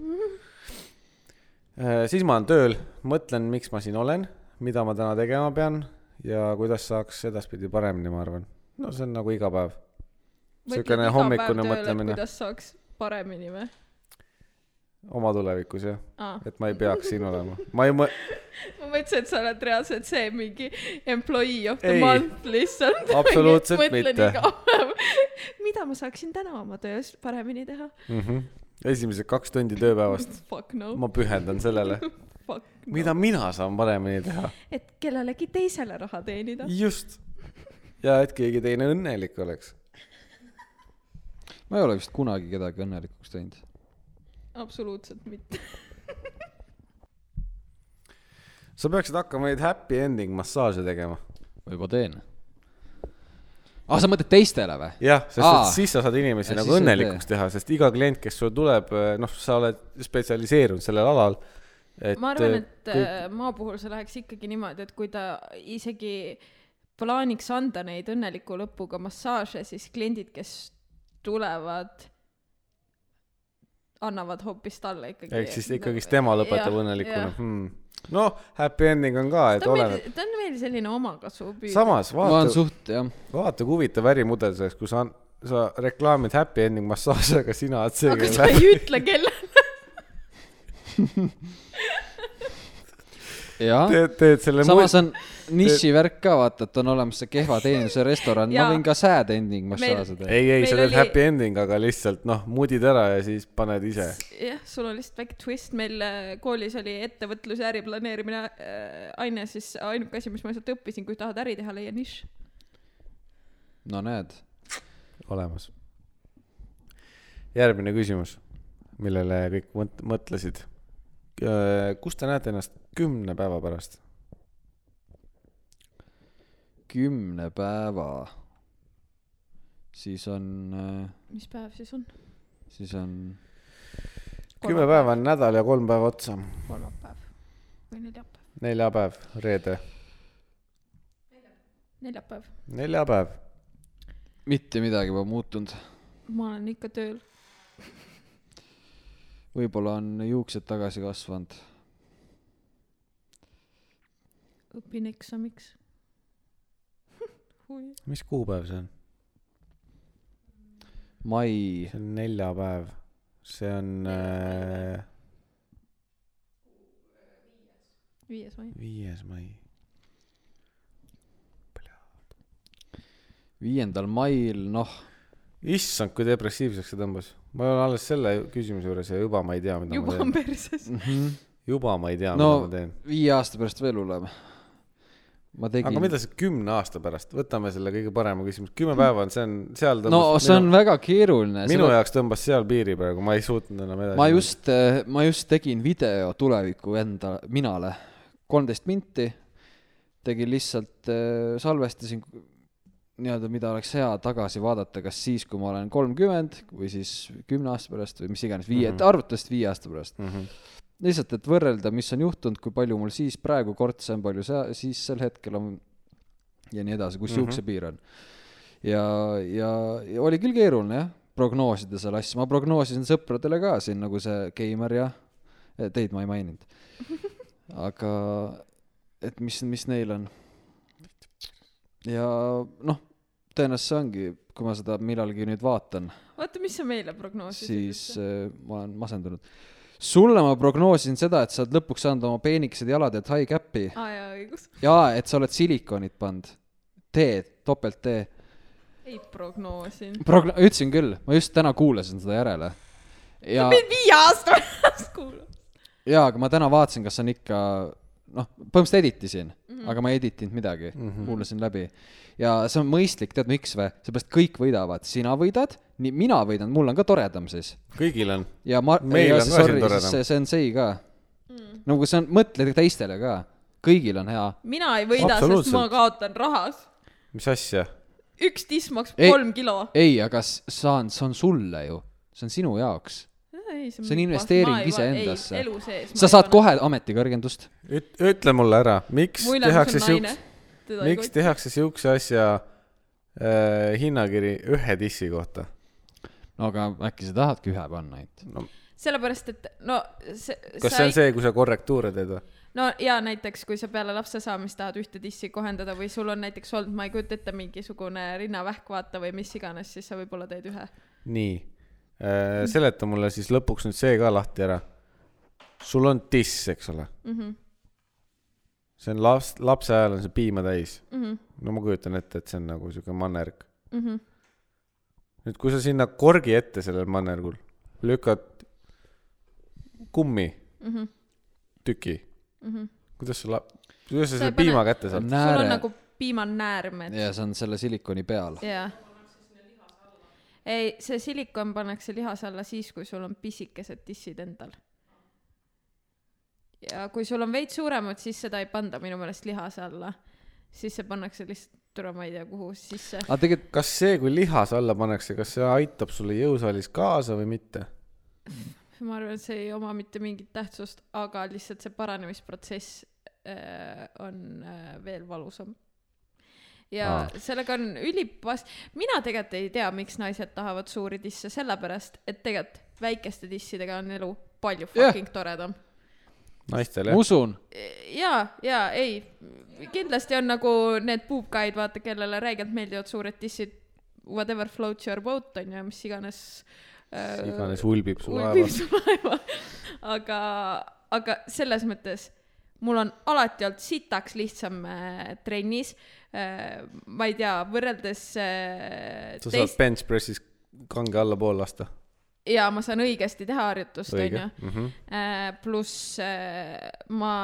C: siis ma olen tööl , mõtlen , miks ma siin olen , mida ma täna tegema pean ja kuidas saaks edaspidi paremini , ma arvan . no see on nagu iga päev . Siukene hommikune mõtlemine.
B: kuidas saaks paremini või ?
C: oma tulevikus jah ,
B: aa ,
C: et ma ei peaks siin olema . ma ei mõ- ,
B: ma mõtlesin , et sa oled reaalselt see mingi employee of the ei.
C: Ei.
B: month lihtsalt .
C: Absoluutselt mitte.
B: mida ma saaksin täna oma töös paremini teha ?
C: mm -hmm. esimesed kaks tundi tööpäevast
B: Fuck no
C: ma pühendan sellele ,
B: fuck no.
C: mida mina saan paremini teha .
B: et kellelegi teisele raha teenida .
C: just . ja et keegi teine õnnelik oleks .
A: ma ei ole vist kunagi kedagi õnnelikuks teinud .
B: absoluutselt mitte .
C: sa peaksid hakkama neid happy ending massaaže tegema .
A: ma juba teen . aa , sa mõtled teistele või ?
C: jah , sest
A: Aa.
C: et siis sa saad inimesi
A: Ja
C: nagu
A: siis on
C: õnnelikuks teha , sest iga klient , kes sul tuleb , noh , sa oled spetsialiseerunud sellel alal . eh,
B: ma
C: äh,
B: arvan , et kõik... maa puhul see läheks ikkagi niimoodi , et kui ta isegi plaaniks anda neid õnneliku lõpuga massaaže , siis kliendid , kes tulevad , annavad hoopis talle ikkagi .
C: ehk siis ikkagist tema lõpetab
B: eh, Jah,
C: õnnelikuna
B: jah. .
C: hmm. noh , happy ending on ka , et
B: ta on
C: oleneb .
B: meil , ta on meil selline omakasu püüd .
C: samas
A: ma olen
C: vaata ,
A: suht , jah .
C: vaata kui huvitav ärimudel see oleks , kui sa , sa reklaamid happy ending massaaži , aga sina oled see ,
B: aga
C: kes
B: sa
C: läheb .
B: ei ütle kellele .
A: jah ,
C: teed , teed selle
A: samas on nišivärk ka , vaata , et on olemas see kehva teenuse restoran , ma
B: Jaa.
A: võin ka sad ending massaaže teha .
C: ei ,
B: Meil
C: ei , sa teed
B: oli-
C: oli... happy ending , aga lihtsalt noh , mudid ära ja siis paned ise .
B: jah , sul on lihtsalt väike twist , meil äh, koolis oli ettevõtlus ja äriplaneerimine äh, aine , siis ainuke asi , mis ma sealt õppisin , kui tahad äri teha , leia nišš .
A: no näed ,
C: olemas . järgmine küsimus , millele kõik mõt- mõtlesid . kus te näete ennast kümne päeva pärast ?
A: kümne päeva , siis on ,
B: mis päev siis on ?
A: siis on
C: kümme päeva on nädal ja kolm päeva otsa .
B: kolmapäev või neljapäev ?
C: neljapäev , reede ,
B: neljapäev .
C: neljapäev .
A: mitte midagi pole muutunud ,
B: ma olen ikka tööl .
A: võib-olla on juuksed tagasi kasvanud .
B: õpin eksamiks . huvi .
C: mis kuupäev see on ?
A: mai ,
C: see on neljapäev , see on äh,
B: viies mai .
C: viies mai .
A: viiendal mail , noh ,
C: issand , kui depressiivseks see tõmbas . ma olen alles selle küsimuse juures ja juba ma ei tea , mida
B: juba
C: ma
B: on
C: teen .
B: perses .
C: Mhm. juba ma ei tea
A: no
C: no, , mida ma teen .
A: viie aasta pärast veel hullem . ma
C: aga
A: tegin ,
C: mida see kümne aasta pärast , võtame selle kõige parema küsimuse , kümme päeva on , see on , seal
A: no see on
C: minu,
A: väga keeruline .
C: minu jaoks tõmbas seal piiri praegu , ma ei suutnud enam edasi .
A: ma just , ma just tegin video tuleviku enda , minale , kolmteist minti , tegin lihtsalt , salvestasin nii-öelda , mida oleks hea tagasi vaadata , kas siis , kui ma olen kolmkümmend või siis kümne aasta pärast või mis iganes , viie
C: Mhm.
A: mm -hmm. , arvatavasti viie aasta pärast .
C: mm . -hmm.
A: lihtsalt , et võrrelda , mis on juhtunud , kui palju mul siis praegu kortse on , palju see , siis sel hetkel on ja nii edasi , kus mm -hmm. juukse piir on . ja , ja , ja oli küll keeruline jah , prognoosida seal asju , ma prognoosisin sõpradele ka siin nagu see Keimar ja eh, teid ma ei maininud . aga et mis , mis neil on . ja noh , tõenäoliselt see ongi , kui ma seda millalgi nüüd vaatan
B: oota , mis sa meile prognoosisid
A: siis ? äh, ma olen masendunud . sulle ma prognoosisin seda , et sa oled lõpuks saanud oma peenikesed jalad ja tie cap'i
B: aa ah, jaa , õigus .
A: ja et sa oled silikonid pannud . T , topelt T .
B: ei prognoosinud .
A: Progno- , ütlesin küll , ma just täna kuulasin seda järele . ja ,
B: mind viie aasta pärast kuulab .
A: ja , aga ma täna vaatasin , kas on ikka , noh , põhimõtteliselt editisin mm , -hmm. aga ma ei editinud midagi mm , -hmm. kuulasin läbi . ja see on mõistlik , tead miks või ? seepärast kõik võidavad , sina võidad , nii mina võidan , mul on ka toredam siis
C: kõigil on .
A: ja ma ,
C: Meil on
A: see,
C: ka siin
A: sorry,
C: toredam.
A: siis see , see on see ka mm. . no kui see on , mõtle teistele ka , kõigil on hea .
B: mina ei võida , sest ma
C: Absoluutselt.
B: kaotan rahas .
C: mis asja ?
B: üks diss maksab
A: Ei.
B: kolm kilo .
A: ei , aga s- see on , see on sulle ju , see on sinu jaoks .
B: ei , see
A: See on investeering iseendasse.
B: elu sees .
A: sa saad . kohe ametikõrgendust .
C: üt- , ütle mulle ära , miks
B: mu ülemus
C: tehakse
B: on naine
C: siukse ,
B: teda ei
C: miks
B: koti .
C: tehakse siukse asja äh, hinnakiri ühe dissi kohta ?
A: no aga äkki sa tahadki ühe panna ainult ?
C: no
B: sellepärast , et no see .
C: kas see on see , kui sa korrektuure teed või ?
B: no ja näiteks , kui sa peale lapse saamist tahad ühte dissi kohendada või sul on näiteks olnud , ma ei kujuta ette , mingisugune rinnavähk vaata või mis iganes , siis sa võib-olla teed ühe .
C: nii , seleta mulle siis lõpuks nüüd see ka lahti ära . sul on diss , eks ole mm ?
B: Mhm.
C: see on laps , lapse ajal on see piima täis
B: mm . -hmm.
C: no ma kujutan ette , et see on nagu siuke mannerg .
B: Mm -hmm.
C: nüüd , kui sa sinna korgi ette sellel mannergul lükkad kummi
B: Mm -hmm.
C: tüki
B: Mm -hmm.
C: kuidas sa la- , kuidas
B: Sa ei
C: sa selle
B: pane-
C: piima kätte saad ?
B: sul on
A: nääre
B: nagu piimanäärmed
A: ja see on selle silikoni peal .
B: jaa . ei , see silikon pannakse lihase alla siis , kui sul on pisikesed tissid endal . ja kui sul on veits suuremad , siis seda ei panda minu meelest lihase alla . siis see pannakse lihtsalt , tule ma ei tea kuhu sisse .
A: aga tegelikult ,
C: kas see , kui lihas alla pannakse , kas see aitab sulle jõusaalis kaasa või mitte ?
B: ma arvan , et see ei oma mitte mingit tähtsust , aga lihtsalt see paranemisprotsess äh, on äh, veel valusam . ja
A: Aa.
B: Aa. sellega on ülipas- , mina tegelikult ei tea , miks naised tahavad suuri disse , sellepärast et tegelikult väikeste dissidega on elu palju
A: Jah.
B: fucking yeah. toredam .
C: naistel
A: ma
C: jah ?
A: usun ,
B: ja , ja ei , kindlasti on nagu need puupkaid , vaata , kellele räigelt meeldivad suured dissid , whatever floats your boat on ju , mis iganes äh,
C: iganes ulbib su
B: ulbib
C: laevas .
B: su laeva . aga , aga selles mõttes mul on alati olnud sitaks lihtsam äh, trennis äh, . ma ei tea , võrreldes äh,
C: sa saad
B: teist
C: bench press'is kange allapoole lasta .
B: ja ma saan õigesti teha harjutust ,
C: õige
B: onju .
C: mm . -hmm.
B: pluss äh, ma ,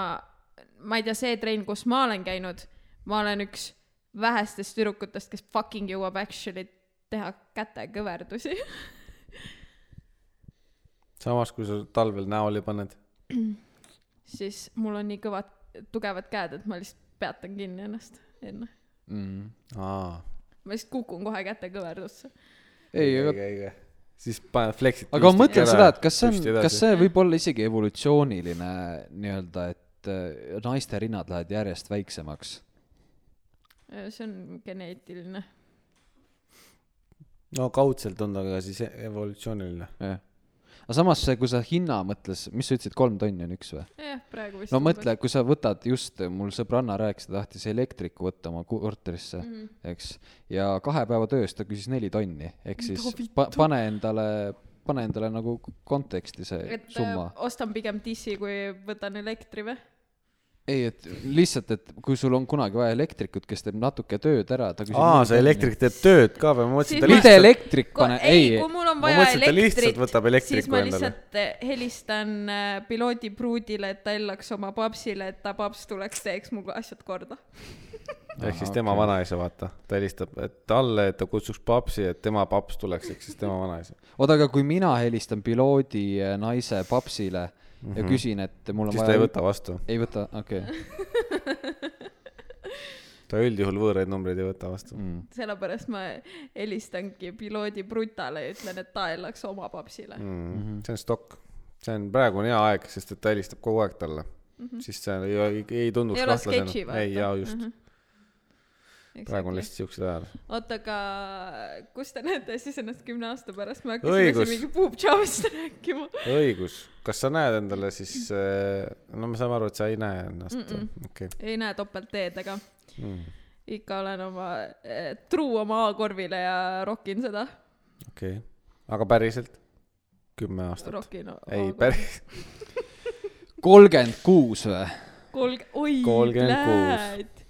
B: ma ei tea , see trenn , kus ma olen käinud , ma olen üks vähestest tüdrukutest , kes fucking jõuab actually teha kätekõverdusi .
C: samas , kui sa talvel näoli paned .
B: siis mul on nii kõvad , tugevad käed , et ma lihtsalt peatan kinni ennast enne .
A: mm. .
C: aa ,
B: ma lihtsalt kukun kohe käte kõverdusse .
A: ei , aga ,
C: õige . siis paned flex'id .
A: aga ma mõtlen seda , et kas see on , kas see võib olla isegi evolutsiooniline nii-öelda , et äh, naiste rinnad lähevad järjest väiksemaks
B: see on geneetiline .
C: no kaudselt on ta ka siis e- evolutsiooniline .
A: jah . aga samas see , kui sa hinna mõttes , mis sa ütlesid , kolm tonni on üks või ?
B: jah , praegu vist .
A: no mõtle , kui sa võtad just , mul sõbranna rääkis , ta tahtis elektriku võtta oma ku- korterisse mm ,
B: Mhm.
A: -hmm. eks , ja kahe päeva töös ta küsis neli tonni , ehk siis pa- , pane endale , pane endale nagu konteksti see
B: et äh,
A: summa
B: summa. . ostan pigem dissi , kui võtan elektri või ?
A: ei , et lihtsalt , et kui sul on kunagi vaja elektrikut , kes teeb natuke tööd ära , ta küsib .
C: aa , see . elektrik teeb tööd ka või ? ma mõtlesin , et ta
B: Siis
A: mitte
C: lihtsalt ,
A: elektrik pane , ei ,
B: kui mul on
C: Ma
B: vaja
C: mõtlesin, et ta lihtsalt
B: elektrit ,
C: võtab
B: siis
C: elektriku
B: ma
C: endale.
B: lihtsalt eh, helistan eh, piloodi pruudile , et ta ellaks oma papsile , et ta paps tuleks , teeks mu asjad korda .
C: ehk siis tema
A: Ahah, okei.
C: vanaisa , vaata , ta helistab et talle , et ta kutsuks papsi , et tema paps tuleks , ehk siis tema vanaisa .
A: oota , aga kui mina helistan piloodi eh, naise papsile mm -hmm. ja küsin , et mul on
C: Mhm. siis
A: vaja .
C: ta ei võta . vastu ,
A: ei võta , okei okay.
C: ta üldjuhul võõraid numbreid ei võta vastu .
A: mm. .
B: sellepärast ma helistangi piloodi brutale ja ütlen , et ta ellaks oma papsile mm. .
C: mm . -hmm. see on stokk , see on praegu on hea aeg , sest et ta helistab kogu aeg talle mm , -hmm. siis see ei, ei, ei tunduks
B: Mhm. Ei ole sketši, vaata.
C: ei , jaa , just mm .
B: -hmm.
C: -hmm. praegu on lihtsalt siuksed ajal .
B: oota , aga kus te näete siis ennast kümne aasta pärast , me hakkasime
C: Õigus.
B: siin mingi puuptšaavist rääkima .
C: õigus , kas sa näed endale siis , no me saame aru , et sa ei näe ennast
B: Mm-mm. ,
C: okei . Mm,
B: ei näe topeltteedega , ikka olen oma eh, truu oma A-korvile ja rokin seda ,
C: okei , aga päriselt ? kümme aastat .
B: rokin .
C: ei , päris ,
A: kolmkümmend kuus või ?
B: kolm , oi
C: 36.
B: pläät ,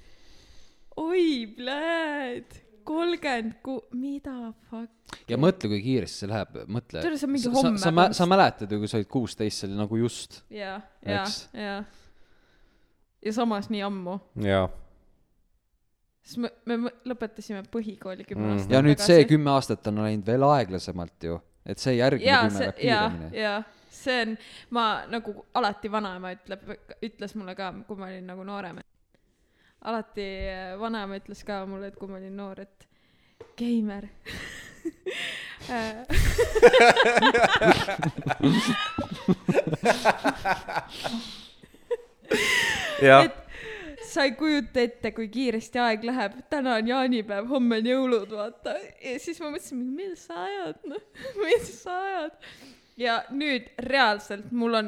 B: oi pläät , kolmkümmend ku- , mida fuck ,
A: ja mõtle , kui kiiresti see läheb , mõtle .
B: Tead, see on mingi homme
A: sa, mä-
B: põhimõtteliselt.
A: sa mäletad ju , kui sa olid kuusteist , see oli nagu just .
B: jaa , jaa
A: Eks. ,
B: jaa . ja samas nii ammu ,
C: jaa .
B: siis me , me mõ- lõpetasime põhikooli kümme
C: Mhm.
B: aastat
A: ja nüüd see . kümme aastat on läinud veel aeglasemalt ju , et see järgmine
B: jaa ,
A: kümme
B: see
A: läheb ,
B: jaa ,
A: kiiremini .
B: jaa , see on , ma nagu alati vanaema ütleb , ütles mulle ka , kui ma olin nagu noorem . alati äh, vanaema ütles ka mulle , et kui ma olin noor , et geimer .
C: jah ,
B: sa ei kujuta ette , kui kiiresti aeg läheb , täna on jaanipäev , homme on jõulud , vaata . ja siis ma mõtlesin , mida sa ajad , noh , mida sa ajad . ja nüüd reaalselt mul on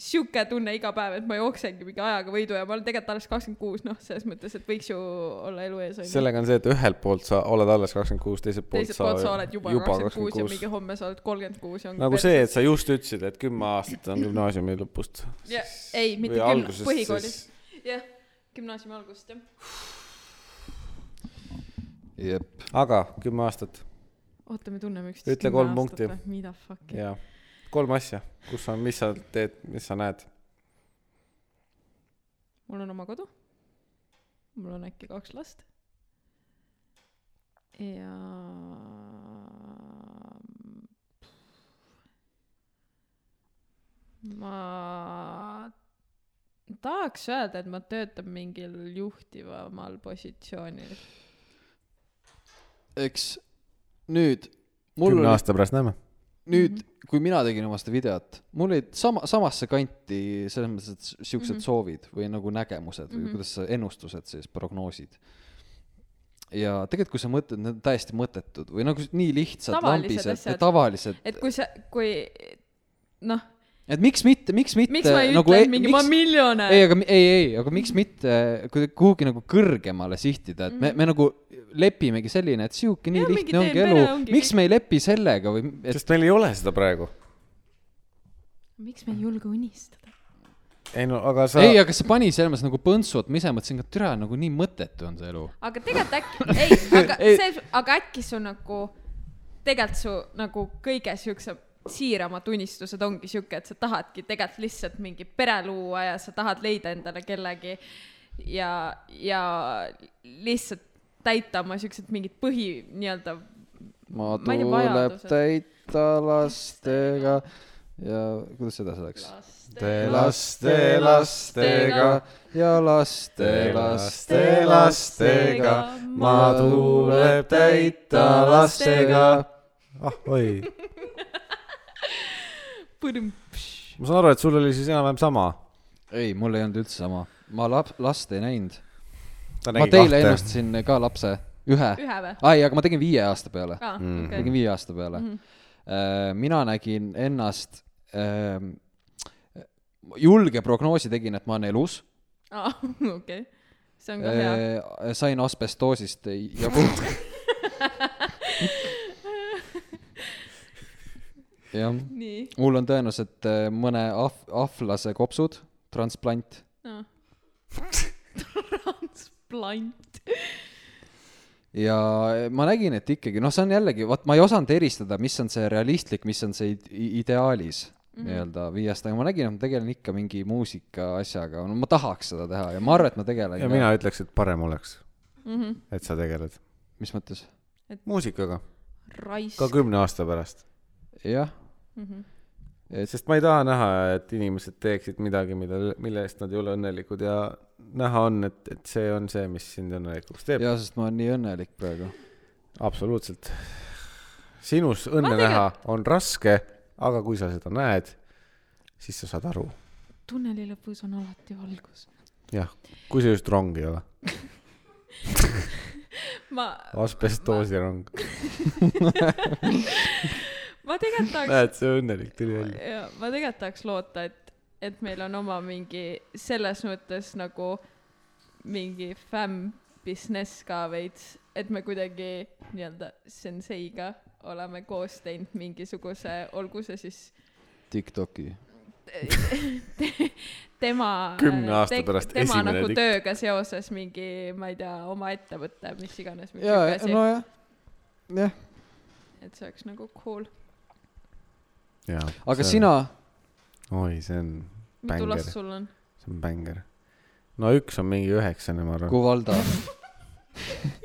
B: sihuke tunne iga päev , et ma jooksengi mingi ajaga võidu ja ma olen tegelikult alles kakskümmend kuus , noh , selles mõttes , et võiks ju olla elu ees , onju .
C: sellega on see , et ühelt poolt sa oled alles kakskümmend kuus , teiselt poolt
B: teiselt poolt sa oled juba kakskümmend kuus ja mingi homme sa oled kolmkümmend kuus ja ongi
C: nagu see , et sa just ütlesid , et kümme aastat on gümnaasiumi lõpust .
B: Ja- ei, mitte kümme- põhikoolis. perses. jah , gümnaasiumi algusest , jah .
A: jep ,
C: aga kümme aastat
B: oota , me tunneme üksteist .
C: Ütle kolm punkti.
B: mida fuck'i .
C: ja kolm asja , kus on , mis sa teed , mis sa näed .
B: mul on oma kodu . mul on äkki kaks last . ja . ma tahaks öelda , et ma töötan mingil juhtivamal positsioonil .
A: eks nüüd mul
C: kümne
A: oli ,
C: aasta pärast näeme .
A: nüüd ,
B: Mhm.
A: kui mina tegin oma seda videot , mul olid sama , samasse kanti selles mõttes , et s- siuksed mm
B: Mhm.
A: -hmm. soovid või nagu nägemused või mm
B: Mhm.
A: -hmm. kuidas sa , ennustused siis , prognoosid . ja tegelikult , kui sa mõtled , need on täiesti mõttetud või nagu s- nii lihtsad ,
B: Tavalised
A: lambised ja
B: asjad.
A: tavalised ,
B: et kui sa , kui noh ,
A: et miks mitte , miks mitte .
B: miks ma ei nagu ütle , et mingi miks... ma miljonär
A: ei , aga mi- ei , ei , aga miks mitte kui- kuhugi nagu kõrgemale sihtida , et me , me nagu lepimegi selline , et sihuke nii
B: Jah, Mm. mingi
A: lihtne ongi
B: teen
A: elu
B: pere ongi. ,
A: miks me ei lepi sellega või et
C: sest meil ei ole seda praegu .
B: miks ma ei julge unistada ?
C: ei no aga sa .
A: ei , aga see pani selles mõttes nagu põntsu , et ma ise mõtlesin , et türa nagu nii mõttetu on see elu .
B: aga tegelikult äkki , ei , aga
A: Ei.
B: see , aga äkki su nagu , tegelikult su nagu kõige siukse siiramad unistused ongi siuke , et sa tahadki tegelikult lihtsalt mingi pere luua ja sa tahad leida endale kellegi ja , ja lihtsalt täita oma siuksed mingid põhi nii-öelda ,
A: ma
B: Ma ei tea,
A: tuleb
B: vajadused.
A: täita lastega ja kuidas edasi läks ?
C: laste lastega
A: ja laste laste
B: lastega ma
A: tuleb täita lastega.
C: ah oi ,
B: põrm .
C: ma saan aru , et sul oli siis enam-vähem sama .
A: ei , mul ei olnud üldse sama , ma lap- , last ei näinud . ma teile . ennustasin ka lapse , ühe .
B: ühe või ?
A: ai , aga ma tegin viie aasta peale ,
B: aa , okei Mhm.
A: tegin . viie aasta peale . mina nägin ennast , julge prognoosi tegin , et ma olen elus ,
B: aa , okei . see on ka hea .
A: Äh. sain asbestoosist jagu . jah ,
B: nii .
A: mul on tõenäoliselt äh, mõne ah- , ahlase kopsud , transplant ,
B: blunt .
A: ja ma nägin , et ikkagi noh , see on jällegi , vot ma ei osanud eristada , mis on see realistlik , mis on see id- i- ideaalis
B: Mhm.
A: mm. nii-öelda viiest , aga ma nägin , et ma tegelen ikka mingi muusika asjaga , no ma tahaks seda teha ja ma arvan , et ma tegelen
C: ja
A: ka.
C: mina ütleks , et parem oleks ,
B: Mm -hmm.
C: et sa tegeled
A: mis mõttes
C: muusikaga
B: raisk
C: ka . kümne aasta pärast ,
A: jah ,
B: Mm -hmm.
A: et
C: sest ma ei taha näha , et inimesed teeksid midagi , mida , mille eest nad ei ole õnnelikud ja näha on , et , et see on see , mis sind õnnelikuks teeb .
A: ja sest ma olen nii õnnelik praegu
C: absoluutselt . sinus õnne
B: Ma tegelikult-
C: näha on raske , aga kui sa seda näed , siis sa saad aru .
B: tunneli lõpus on alati valgus .
C: jah , kui see just rong ei ole ,
B: ma ,
C: asbestoosi rong .
B: ma tegelikult tahaks ,
C: näed , see õnnelik tuli välja .
B: ma tegelikult tahaks loota , et , et meil on oma mingi selles mõttes nagu mingi fämm business ka veits , et me kuidagi nii-öelda senseiga oleme koos teinud mingisuguse , olgu see siis
A: Tiktoki .
B: tema äh,
C: Kümne aasta pärast
B: tema
C: esimene
B: nagu
C: tikk.
B: tööga seoses mingi , ma ei tea , oma ettevõte , mis iganes , mingi
A: ja
B: siuke , asi no. ,
A: nojah , jah ,
B: et see oleks nagu cool .
A: aga sina ,
C: oi , see on ,
B: mitu
C: Bänger.
B: last sul on ?
C: see on bängar . no üks on mingi üheksane , ma arvan .
A: kui Valdo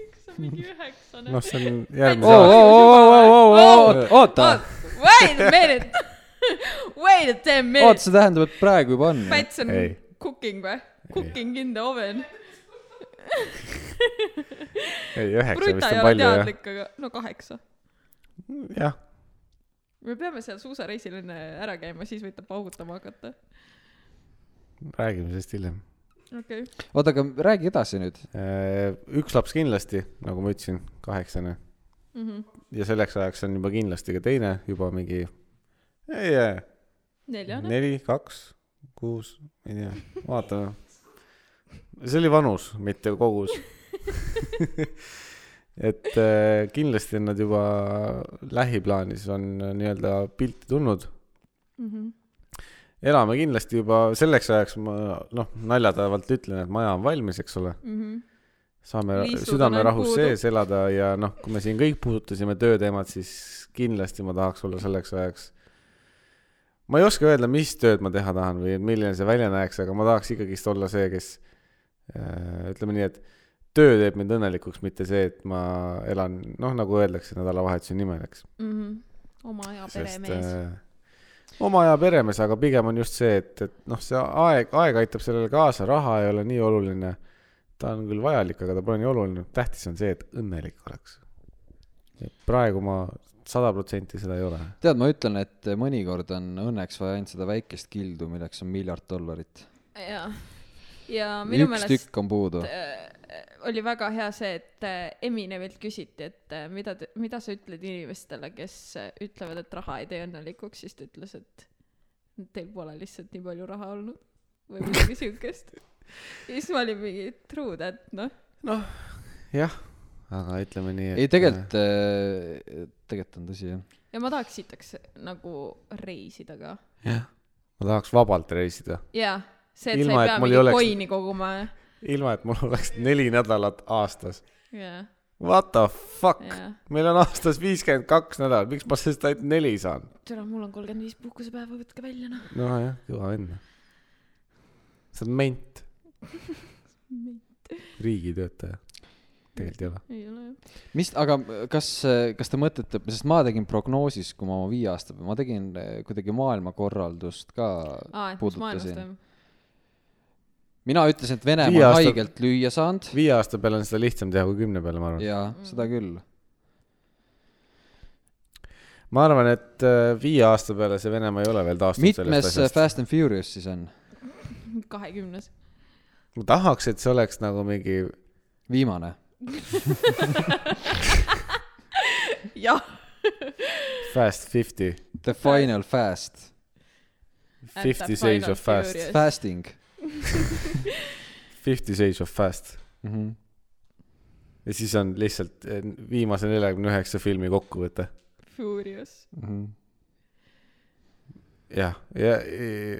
B: üks on mingi üheksane
C: noh , see on
A: oo ,
C: järgmise
A: oo ,
C: aasta .
A: oo , oo , oo , oota ,
B: Wait a minute , wait a damn
A: oota ,
B: minute ,
A: see tähendab , et praegu juba on .
B: Päts on
C: Ei.
B: cooking või ? Cooking in the oven .
C: ei , üheksa
B: Bruta
C: vist
B: ei
C: on
B: ole
C: palju jah .
B: teadlik , aga no kaheksa .
C: jah ,
B: me peame seal suusareisil enne ära käima , siis võib ta paugutama hakata .
C: räägime sellest hiljem .
B: okei okay. ,
A: oota , aga räägi edasi nüüd .
C: Äh, üks laps kindlasti , nagu ma ütlesin , kaheksane
B: mm -hmm.
C: ja selleks ajaks on juba kindlasti ka teine juba mingi , ei jää ,
B: neljane .
C: neli , kaks , kuus , ei tea , vaatame . see oli vanus , mitte kogus . et äh, kindlasti on nad juba lähiplaanis on äh, nii-öelda pilti tulnud
B: Mhm.
C: elame kindlasti juba selleks ajaks , ma noh , naljatavalt ütlen , et maja on valmis , eks ole .
B: Mhm.
C: saame
B: Liisud on ainult
C: südamerahus
B: puudu.
C: sees elada ja noh , kui me siin kõik puudutasime tööteemat , siis kindlasti ma tahaks olla selleks ajaks . ma ei oska öelda , mis tööd ma teha tahan või milline see välja näeks , aga ma tahaks ikkagist olla see , kes äh, ütleme nii , et töö teeb mind õnnelikuks , mitte see , et ma elan , noh , nagu öeldakse , nädalavahetuse nimel , eks .
B: Mhm. oma aja
C: sest
B: peremees .
C: äh, oma aja peremees , aga pigem on just see , et , et noh , see aeg , aeg aitab sellele kaasa , raha ei ole nii oluline . ta on küll vajalik , aga ta pole nii oluline , tähtis on see , et õnnelik oleks . praegu ma sada protsenti seda ei ole .
A: tead , ma ütlen , et mõnikord on õnneks vaja ainult seda väikest kildu , milleks on miljard dollarit .
C: äh,
B: jaa . ja minu
A: üks
B: meelest
A: tükk on puudu .
B: äh, oli väga hea see , et äh, Eminemilt küsiti , et äh, mida , mida sa ütled inimestele , kes äh, ütlevad , et raha ei tee õnnelikuks , siis ta ütles , et teil pole lihtsalt nii palju raha olnud või midagi siukest . ja siis ma olin mingi true that , noh .
C: jah , aga ütleme nii , et .
A: ei , tegelikult ,
C: äh,
A: tegelikult on tõsi , jah .
B: ja ma tahaks sitaks nagu reisida ka .
C: jah , äh, ma tahaks vabalt reisida ,
B: jaa , see , et
C: Ilma,
B: sa ei
C: et
B: pea
C: mul ei
B: mingi
C: oleks-
B: oleks... koini koguma ja ,
C: ilma et mul oleks neli nädalat aastas .
B: jaa ,
C: What the fuck
B: jaa .
C: meil on aastas viiskümmend kaks nädalat , miks ma sellest ainult neli saan ?
B: tere , mul on kolmkümmend viis puhkusepäeva , võtke välja , noh .
C: nojah , kõva vend . sa oled ment . riigitöötaja . tegelikult ei ole .
B: ei ole jah .
A: mis , aga kas , kas te mõtlete , sest ma tegin prognoosis , kui ma oma viie aasta , ma tegin eh, kuidagi maailmakorraldust ka
B: aa , et mis maailmas
A: puudutasin .
B: toimub .
A: mina ütlesin , et
C: Viie
A: Venemaa on
C: aasta-
A: haigelt lüüa saanud
C: viie aasta peale on seda lihtsam teha kui kümne peale , ma arvan .
A: jaa , seda küll .
C: ma arvan , et äh, viie aasta peale see Venemaa ei ole veel taastunud sellest
A: mitmes eh,
C: asjast .
A: Fast and Furious siis on ?
B: kahekümnes .
C: ma tahaks , et see oleks nagu mingi ,
A: viimane .
B: jah .
C: Fast Fifty ,
A: The final fast .
C: Fifty Shades of Fast ,
A: Fasting
C: Fifty Shades of Fast .
A: mm . -hmm.
C: ja siis on lihtsalt eh, viimase neljakümne üheksa filmi kokkuvõte .
B: Furious .
A: Mm -hmm.
C: jah , ja, ja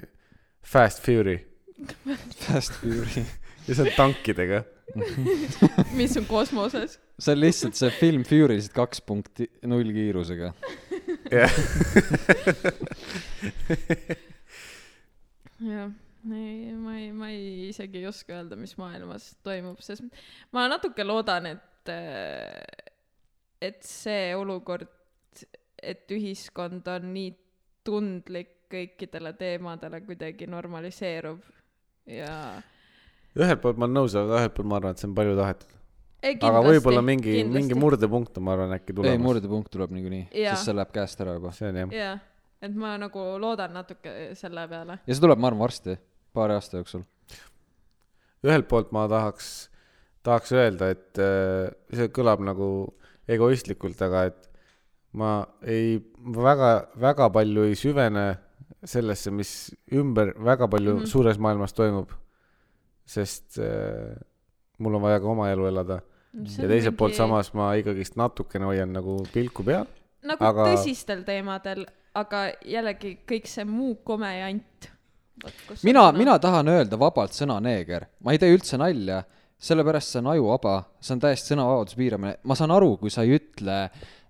C: Fast Fury er
A: Fast Fury .
C: ja see on tankidega .
B: mis on kosmoses .
A: see on lihtsalt see film Fury lihtsalt kaks punkti null kiirusega .
B: jah , ei , ma ei , ma ei isegi ei oska öelda , mis maailmas toimub , sest ma natuke loodan , et , et see olukord , et ühiskond on nii tundlik kõikidele teemadele kuidagi normaliseerub ja
C: ühelt poolt ma olen nõus , aga ühelt poolt ma arvan , et see on palju tahetud .
B: ei,
C: aga võib-olla mingi , mingi murdepunkt on , ma arvan , äkki
A: ei ,
C: tulemas .
A: murdepunkt tuleb niikuinii ,
B: Jaa.
A: sest see läheb käest ära juba .
C: see on jah .
B: jah , et ma nagu loodan natuke selle peale .
A: ja see tuleb , ma arvan , varsti , paari aasta jooksul .
C: ühelt poolt ma tahaks , tahaks öelda , et äh, see kõlab nagu egoistlikult , aga et ma ei , väga , väga palju ei süvene sellesse , mis ümber väga palju mm
B: Mhm.
C: -hmm. suures maailmas toimub . sest äh, mul on vaja ka oma elu elada ja teiselt mingi... poolt . samas ma ikkagist natukene hoian nagu pilku peal .
B: nagu aga...
C: aga-
B: tõsistel teemadel , aga jällegi kõik see muu kome jant .
A: mina , mina tahan öelda vabalt sõna neeger , ma ei tee üldse nalja , sellepärast see on ajuvaba , see on täiesti sõnavabaduse piiramine , ma saan aru , kui sa ei ütle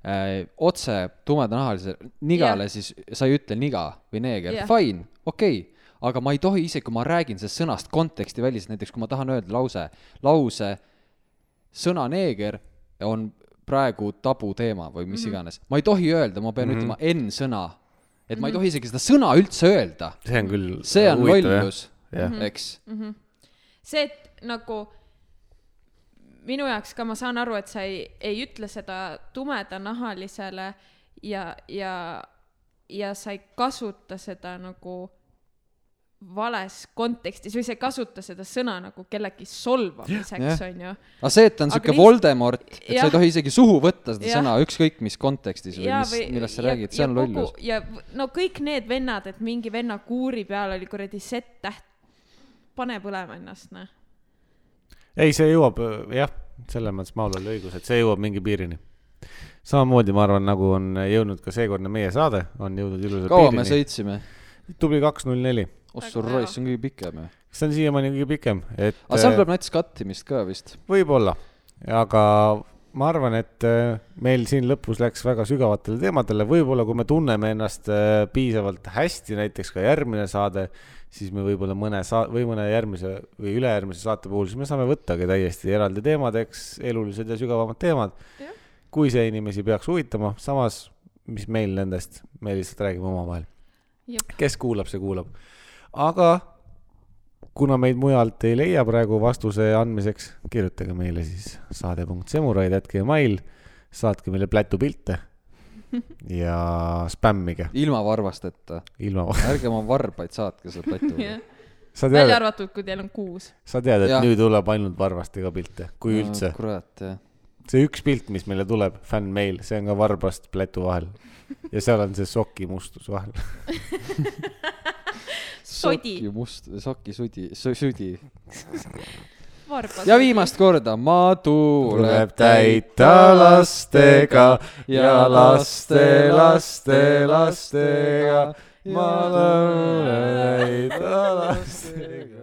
A: äh, otse tumedanahalisele nigale , siis sa ei ütle niga või neeger yeah. ,
B: Jah.
A: fine , okei okay. , aga ma ei tohi isegi , kui ma räägin sellest sõnast konteksti väliselt , näiteks kui ma tahan öelda lause , lause sõna neeger on praegu tabuteema või mis mm -hmm. iganes , ma ei tohi öelda , ma pean mm -hmm. ütlema N-sõna , et ma ei tohi isegi seda sõna üldse öelda
C: see on küll .
A: see on lollus ,
C: jah.
A: eks .
B: Mhm. see , et nagu minu jaoks ka ma saan aru , et sa ei , ei ütle seda tumedanahalisele ja , ja , ja sa ei kasuta seda nagu vales kontekstis või sa ei kasuta seda sõna nagu kellegi solvamiseks , onju
A: aga see , et ta on
B: Aga
A: siuke
B: lihtsalt-
A: Voldemort , et sa
B: jah.
A: ei tohi isegi suhu võtta seda
B: Jah.
A: sõna , ükskõik mis kontekstis või
B: Jaa,
A: mis , millest sa
B: ja-
A: räägid , see
B: ja
A: on
B: kogu-
A: lollus .
B: ja v- no kõik need vennad , et mingi venna kuuri peal oli kuradi Z-täht , pane põlema ennast , noh .
C: ei , see jõuab äh, jah , selles mõttes Maul oli õigus , et see jõuab mingi piirini . samamoodi ma arvan , nagu on jõudnud ka seekordne meie saade , on jõudnud ilusa
A: kaua me
C: piirini .
A: sõitsime ?
C: tubli kaks null neli ,
A: Ossur
B: Väga hea.
A: Royce on kõige pikem ju .
C: see on siiamaani kõige pikem , et
A: aga seal
C: äh,
A: tuleb näiteks kattimist ka vist .
C: võib-olla , aga ma arvan , et äh, meil siin lõpus läks väga sügavatele teemadele , võib-olla kui me tunneme ennast äh, piisavalt hästi , näiteks ka järgmine saade , siis me võib-olla mõne saa- või mõne järgmise või ülejärgmise saate puhul , siis me saame võttagi täiesti eraldi teemadeks elulised ja sügavamad teemad
B: Jah. .
C: kui see inimesi peaks huvitama , samas , mis meil nendest , me lihtsalt räägime omavahel .
B: jep ,
C: kes kuulab , see kuulab . aga kuna meid mujalt ei leia praegu vastuse andmiseks , kirjutage meile siis saade.semuraid.gmail , saatke meile plätupilte ja spämmige
A: ilma varvasteta .
C: ilma .
A: ärge oma varbaid saatke selle plati peale
B: jah .
C: sa
B: välja
C: tead ,
B: arvatud , kui teil on kuus .
C: sa tead , et ja.
A: Jah.
C: nüüd tuleb ainult varvastega pilte , kui üldse .
A: kurat , jah .
C: see üks pilt , mis meile tuleb , fännmeil , see on ka varbast plätu vahel . ja seal on see soki mustus vahel .
B: Sodi.
A: soki must , soki sudi , südi .
B: varbas .
A: ja viimast korda , ma tulen
C: tuleb . täita lastega ja laste , laste , lastega . ma tulen täita lastega .